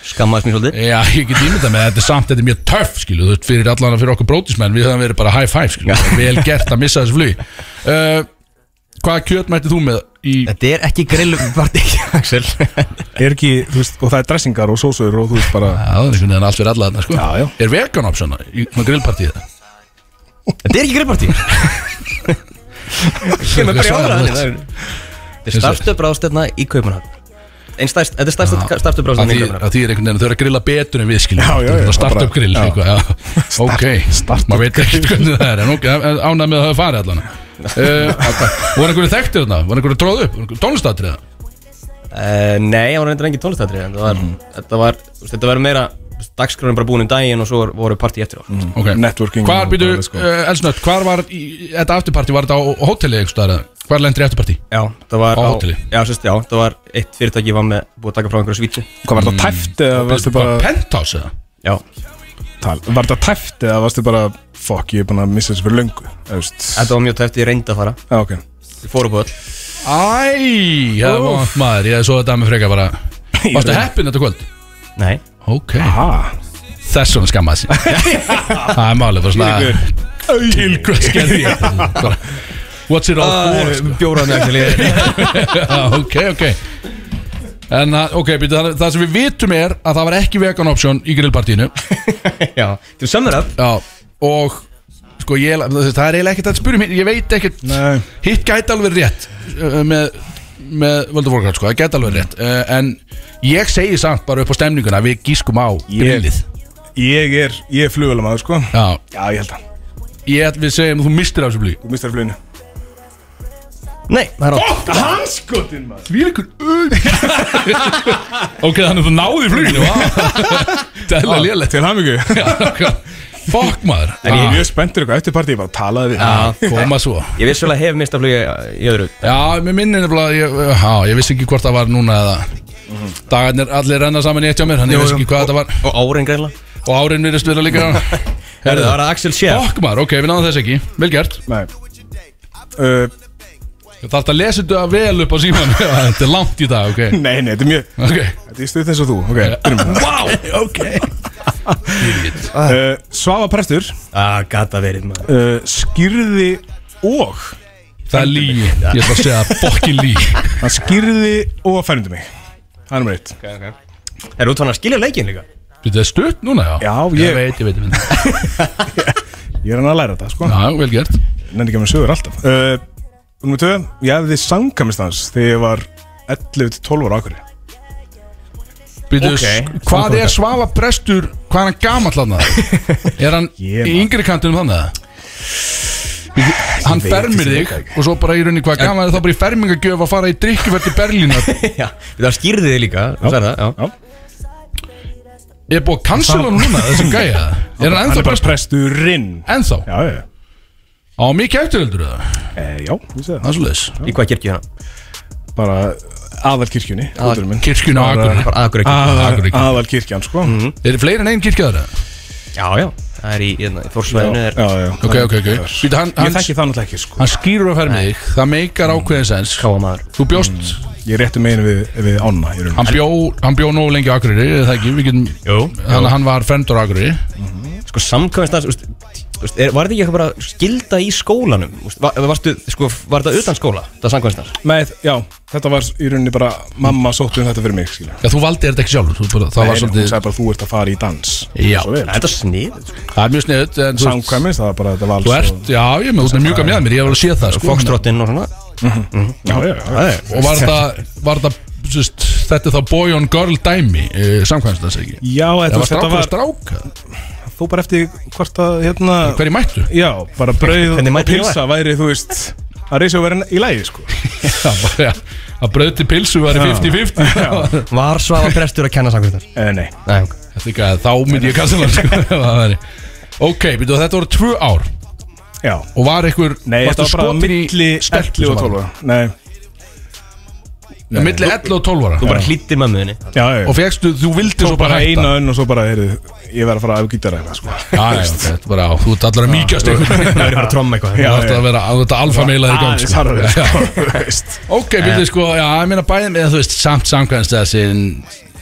Skammaðist mér svolítið
Já, ég get ímyndað með þetta er samt Þetta er mjög töff, skilu Þú veist, fyrir allan fyrir okkur brótismenn Við höfum verið bara high five, skilu Vel gert að missa þessu flug uh, Hvaða kjöt mætti þú með í
Þetta er ekki grillparti, Axel
Er ekki, þú veist, og það er dressingar og sósur og þú veist bara
Já, það er einhvern veginn allt fyrir alla þarna, sko
Já, já.
Er vegan option í svona grillpartíð
Þetta er ekki grillparti Kemur bara í ára þannig það er- Þetta er startup ráðstefna í Kaupanhag Einn stærst, þetta er startup startup
Að
ráðstefna í
því, að
Kaupanhag
því er einhvern veginn, þau eru að grilla betur en við skiljum
Já, já, já,
Þetta er
bara-
startup grill
já.
eitthvað, já. Ok, maður veit ekkert hvernig það er En ok, ánægð með að hafa farið allan uh, Var einhverju þekktir þarna? Var einhverju tróð upp? Tónlistatriða?
Eh, Nei, það var reyndar engin tónlistatri Þetta var, þetta var, þú veist, þetta var meira Dagskráin bara búin um daginn og svo voru partí eftir á
Ok,
Networking
Hvar
og
býtu,
bara, sko.
uh, Elsnött, hvar var í, þetta afturparti? Var þetta á á hóteli einhvers staðar? eða? Hvar lendir í afturparti?
Já, það var
Á hóteli.
Já, sérst, já, það var eitt fyrirtæki var með búið að taka frá einhverju svítu
Hvað var þetta tæft eða varstu
Mm, Var
bara
Penthouse eða?
Já,
tal, Var þetta tæft eða varstu bara Fuck, ég er búin að missa þessu fyrir löngu Þú veist
þetta var mjög tæft, ég reyndi að fara
Já, ok
Ég fór upp á öll
Æ, það var vant maður Ég svo þetta með freka bara Varstu heppin þetta kvöld?
Nei
ok
Ah,
Þess vegna skammaði sér Það er málið bara svona Til hvað skelli ég Bara, What's it all for sko?
Bjóraði mig Axel ég-
Já, Ok, ok En að- ok, býtu, það, það sem við vitum er að það var ekki vegan option í grillpartíinu
Já, þú samur upp
Já, og sko ég, þú veist, það er eiginlega ekkert að spyrja mér, ég veit ekkert
Nei.
hitt gæti alveg rétt uh, með, með World of Warcraft sko, það gæti alveg rétt uh, en ég segi samt bara upp á stemninguna við gískum á
ég,
grillið
ég er, ég er flugulamaður sko
Já,
Já, ég held að,
ég held við segjum að þú mistir af þessu blí
þú mistar fluginu
Nei, það er rátt
Hanskotin maður
Því líkur Ok, þannig að þú náði fluginu Það er lélega
Til hann mikið
Fuck maður
En ég er
Ah,
mjög spenntur eitthvað eftir partí, ég bara talaði við
ah, Koma svo
Ég vissulega hef mistað flugi í öðru
Já, mér minni nefnilega ég, já, ég vissi ekki hvort það var núna eða Dagarnir allir renna saman í eitt hjá mér Þannig ég vissi ekki hvað þetta var
Og árin greinlega
Og árin virðist vera líka
Herðu, það var Axel Schiff
Fokk maður, ok, við náðum þess ekki Vel gert
Nei uh,
Það þarf að lesa þetta vel upp á síman Þetta er langt í dag, ok
Nei, nei, þetta er mjög
Ok,
Þetta er stuð þess að þú, ok byrjum við það.
wow, ok Idiot.
uh, Svava Prestur
Ah, gata verið maður
uh, Skýrði og
Það er lígi, ég ætla að segja fokkin lígi
Hann skýrði og færndi mig Það er nummer eitt
Er út fann að skilja leikin líka?
Þetta er stutt núna, já
Já,
ég
ég-
veit, ég veit, ég veit
Ég er hann að læra þetta, sko
Já, vel gert
Nenni ekki að mér sögur alltaf uh, Númer tvö Ég hefði sangkamist hans þegar ég var 11-12 ára ákvöri
Býtu,
Ok.
okay. Hvað er Svava Prestur, hvað er hann gamall hann Er hann
Ég,
í
man.
yngri kantinum þannig að? Hann
veit
fermir
þessi
þig
leik ekki.
og svo bara í rauninni hvað gaman er þá bara í fermingagjöf að fara í drikkjufært til Berlínar
Já, það skýrði þið líka þú sagði það, já.
Ég er búið að cancela hann núna þessi gæja Er hann
Hann
ennþá
er bara
prestur?
presturinn
Ennþá?
Já, já, já
Á mikið eftiröldur það?
Eh, Já, ég segi það
Það er svo leiðis
Í hvað kirkju hérna?
Bara aðalkirkjunni húturinn minn.
Kirkjun á
Bara aðgur
Akureyri
ekki
Aðal-
Akureyri. Mhm.
Aðalkirkjan, sko
Er fleiri en einn kirkja þar?
Já, já, það er í, hérna, í fórsvæðinu er
Já, já
Ok, ok, ok Býtu, hann,
Ég
hann,
þekki það náttúrulega ekki, sko
hann skýrur að fermi þig Það meikar ákveðin sens
Káa maður
Þú bjóst
Ég er réttu megin við, við ána í raunum
Hann bjó, hann bjó nógu lengi á Akureyri eða það ekki, við getum
Jú.
Þannig að hann var fermdur á Akureyri
Sko samkvæmst hans, úst, úst, er, var þetta ekki eitthvað bara skilda í skólanum? Úst, var, varstu, sko, var þetta utan skóla? Það samkvæmst hans
Með, já, þetta var í rauninni bara Mamma sótti um þetta fyrir mig, skilja
Já, þú valdi þetta ekki sjálfur, þú bara, það var
Hún
svolítið
sagði bara, þú ert að fara í dans
Já.
Svo vel.
Þetta er sko, snið
Það er mjög sniðut en þú, veist,
Samkvæmist, það var bara þetta vals
þú ert, já, ég með, þú er mjög gamlega mér, ég hef alveg séð það sko.
Fokstrottin og svona
Já, já, já, já.
Og var það, var það, sérst, þetta er þá boy on girl dæmi, uh, samkvæmst það segi ég
Já,
Það
þetta,
var
þetta
strákur og
var
stráka
Þú bara eftir hvort að, hérna
Hverju mættu?
Já, bara brauð
Hvernig
og
mætir ég
pilsa væri, þú veist Að reysa og vera í lægi, sko
Já, bara, já, að bröði pilsu var í 50-50 Þetta
Var Svava prestur að kenna samkvæmst hans?
Eh, Nei,
Nei, ok
er ekki að þá myndi ég kassa sko, ef það væri. Ok, býttu, þetta voru tvö ár
já
Og var einhver,
Nei,
varstu
þetta var bara á
skotin í
milli
stelpu sem
11 og
var?
12 ára. Nei,
Nei, Milli 11 og 12 ára
Þú bara hlýttir mömmuðinni
já, já, já.
Og fegstu, þú vildi
Svo
svo
bara
bara hætta
eina önn og svo bara, heyrðu, ég verð að fara að gítara eitthvað, sko.
Já, já, ok, þetta er bara, þú ert allar að mýkjast einhvern veginn
Það verður bara að tromma eitthvað
Þú
Já,
ert að vera, þú ert að alfameilaði í gang
Aðeins
sko.
harfið,
Já.
sko, þú veist.
Ok, byrju sko, já, ég meina bæðið með þú veist samt samkvæmst þessin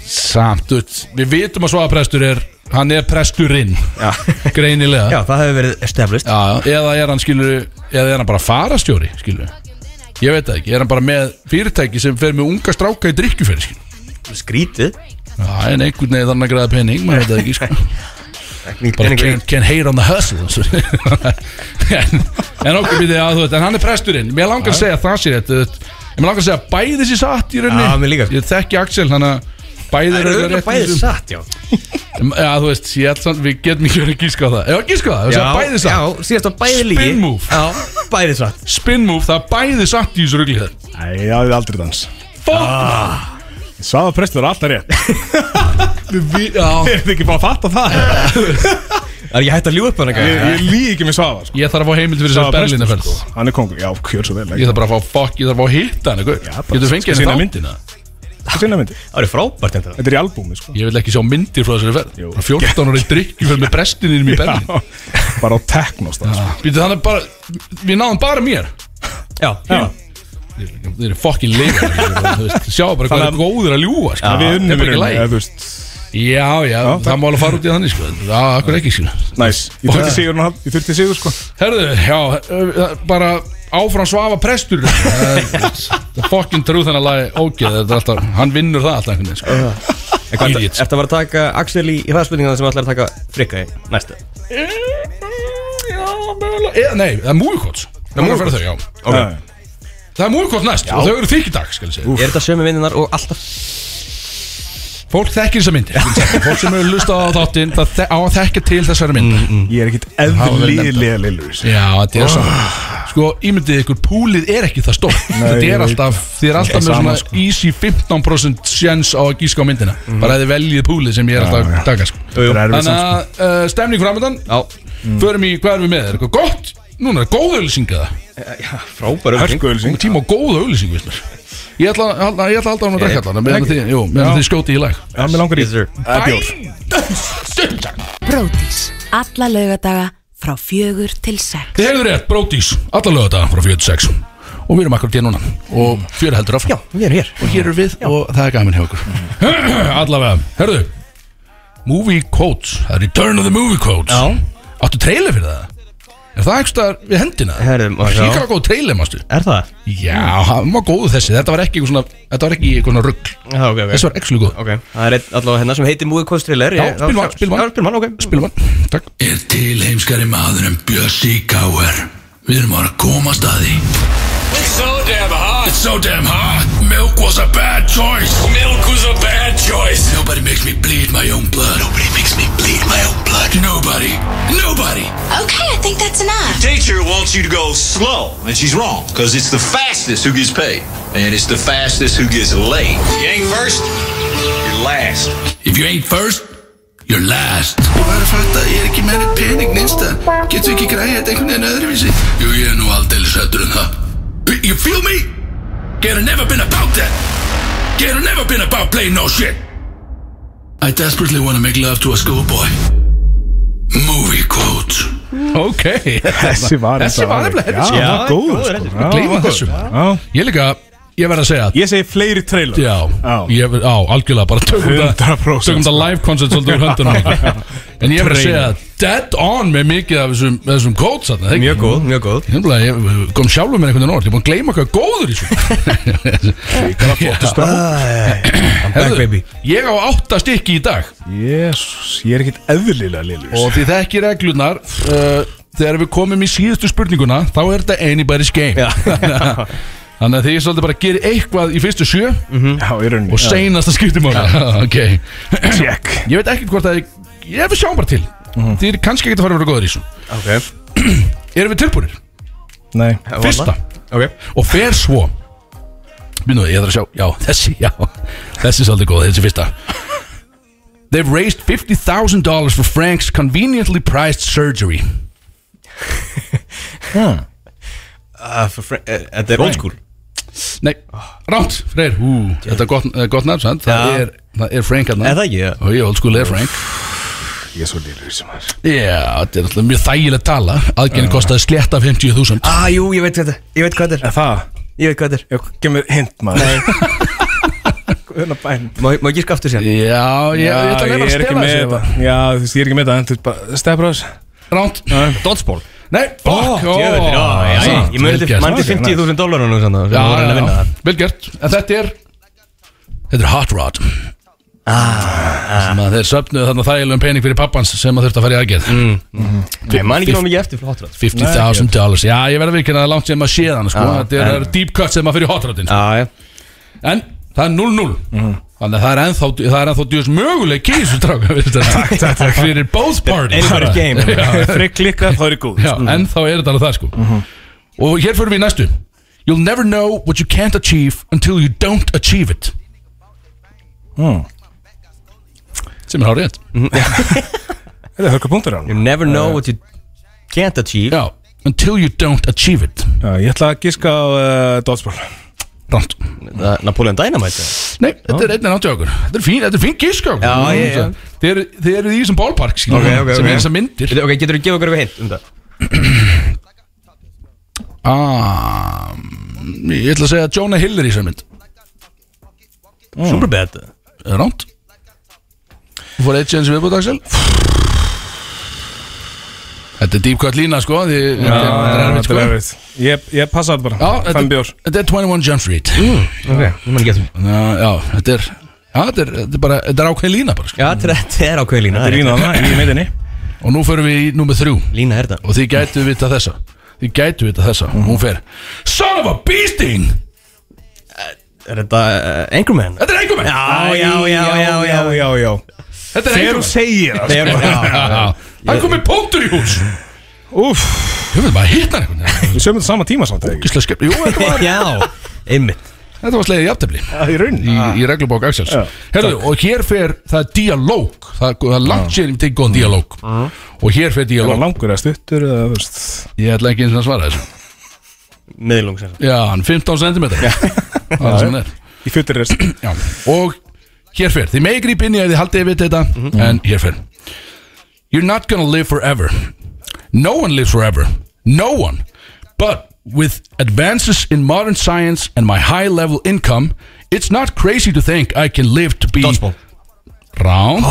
samt, þú veist, við vitum að svaða prestur er hann er presturinn greinilega,
Já, það hefur verið established
já, eða er hann skilur eða er hann bara farastjóri, skilur ég veit það ekki, er hann bara með fyrirtæki sem fer með unga stráka í drikkjuferi skilur,
Skrítið
já, en einhvern veginn þannig að græða pening, maður veit það ekki, sko bara can, can hate on the hustle en, en okkur býtið að þú veit en hann er presturinn, mér langar að segja það sér þetta, þetta- mér langar að segja bæði sér satt í rauninni,
Já, mér líka.
ég þekki Axel þannig að bæði
Það
eru
er
örugglega
auðvitað
rétt í
bæðið
þessu.
satt, já
já þú veist, ég held samt, við getum ekki verið að gíska á það já gíska á það, ég segja bæði satt
Já, síðast var bæðið lígi
Spin move.
Já, bæðið satt
spin move, það er bæði satt í þessu rugli þar
Nei, ég hafði aldrei dans.
fuck
Svaða prestur er alltaf rétt.
við- já.
Ég er ekki bara að fatta það.
Það er ekki hægt að ljú upp hann
Ég,
eitthvað
ég líð ekki með Svaða, sko.
ég þarf að fá heimild fyrir þess
Svava
að Berlína
prestur,
ferð
sko. Hann er kongur. Já, kjör svo vel.
ég
ekki?
þarf bara að fá fuck, ég þarf að fá að hitta hann eitthvað.
Já, bara
getur fengið henni
sýna
þá
myndina. Þetta er sína myndi.
Það eru frábært þetta
Þetta er í albúmi, sko.
ég vil ekki sjá myndir frá þessari
Jú.
ferð 14 ára í drikki fyrir með brestinum í Berlín
Bara á teknóst, sko.
Býtu þannig bara Við náðum bara mér
Já, já
Þeir eru fokkin leikar Sjá bara hvað er
Þannig að-
góður að ljúa sko.
Við
Þetta er
unnum
bara
í
ekki
rauninni,
læg
eða, þú veist.
Já, já,
Já,
það má alveg fara út í þannig sko Já, akkur ekki sko
Næs, ég þurfti sigur hann Ég þurfti sigur sko
Herðu, já, ö, ö, bara áfram svafa prestur Það er- það er Fucking trú þannig að lagi ógeð Þetta er alltaf, hann vinnur það alltaf einhvern
Uh-huh.
veginn sko Idiot.
Ertu að vera að taka Axel í, í hraðspurningana sem ætlar að taka frikka í næstu
Já, mögulega Eða, Nei, það er múikots Það er múikots, já
okay.
Það er múikots næst og þau eru þykir dag, skal ég segja
Er þetta sömu vinninar og alltaf
Fólk þekkir þessa myndir Fólk sem eru lusta á þáttinn Það þe- á að þekka til þessari mynd
Ég er ekkit
verið nefnt.
eðlilega lillur
Já, þetta
Ah.
er svona Sko, ímyndið ykkur, púlið er ekki það stórt Þetta
ég
er
veit.
alltaf, þið er alltaf
Ég
með
sama,
svona
sko. Mm.
easy 15% sjens á að gíska á myndina Bara að þið veljið púlið sem ég er alltaf
Já, já.
að taka sko.
jú. Það er erfitt sko.
Þannig að uh, stemning framöndan
Já,
Förum í hvað erum við með, er eitthvað gott? Núna er góð auðlýsing eða
frábæru
Komum
Hörkuðulsing
tíma á góða auðlýsing, veist mér Ég ætla að halda- ég ætla að halda hann að drekka allan Meðan þið, jú, meðan þið skjóti í lag
Já, mér langar í
Yes,
Það er bjór
Brótis. Alla laugadaga frá fjögur til sex.
Þið hefur rétt, Brótís, alla lögadaga frá 46 Og við erum akkur til núna Og fjöra heldur áfram
Já, við erum hér
og hér eru við og það er gaman hjá okkur allavega, herðu Movie Quotes, það er Return of the Movie Quotes áttu trailer fyrir það? er það einhverstaðar við hendina?
Herðu, má sjá.
hríkala góð trailer, mástu
Er það?
já, hann var góðu þessi, þetta var ekki eitthvað svona þetta var ekki eitthvað svona rugg,
Já, ok, ok
þessi var ekki góð
Ok, það er einn allavega hennar sem heitir Movie Coast Thriller
Já, spilum hann, spilum hann.
Já, spilum hann, ok
spilum hann, takk
Er til heimskari maður en Bjössi Gáer Við erum að koma staði It's so damn hot It's so damn hot Milk was a bad choice Milk was a bad choice Nobody makes me bleed my own blood Nobody makes me bleed my own blood Nobody Nobody
Okay, I think that's enough.
teacher wants you to go slow, and she's wrong because it's the fastest who gets paid, and it's the fastest who gets laid. You ain't first, you're last.
If you ain't first, you're last Ég var að fatta að ég er ekki meiri pening neinsta Getur ekki græði þetta einhvern veginn öðruvísi Jú, ég er nú aldeilis hættur en það B- You feel me? Get never been about that Get never been about playing no shit I desperately want to make love to a schoolboy Movie quote
ok,
Þessi var
þessi var nefnilega
Já,
þessi
hann var góður
góður,
sko.
heldur.
Já,
gleyma
hann var góður.
þessu.
Já.
ég líka, ég verð að segja
Ég segi fleiri trailer
Já,
Já.
Ég, á, algjörlega bara tökum þetta
100%
tökum þetta live concert svolítið úr höndunum en ég verið að segja dead on með mikið af þessum, þessum codes þarna, það ekki?
Mjög góð, mjög góð
Nefnilega, ég kom sjálfur með einhvern veginn orð, ég er búin að gleyma hvað góður í svo
Back baby
Ég á átta stykki í dag
Jésús, ég er ekkit eðlilega sko. lillur
og því þekki reglurnar uh, þegar við komum í síðustu spurninguna þá er þetta anybody's game þannig að því ég svolítið bara gerir eitthvað í fyrstu sjö
Mhm.
Já, ég raunin
og seinasta skiptum á ok
Check
Ég veit ekkert hvort að ég, ég við sjáum bara til Þið er kannski ekkert að fara að vera góður í þessu
Ok,
Erum við tilbúinir?
Nei
Fyrsta
ok
Og fer svo Minnu, ég þarf að sjá Já, þessi, já Þessi er svolítið góð, þessi fyrsta They've raised $50,000 for Frank's conveniently priced surgery
Ah, for Frank- eh, Þetta er old school
Nei, rámt, Freyr Ú, þetta er gott, eh, gott nafn, sant? Það
Já.
er, það er Frank hann
Er það ekki, já?
Og ég, old school er Frank
Ég er svo lillur sem er
Já, þetta er alltaf mjög þægileg tala Aðgerðin kostaði slétta 50.000
Ah, jú, ég veit hvað þetta Ég veit hvað þetta er
Það,
Ég veit hvað þetta er
ég gemur hint maður Nei bæn
Má má ég gíska aftur sér?
Já, ég, ég ætla að
ég
nefna að
er ekki
stela
með
þessu hérna.
þetta Já, þú veist, ég er ekki með þetta En þú veist bara, stefra þess
Ránt
Dodgeball
Nei, fuck
Ó, djöfull, já, já, já.
samt,
Ah, Ég muni
vel
til
gert.
muni til
Ok, nice.
50.000 dólarar nú sann
Já,
Já,
já, já,
já
vel gert En þetta er Þetta er hot rod ah, sem að þeir söfnuðu þarna þægilegum pening fyrir pappans sem að þurfti að fara í aðgerð mm.
Ég man ekki námið ég eftir frá hotrað
50.000 dollars, já ég verði að virkina það er langt sem að sé þannig sko,
Já,
þetta er- það
en-
eru deep cut sem að fyrir hot rodin
Ah, Já, já
en það er 0-0 þannig að það er ennþá, það er ennþá djús möguleik í þessu stráka, veist þetta fyrir both parties
Anybody's game.
Já.
Frigg klikka, þá er ég góð
Já, en þá er þetta alveg það sko Og hér fyrir við í næstu You'll never know what you can't achieve until you don't achieve it
Hmm.
Sem er hárið rétt
Þetta er hörkupunktur á
You never know what you can't achieve
Já, until you don't achieve it
hann Ég ætla að giska á uh, Dodgeball
Ránt
Na- Napoleon Dynamite
Nei, þetta er einnig náttúi okkur Þetta er fín, þetta er fín gísk okkur Mhm.
Já, já, já.
Þið eru, þið eru í þessum ballpark skilur,
Ok, ok,
Sem
ok.
er þessar myndir
Ok, getur þú gefa okkur við hint um það?
ah, Ég ætla að segja að Jonah Hill er í þessar mynd
Superbad
Ránt Þú fór eitt séns í viðbútt Axel Þetta er deep cut lína sko því, þetta er- þetta er erfitt
þetta
sko
er erfitt Ég, ég passa þetta
Já,
bara,
þetta-
fem bjór Mm.
Þetta er 21 Jump Street
Ok, ég man ekki eftir
Þannig að, Já, þetta er Já, þetta er, þetta er bara, þetta er ákveðin lína bara sko.
Já, þetta er ákveð lína
Þetta er lína þarna í meðinni
Og nú förum við í númer þrjú
Lína er þetta
Og þið gætu vita þessa Þið gætu vita þessa
Mm.
Hún fer Son of a beasting
Er þetta uh, Anchorman?
Þetta er einhver með
já, já
Þetta er
Þegar
einhver
þú segir það
Þegar
með Hann komið punktur í hús
Úff,
Ég vil bara hitta hann einhvern
við sögum þetta sama tíma samt eða ekki?
Gísla skemmt Jú, þetta var,
Já, einmitt
þetta var slegið í aftefli
Já, í raun
Í, í reglubók Axels Herðu, og hér fer það er dialóg Það, það er langt sér í tekið góðan dialóg Og hér fer
Það var
dialóg
langur eða stuttur eða, þú veist
Ég ætla ekki eins og að svara þessu
Miðlung sem sagt
Já, hann er 15 cm Það er það sem hann er
Í fjöldir rest
Já, og hér fyrir Þið megi gríp inn í að þið haldið við þetta En hér fyrir You're not gonna live forever No one lives forever No one But with advances in modern science And my high level income It's not crazy to think I can live to be
Dodgeball
Round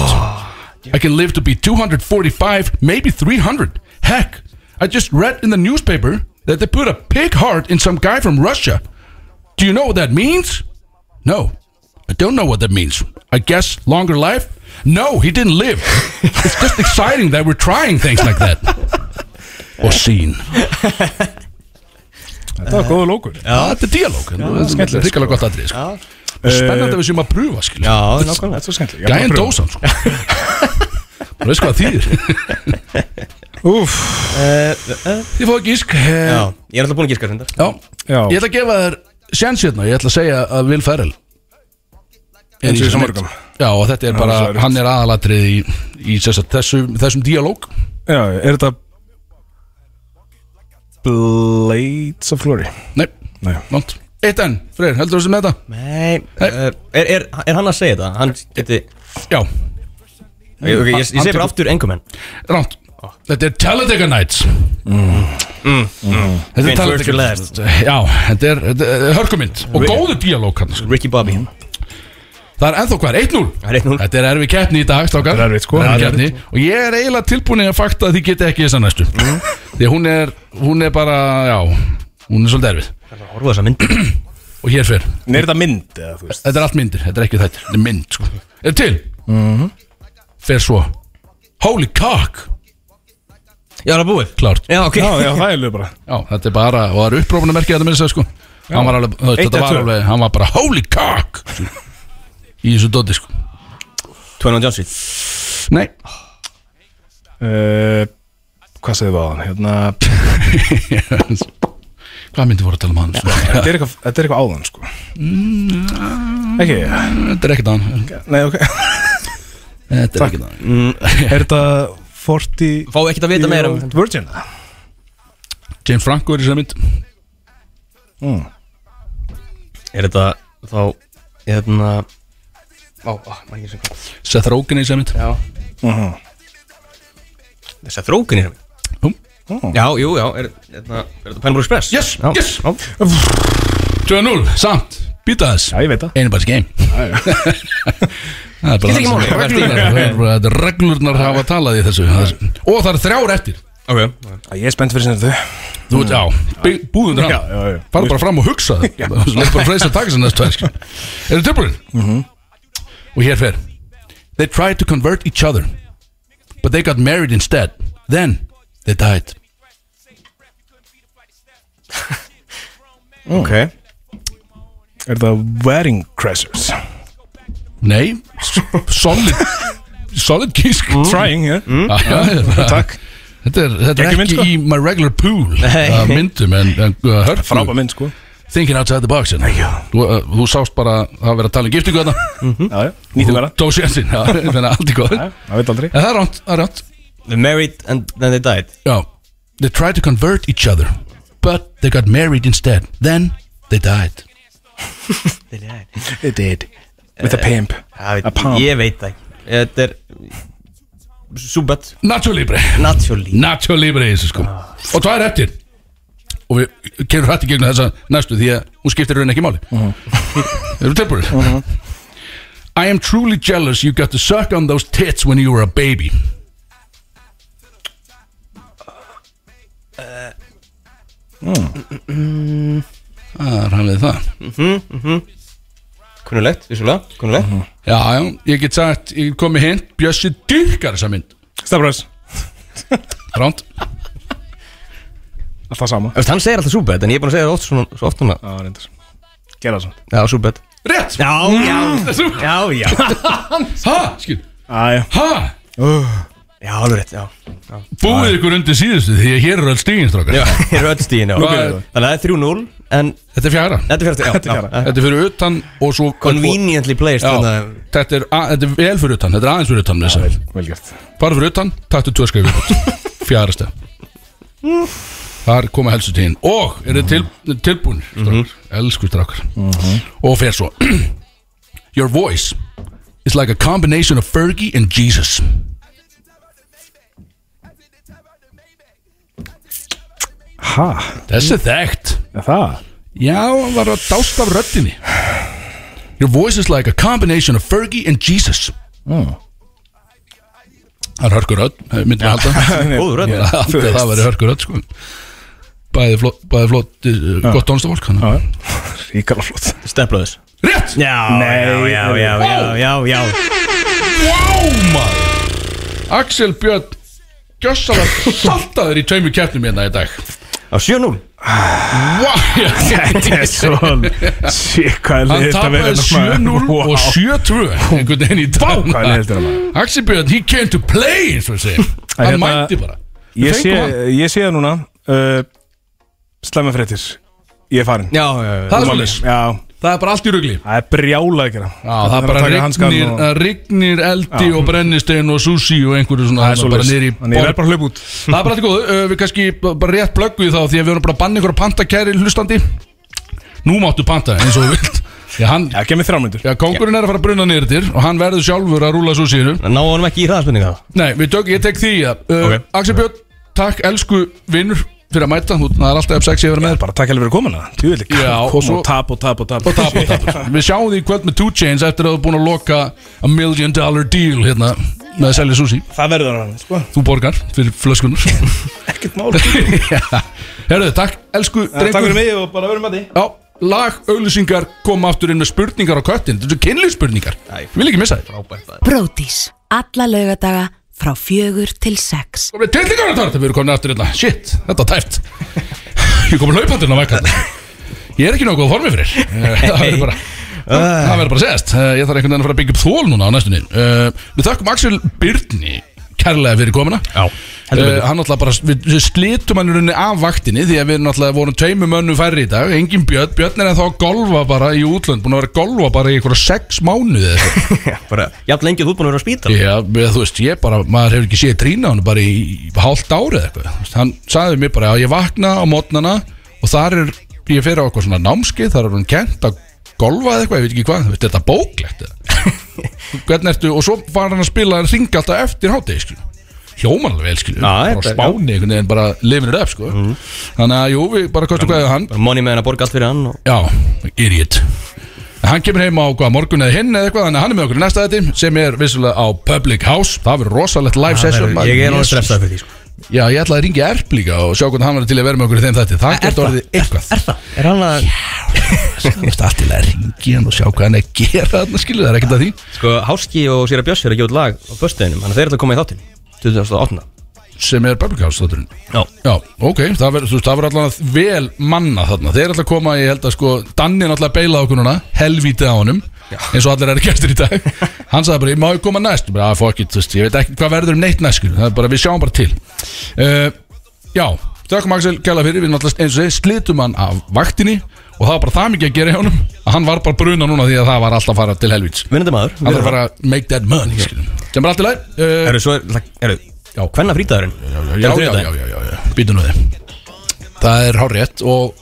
I can live to be 245 Maybe 300 Heck I just read in the newspaper That they put a pig heart in some guy from Russia Do you know what that means? No, I don't know what that means. I guess longer life? No, he didn't live. it's just exciting that we're trying things like that. Og sín
Þetta var góða lókur
Já, Ah, þetta er dialóg Þetta er
skemmtilegt,
ríkala gott aðrið sko. Eh, Spennandi að við séum að pröfa skil
Já,
Þetta
nákvæmlega
er svo skemmtileg
Gæin dósan sko. Þú veist hvað það þýðir
Úff,
Þið fóðu gísk
Já,
Já.
ég er alltaf búin að gíska þetta
eh. Já.
já
Ég ætla að gefa þér sjans hérna Ég ætla að segja að Will Ferrell er í
Eins og í svo
þessu
mörgum.
mynd. Já, og þetta er bara,
það er rétt.
hann er aðalatrið í, í sem sagt þessum, þessum dialóg
Já, er þetta Blades of Glory
Nei,
Nei.
nátt Eitt enn, Freyr, heldur þú sem þetta?
Nei, uh, er, er, er hann að segja þetta? Hann geti
Já,
Ég, okay, ég, ég segi bara aftur Anchorman
rámt
Ah.
Þetta er Talladega Nights
Mm.
Mm. Þetta er
Went first
Talladega
and
Nights Já, þetta er, þetta er eh, hörkumynd Og góðu díalóg hann sko.
Ricky Bobby
Það er ennþá hvað, 1-0
Það er eitt núl
Þetta er erfi keppni í dag, strákar
Þetta er erfið, sko.
Erfið
Það er
keppni Og ég er eiginlega tilbúin í að fakta að þið geti ekki þessa næstu
Mm.
Því að hún er, hún er bara, já Hún er svolítið erfið
Orfa þessa mynd
Og hér fer,
Nei, er þetta mynd eða þú veist
þetta er allt myndir, þetta er ekki þetta Þetta er mynd, sko Er til? Fer svo Holy cock
Já, það er búið
Klárt
Já, ok
Já, já, það er lög bara
Já, þetta er bara, og það eru upprófunarmerkið þetta með þess að segja, sko Hann var alveg, þú veist,
Eitt
þetta
eða
var
tvö?
alveg, hann var bara holy cock Í þessu doti, sko
Twenty One Jump Street
Nei,
Uh, Hvað segðum við á hann? Hérna,
hvað myndi voru að tala um hann?
þetta er eitthvað- þetta er eitthvað áðan sko Ekki,
Þetta er ekkert hann
nei ok
Þetta er ekkert hann
Er þetta 40
Fá ekkert að vita meira um
Virgin
James Franco er í þessari mynd
Mm,
Er þetta þá Hérna Ó, ó, maður ekki sem hvað
Seth Rogen er í þessari mynd
Já
mhm.
Þess að þrókin er
Jú.
Já, jú, já Er, hérna, er þetta Pineapple Express?
Yes,
já,
yes.
já.
2-0, samt, býta
Já,
þess
ég veit það
Anybody's game Það er
Skiptir ekki máli.
bara reglurnar Reglurnar hafa talað í þessu Og það er þrjár eftir
Ok
Ég er spennt fyrir sinni þau
Þú veit, já, bú- búðu undir hann
Já, já, já.
Fara bara fram og hugsa það Svo leið bara freist að taka sér næstu tvær skil. sko. Eru tilbúin?
Mhm.
Og hér fer They tried to convert each other But they got married instead Then they died
Ok
Er það Wedding Crashers
Nei, s- solid Solid Ah, gísk
Trying, já
Já, já, já.
Mm. Takk
Þetta er, þetta er
Ekki mynd,
ekki
sko.
í my regular pool
Nei.
af myndum en, en uh,
Frábæ
hörku
mynd sko
Thinking outside the box hérna.
já.
þú, uh, þú sást bara að það verið að tala um giftingu þetta
Já, já Nýttum vera
Tóð sjensin, þannig að allt í góður
Já, Það veit aldrei
En það er ránt, það er ránt
They married and then they died
Já They tried to convert each other But they got married instead Then they died
They died
It did With a pimp
Já,
A pump.
veit, ég veit það ekki Þetta er Súbett
Nacho Libre
Naturally
Nacho Libre í þessu sko Og tvær eftir Og við kemur hrætti gegn þessa næstu Því að hún skiptir raun ekki máli Eru tilbúin? I am truly jealous you got to suck on those tits when you were a baby Það Ah, er hann við það
Kunnulegt, vissulega, kunnulegt
Mhm.
Já, já, ég get sagt, ég kom með hint Bjössi dyrkar þessa mynd
Stafræðs,
Ránt
alltaf sama
Þú veist, Hann segir alltaf súbett, en ég er búin að segja það oft svona, svo oft núna
Já, reyndar Gerða það svona
Já, súbett
Rétt!
Já, já, já, já
Ha, skil
Æja
Ha,
Já, alveg rétt, já
búið ykkur undir síðustu Því að hér eru öll stíðin, strákar
Ég er öll stíðin, já
Nú
Þannig að
gerum við það.
það er 3-0, en
Þetta er fjara
þetta er fyrir
Þetta er
já,
fjara.
já.
Þetta er fyrir utan og svo
Conveniently placed, hérna.
Já,
þannig
þetta er, a- þetta er vel fyrir utan Þetta er aðeins fyrir utan með þess
Vel gert
að Bara fyrir utan, taktu tvö skrifu Fjara stað Þar koma helstu tíðin Og eru til, tilbúinir
Mhm.
strákar Elsku strákar Og fer svo Your voice is like a combination of Fergie and Jesus
Ha,
Þessi þekkt
er það?
Já, hann var að dást af röddinni Your voice is like a combination of Fergie and Jesus
Mm.
Það er hörkur rödd, myndum við halda
Góður rödd.
Ég er
Þú
haldið að
veist.
það væri hörkur rödd sko. Bæði flott, bæði flott uh, gott tónstafólk hann.
Já, ríkala flott
að Stemplaðis
Rétt!
Já, já, já, já, já, já, já
Vá maður Axel Björn Gjössalega saltaður í tveimur keppnum hérna í dag
Á 7-0
Vá,
Þetta er svo Sér hvað er
Hann
leitt að vera
tapaði 7-0 og 7-2 einhvern veginn í dag
Vá, hvað er leitt að vera maður.
Axel Björn, he came to play eins og við segjum Hann
hérna-
mætti bara Við
Ég
fengum
sé,
hann.
ég sé það núna uh, Slemma fréttir Ég er farin
Já, já, já
Það er svolítið,
Já,
það er bara allt í rugli
það er brjálað ekki
Já, það er bara uh, rignir,
og...
það rignir eldi og brennistein og sushi og einhverju svona
Það er
þarna bara niður í
svolítið Þannig ég verð
borg.
bara að hlaupa út
Það er bara alltaf góð, uh, við kannski b- bara rétt plöggu í þá því að við erum bara að banna ykkur að panta kæri hlustandi Nú máttu panta eins og þú vilt Já, hann,
Já, gemið þrjá myndur
já kongurinn er að fara að bruna niður þér og hann verður sjálfur að rúla sushinu
Ná honum ekki í hraðaspurninga þá
Nei, við tök, ég tek því að uh,
Ok.
Axel Björn, takk elsku vinnur fyrir að mæta, þú, það er alltaf F6 ég verið með þér
Bara takk helgur fyrir komuna Tjúvilig
Já, og
Kom
svo-
og tap og tap og tap
og tap og tap Við sjáum því í kvöld með 2 Chainz eftir að þú er búin að loka a million dollar deal hérna með að selja sushi
Það verður hann, sko
Þú borgar fyrir flöskunar
Ekkert mál
Já. Herðu, takk, elsku
Takk
drengur
fyrir mig og bara verðum að því
Já, lag, auglýsingar, koma aftur inn með spurningar á köttin Þetta eru kynlýsspurningar Ég vil ekki missa þér
Bróðís. Alla laugadaga frá fjögur til sex.
Komið tilningar að tarta, við erum komin aftur hérna Shit, þetta er tæft Ég komið hlaupandi hérna að vekka Ég er ekki nokkuð formið fyrir Eh, Það verður bara Það verður bara að segjast Eh, Ég þarf einhvern veginn að fara að byggja upp þól núna á næstunni Eh, Við þökkum Axel Byrni kærlega fyrir komuna Já,
heldur betur.
Hann náttúrulega bara, við, við slitum hann í rauninni af vaktinni Því að við náttúrulega vorum tveimur mönnum færri í dag Engin Björn, Björn er ennþá að golfa bara í útlönd Búin að vera að golfa bara í einhverja sex mánuði eða eitthvað.
Bara, jafn lengi og þú ert búin að vera á spítal
Já, við- þú veist, ég bara, maður hefur ekki séð trína hann bara í, í hálft árið eða eitthvað Þú veist, Hann sagði mér bara að ég vakna á mótnana og þar er, ég fer á eitthvað svona námskeið, þar er hann kent að golfa eða eitthvað, ég veit ekki hvað, þú veist, er þetta bóklegt eða? Hvernig ertu, og svo var hann að spila hann ringa alltaf eftir hátegi, skilju Hjóman alveg vel, skilju,
Já,
bara á
þetta-
spáni einhvern veginn, bara lifin er upp, sko Þannig að, jú, við bara kostu hvað hann,
Bara Money með hann að borga allt fyrir hann og...
já, idiot En Hann kemur heim á hvað, morgun eða hinn eða eitthvað Þannig að hann er með okkur í næsta þetta sem er vissulega á Public House Það verður rosalegt live session maður.
Ég er alveg
Jesus.
stressað fyrir því sko.
Já, ég ætlaði að ringja Erp líka og sjá hvernig hann var til að vera með okkur í þeim þetta Það getur orðið eitthvað
Er það? Er hann að sko.
Það er alltaf að ringja hann og sjá hvað hann er að gera þarna skilur Það er ekkert að því
Sko, Háski og Sýra Björs er að gefa út lag á föstudeginum Þannig að þeir eru að koma í þáttinn 2008
sem er Public House þátturinn
Já.
Já, ok, það verður þú veist, það verður allavega vel manna þarna Þeir er alltaf að koma, ég held að sko Danni er alltaf að beila okkur núna, helvítið á honum eins og allir eru gestur í dag Hann sagði bara, ég má ég koma næst Ég bara, "Ah, fuck it, þú veist, Ég veit ekki hvað verður um neitt næst skilur. Það er bara, Við sjáum bara til uh, Já, þökkum Axel gæla fyrir Við náttúrulega eins og þeir slitum hann af vaktinni og það var bara það mikið að gera hjá honum að hann var bara bruna núna því að það var alltaf að fara til helvíts
Vinnandi maður
Hann þarf að fara að make that money skilur. sem er allt í lagi uh,
Eru, svo er, eru, já, hvenna frítagurinn?
já, já, já, já, já, já. býtu nú þið Það er hárétt og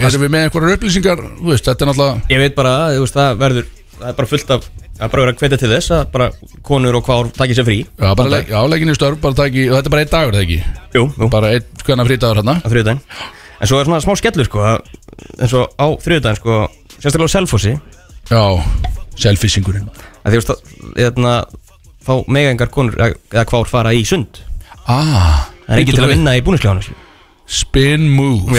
eh, erum við með einhverjar upplýsingar Þú veist, þetta er náttúrulega
Ég veit bara, þú veist, það verður Það er bara fullt af Það er bara verið að hvetja til þess að bara konur og kvár takir sér frí
Já, bara leik, já, leikin í störf, bara taki og þetta er bara einn dagur, það ekki
Jú, jú,
Bara einn hvernig frítagur hérna
á þriðudaginn En svo er svona smá skellur sko að- eins og á þriðudaginn sko Sérstaklega á Selfossi
Já, selfishingurinn
að því að hérna, fá megaengar konur eða eða hvár fara í sund
ah,
það er ekki til að vinna í búnisklefanum
spin move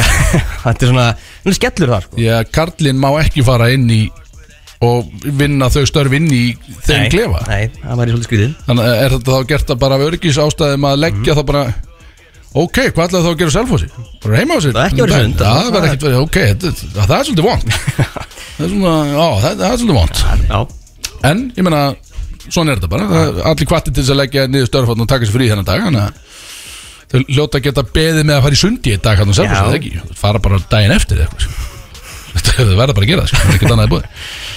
þetta er svona, þetta er skellur þar sko.
Já, Karlinn má ekki fara inn í og vinna þau störf inn í þeim
Nei,
klefa
nei, það væri svolítið skrýðið
Þannig að er þetta þá gert að bara af örgis ástæðum að leggja það bara Ok, hvað ætlaði þá að gera á selfhósi? Bara heima á sér?
Það er ekki verið
Nei,
sund.
Það verður ekkert verið, ok, þetta- það er svolítið vond Það er svona, á, það, það er svolítið vond
já,
En, ég meina, svona er þetta bara það, er Allir kvatti til þess að leggja niður störfhóttan og taka sér frí þennan dag Þannig að þau hljóta að geta beðið með að fara í sundi í dag hann og selfhósi,
Já.
það ekki Fara bara daginn eftir eða eitthvað sko. Þetta verður bara að gera það, sko. það er ekkert annað í boði.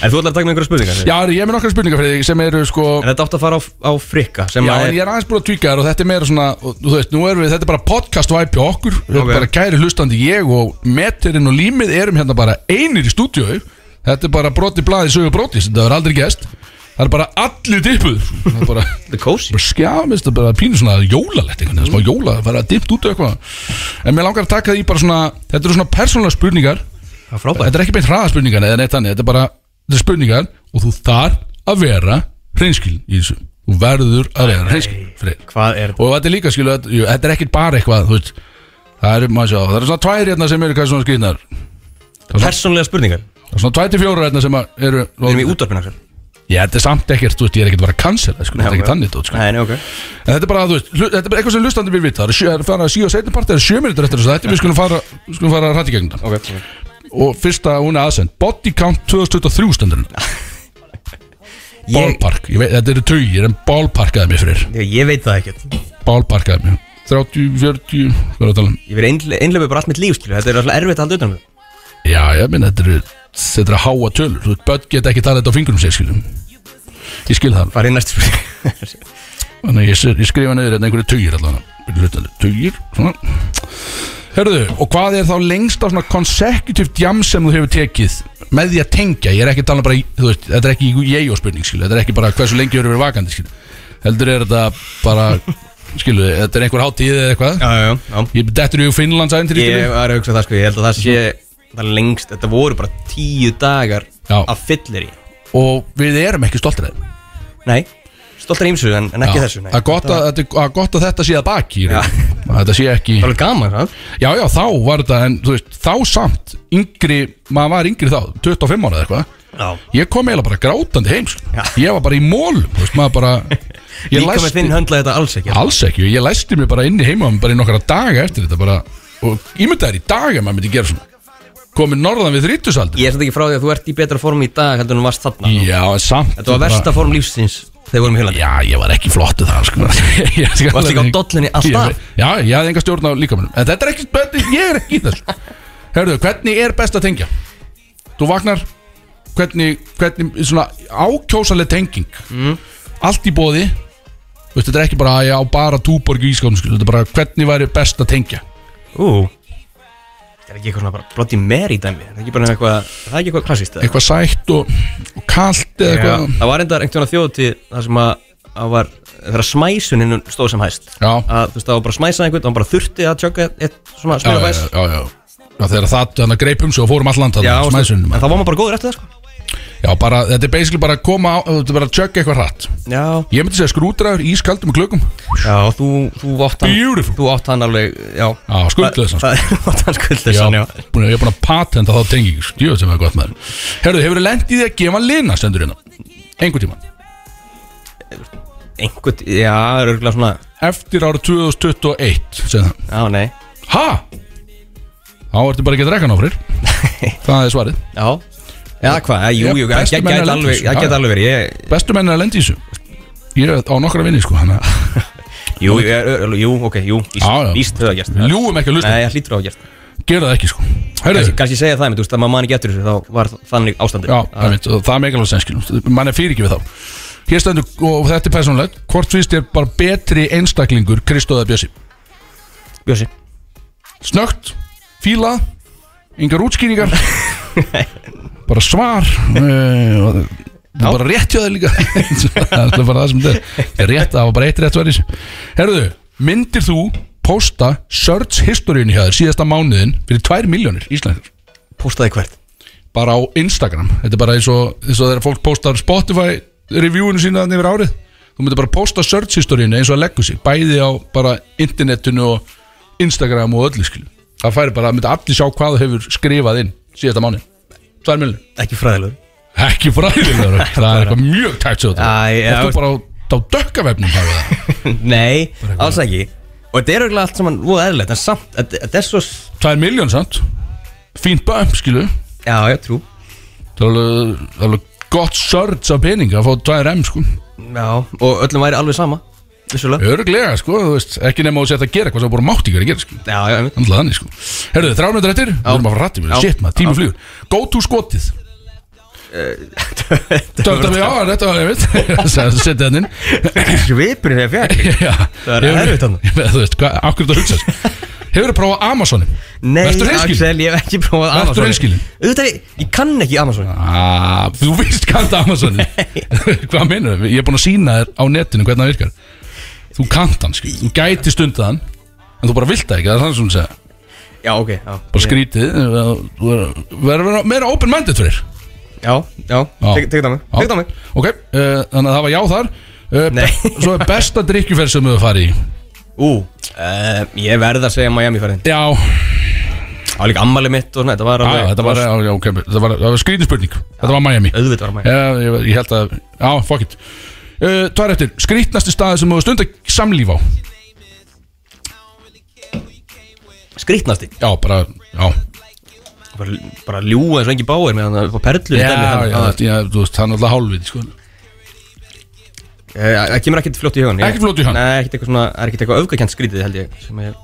en þú ætlar að taka með einhverja spurningar
Já, ég er með nokkra spurningar fyrir þig sem eru sko
en þetta átt að fara á, á frikka sem
Já,
að
en ég er aðeins búin að tvíka þér og þetta er meira svona og, Þú veist, nú erum við, þetta er bara podcast væpi okkur Við erum
Ok.
bara kæri hlustandi ég og Metterinn og Límið erum hérna bara einir í stúdíu Þetta er bara broti blaði sögur brotis Þetta er aldrei gest Það er bara allir dippuð Það er bara,
þetta er kósi
bara skjafist, það er bara pínu svona jólalegt einhvern veginn, það er smá jóla, það er dippt út og eitthvað En mér langar að taka því bara svona Þetta eru svona persónulega spurningar
það er frábært
Þetta er ekki beint hraða spurningar eða neitt þannig, þetta er bara þetta er spurningar og þú þarf að vera hreinskil í þessu þú verður að vera hreinskil Freyr.
hvað er
og þetta er líka skilu, þetta, jú, þetta er ekkert bara eitthvað þú veist, það eru, maður sjá, það eru svona tvær hérna sem eru hvað svona skriðnar
persónlega spurningar við
það eru svona tvær til fjórar hérna sem að eru
erum í útvarpinu Axel
Já, þetta er samt ekkert, þú veist, ég er ekkert bara að cancela sko, þetta er
ok.
ekkert þannig dót, sko.
nei, nei, ok
En þetta er bara, þú veist, hlu- þetta er bara eitthvað sem hlustandi vil vita Það eru sjö- það er fara að síða og setja part, það eru sjö minútur eftir þess að þetta Við skulum fara, skulum fara að rætti gegn þetta
ok
Og fyrsta, hún er aðsend Body count 2023 stendurinn
ég,
Ballpark, ég veit, þetta eru tugir en ballparkaði mig fyrir
ég, ég veit það ekkert
Ballparkaði mig 30, 40, hvað er að tala um
ég verið einlega bara allt mitt líf skilur þetta er alltaf erfitt að halda utan um það
Já, ég minn, þetta eru Þetta eru háa tölur, þú veist, börn geta ekki talað þetta á fingrum sér, skiljum Ég skil það, alveg.
farið í næstu spurning
þannig að ég, s- ég skrifa niður þetta einhverju tugir allan Byrju, þetta eru Tugir, svona Hörðu, og hvað er þá lengst á svona consecutive jam sem þú hefur tekið með því að tengja, ég er ekki að tala um bara í, þú veist, þetta er ekki ég og spurning, skilju, þetta er ekki bara hversu lengi hefur verið vakandi, skilju heldur er þetta bara, skilju, þetta er einhver hátíð eða eitthvað
já, já, já
Ég dettur í Finnlands æfintýri
Ég
skilur.
var að hugsa það sko, ég held að það sé það er lengst, þetta voru bara tíu dagar
Já.
af fyllir í
Og við erum ekki stoltir af þeim.
Nei, stoltar ímsu en, en ekki
Já,
þessu nei.
Það er gott að- þetta er- að gott að þetta sé að baki í raun. Að Þetta sé ekki
Það var alveg gaman, hvað?
Já, já, þá var þetta En þú veist, þá samt Yngri, maður var yngri þá 25 ára eða eitthvað
Já
Ég kom eiginlega bara grátandi heim sko.
Já.
Ég var bara í mól Þú veist, maður bara Ég
Líka með þinn höndlaði þetta alls ekki
Alls ekki Ég læsti mig bara inn í heima Bara í nokkara daga eftir þetta bara Og ég myndi þær í daga Maður myndi gera svona Komið norðan við þrítusaldur
Ég er samt ekki frá því að þú ert í betra form í dag heldur en þú varst þarna
Já, en samt
Þetta var versta form lífsins þegar við vorum í Hjólandi
Já, ég var ekki flottu það sko. Ég skal
Varstu ekki á
alveg-
dollunni alltaf?
Ég- Já, ég hafði enga stjórn á líkamunum En þetta er ekki, þetta, ég er ekki í þessu Herðu, hvernig er best að tengja? Þú vaknar Hvernig, hvernig svona ákjósaleg tenging Allt í bóði Veistu, þetta er ekki bara að ég á bara túborg í ískapnum skil, Þetta er bara hvernig væri best að tengja
Ú Það er ekki eitthvað svona bara blotti meir í dæmi Það er ekki bara eitthvað, það er ekki eitthvað klassist
Eitthvað sætt og, og kalt eða eitthvað
Það var enda einhvern veginn þjóðutíð þar sem að það var þegar smæsuninu stóð sem hæst
Já.
að þú veist það var bara smæsað einhvern og hann bara þurfti að tjögga eitt- eitt svona
Já,
smæra
já,
bæs
já, já, já Þegar það, þannig að greipum sig og fórum allan
Já,
þannig
og
smæðsunum
en það var maður bara góður eftir það sko
Já, bara, þetta er basically bara að koma á, þetta er bara að tjögga eitthvað hratt
Já,
Ég myndi segja skrúdraður, ískaldum og klökum
já þú, þú átt hann
Beautiful.
Þú átt hann alveg, já
Já, skuldlausan, sko.
Það- það- Þú átt hann skuldleysan, já
búin, Ég er búin að patenta þá tengi Stjóð sem er gott maður Herðu, hefur þið lent í því að gefa lina stendur hérna Engu tíma
Einhvern, já, það er örgulega svona
Eftir ára 2021 segði hann.
Já, nei
Ha? Þá ertu bara að geta rekkan á fyrir Það er svarið
Já Já, hvað, já, jú,
Já,
jú, það
bestu menn
gæti
erlendis,
alveg,
já,
það
já.
gæti alveg verið ég-
Bestu menn er að lenda í þessu Ég er á nokkra vinni sko hana.
Jú, ég er- ö- jú, ok, jú, víst,
Já, já.
víst höfðu að gerst
Ljúum ekki að lusta
Nei, það hlýtur á að gerst
Gera það ekki sko Herðu
kannski, kannski segja það, menn, þú veist, að maður man ekki eftir þessu þá var þannig ástandið
Já, það, mitt, og það er megalvægt senskilum Man er fyrir ekki við þá Hér stendur, og þetta er persónulegt Hvort finnst þér bara betri einstaklingur Kristóða Bjössi?
Bjössi
Snögt, fílað Yngar útskýringar Bara svar eh, og Það er bara rétt hjá það líka Það er bara það sem þetta er. það er Rétt, það var bara eitt rétt verið Herðu, myndir þú posta search historyinu hjá þér síðasta mánuðin fyrir 2 miljónir íslenskar
Póstaði hvert
bara á Instagram þetta er bara eins og, eins og þegar fólk postar Spotify reviewinu sína þannig yfir árið þú myndir bara posta search historyinu eins og að leggu sig bæði á bara internetinu og Instagram og öllu skilju það færi bara, myndi allir sjá hvað þú hefur skrifað inn síðasta mánu, tvær miljonir
Ekki fræðilegur
ekki fræðilegur, það er eitthvað mjög tætt svo
Æ,
þetta,
já,
þetta
veist-
er bara á, á dökkavefnum það er það
Nei, alls ekki Og þetta er auðvitað allt saman voða eðlilegt En samt, þetta þetta er svo s-
2 miljón samt fínt bæm skilu
Já, ég trú
það er alveg, það er alveg gott sörts af peninga að fá 2 M sko
Já, og öllum væri alveg sama Vissulega
örglega sko, þú veist, ekki nema þú sett að gera eitthvað sem þú bara mátt ekki að gera sko
Já, já, einmitt
Þannig þannig sko Herðu, þrjánundar eftir, við erum að fara rætti
Já.
Shit maður, tími flýgur Go to skotið Þetta við á, þetta var ég veit Setið hann inn
Svipurinn er fjær
Já,
Það er
hefur-
erfitt þarna.
Ég veit, Þú veist, hvað, akkur þetta hugsa Hefur þú prófað Amazonin?
Nei,
Vertu hreinskilinn?
Axel, ég hef ekki prófað
Vertu
Amazon
hreinskilinn?
Auðvitað, er- ég kann ekki Amazon
Ah, þú veist kannt Amazon Hvað meinar þau? Ég er búin að sína þér á netinu hvernig það virkar Þú kannt hann, skil, þú gæti stundið hann En þú bara vilt það ekki, það er þannig sem hún segja
Já, ok, já
Bara skrítið, eh, þú verður- verður vera meira open-minded fyrir
Já, já, tek tek þetta á mig Tek þetta á mig
Ok, uh, þannig að það var já þar uh,
Nei.
Svo er besta drikkjuferð sem þau farið í
Ú, uh, ég verð að segja Miami ferðin
Já,
Það var líka ammali mitt og svona Þetta var
að, þetta var, já, ok, þetta var, það var skrítið spurning Þetta var Miami
Auðvitað var Miami
Já, ég, ég held að, já, fuck it uh, Tvær eftir, skrítnasti staði sem þú hefur stund að samlífa á
Skrítnasti
Já, bara, já
Bara, bara ljúa eins og engi báir Meðan það var perlu
Já, já, já, já, þú veist, hann er alltaf hálfviti, sko
Eh, Það kemur ekkert fljótt í hugan
Ekki fljótt í hugann?
Nei, ekkert eitthvað svona Það er ekkert eitthvað öfgakent skrítið held ég sem ég-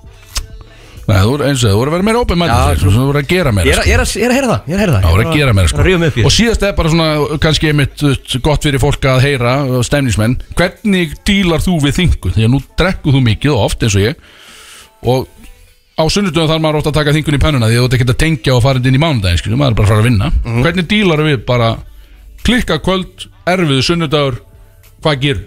Nei, þú er eins og það, þú er að vera meira opið
Já,
mætið Þú er að gera meira, sko.
Ég er að- ég er að ég er að heyra það Ég er að heyra það
Já, voru að gera meira sko
Ríða mig upp í
Og síðast er bara svona, kannski einmitt þú veist, gott fyrir fólk að heyra og stemnismenn Hvernig dílar þú við þingu? Því að nú drekku þú mikið og oft eins og ég Og á sunnudöðum þarf maður ofta að taka þingun í pennuna Því að þú ert ekkert að tengja og fara inn í mánudaginn skilur, Maður er bara að fara að vinna
Mhm.
Hvernig dílar við bara klikka kvöld, erfiðu sunnudagur Hvað gerir?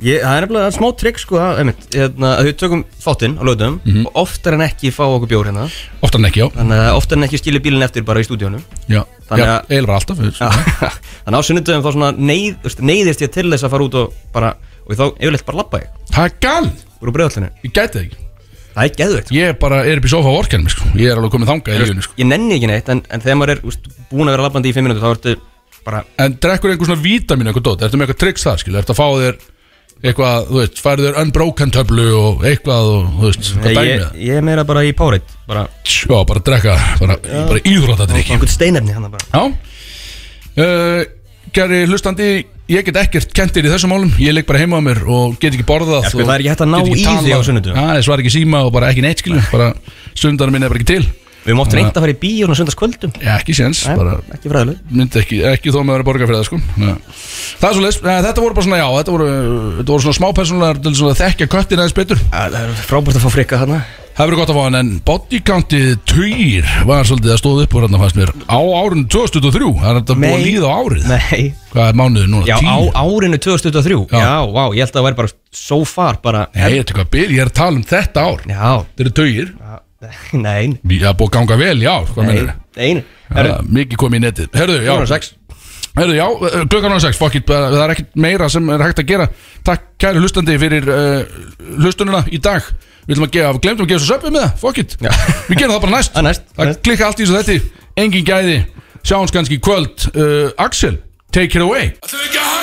Ég, það er nefnilega smá trikk sko það, einmitt, hérna, að við tökum þáttinn á lögdum
Mhm.
og oftar en ekki fá okkur bjór hérna
Oftar en ekki, já
þannig að oftar en ekki skilja bílinn eftir bara í stúdíónu
Já,
Þannig
já
að-
eiginlega alltaf við-
þannig að á sunnudöfum þá svona neyð, þú veist, neyðist ég til þess að fara út og bara og þá yfirleitt bara labba ég
Það er gal,
úr breyðallinu
ég gæti það ekki
það er geðveikt sko.
Ég bara er upp í sofa á orkenum, sko Ég er alveg komið þangað í lífinu, sko
ég nenni ekki neitt en, en þegar maður er úst, búin að vera labbandi í fimm minútur þá ertu bara
En drekkur einhver svona vítamín eitthvað dót Ertu með eitthvað tricks það, skilur? Ertu að fá þér eitthvað, þú veist, færðu þér unbroken töflu og eitthvað og, þú veist, hvað dæmið
ég,
það?
ég er meira bara í páreit bara
Já, bara drekka, bara, bara íþróttadrykki
einhvern steinefni hann bara
Já uh, Gæri hlustandi, ég get ekkert kentir í þessum málum Ég leik bara heima á mér og get ekki borðað
Já, sko,
og
það er ekki hægt að ná
get ekki
í þig á
talað.
sunnudögum.
Já, ég svar ekki í síma og bara ekki neitt, skilur Bara sundarinn minn er bara ekki til
við mátt reynda að fara í bíó og sundast kvöldum
Já, ekki séns, bara
ekki fræðileg
myndi ekki, ekki þó með að vera borga fyrir það sko Nei. það er svo leys, þetta voru bara svona já þetta voru, þetta voru svona smápersónulegar til svona að þekkja köttin aðeins betur
það er frábært að fá frikka þarna
það hefur verið gott að fá hann en bodycountið týr var svolítið að stóð upp úr hann fannst mér á árun 2023 það er þetta búið að
Nei.
líða á árið
nei
hvað er mánuðið núna,
Já, á
týr
árinu 2023
Já.
Já, vá, ég held að það væri bara so far bara
nei, þetta er hvað byrj, ég er að tala um þetta ár
Já,
þetta eru týr,
nein
það er búið að ganga vel í ár hvað
Nein,
mennir
nein
það? mikið komið í netið, herðu, já
Fjóra og sex.
Heyrðu, já, uh, klukkan á 6, fuck it, uh, það er ekkert meira sem er hægt að gera Takk kæri hlustandi fyrir uh, hlustununa í dag Við ætlum að gefa, glemtum að gefa svo söpum með það, fuck it
Já.
Við gerum það bara næst
Það er næst,
Það
næst.
klikka allt í þessu þetta, engin gæði Sjáumst kannski í kvöld uh, Axel, Eh, take it away
I think I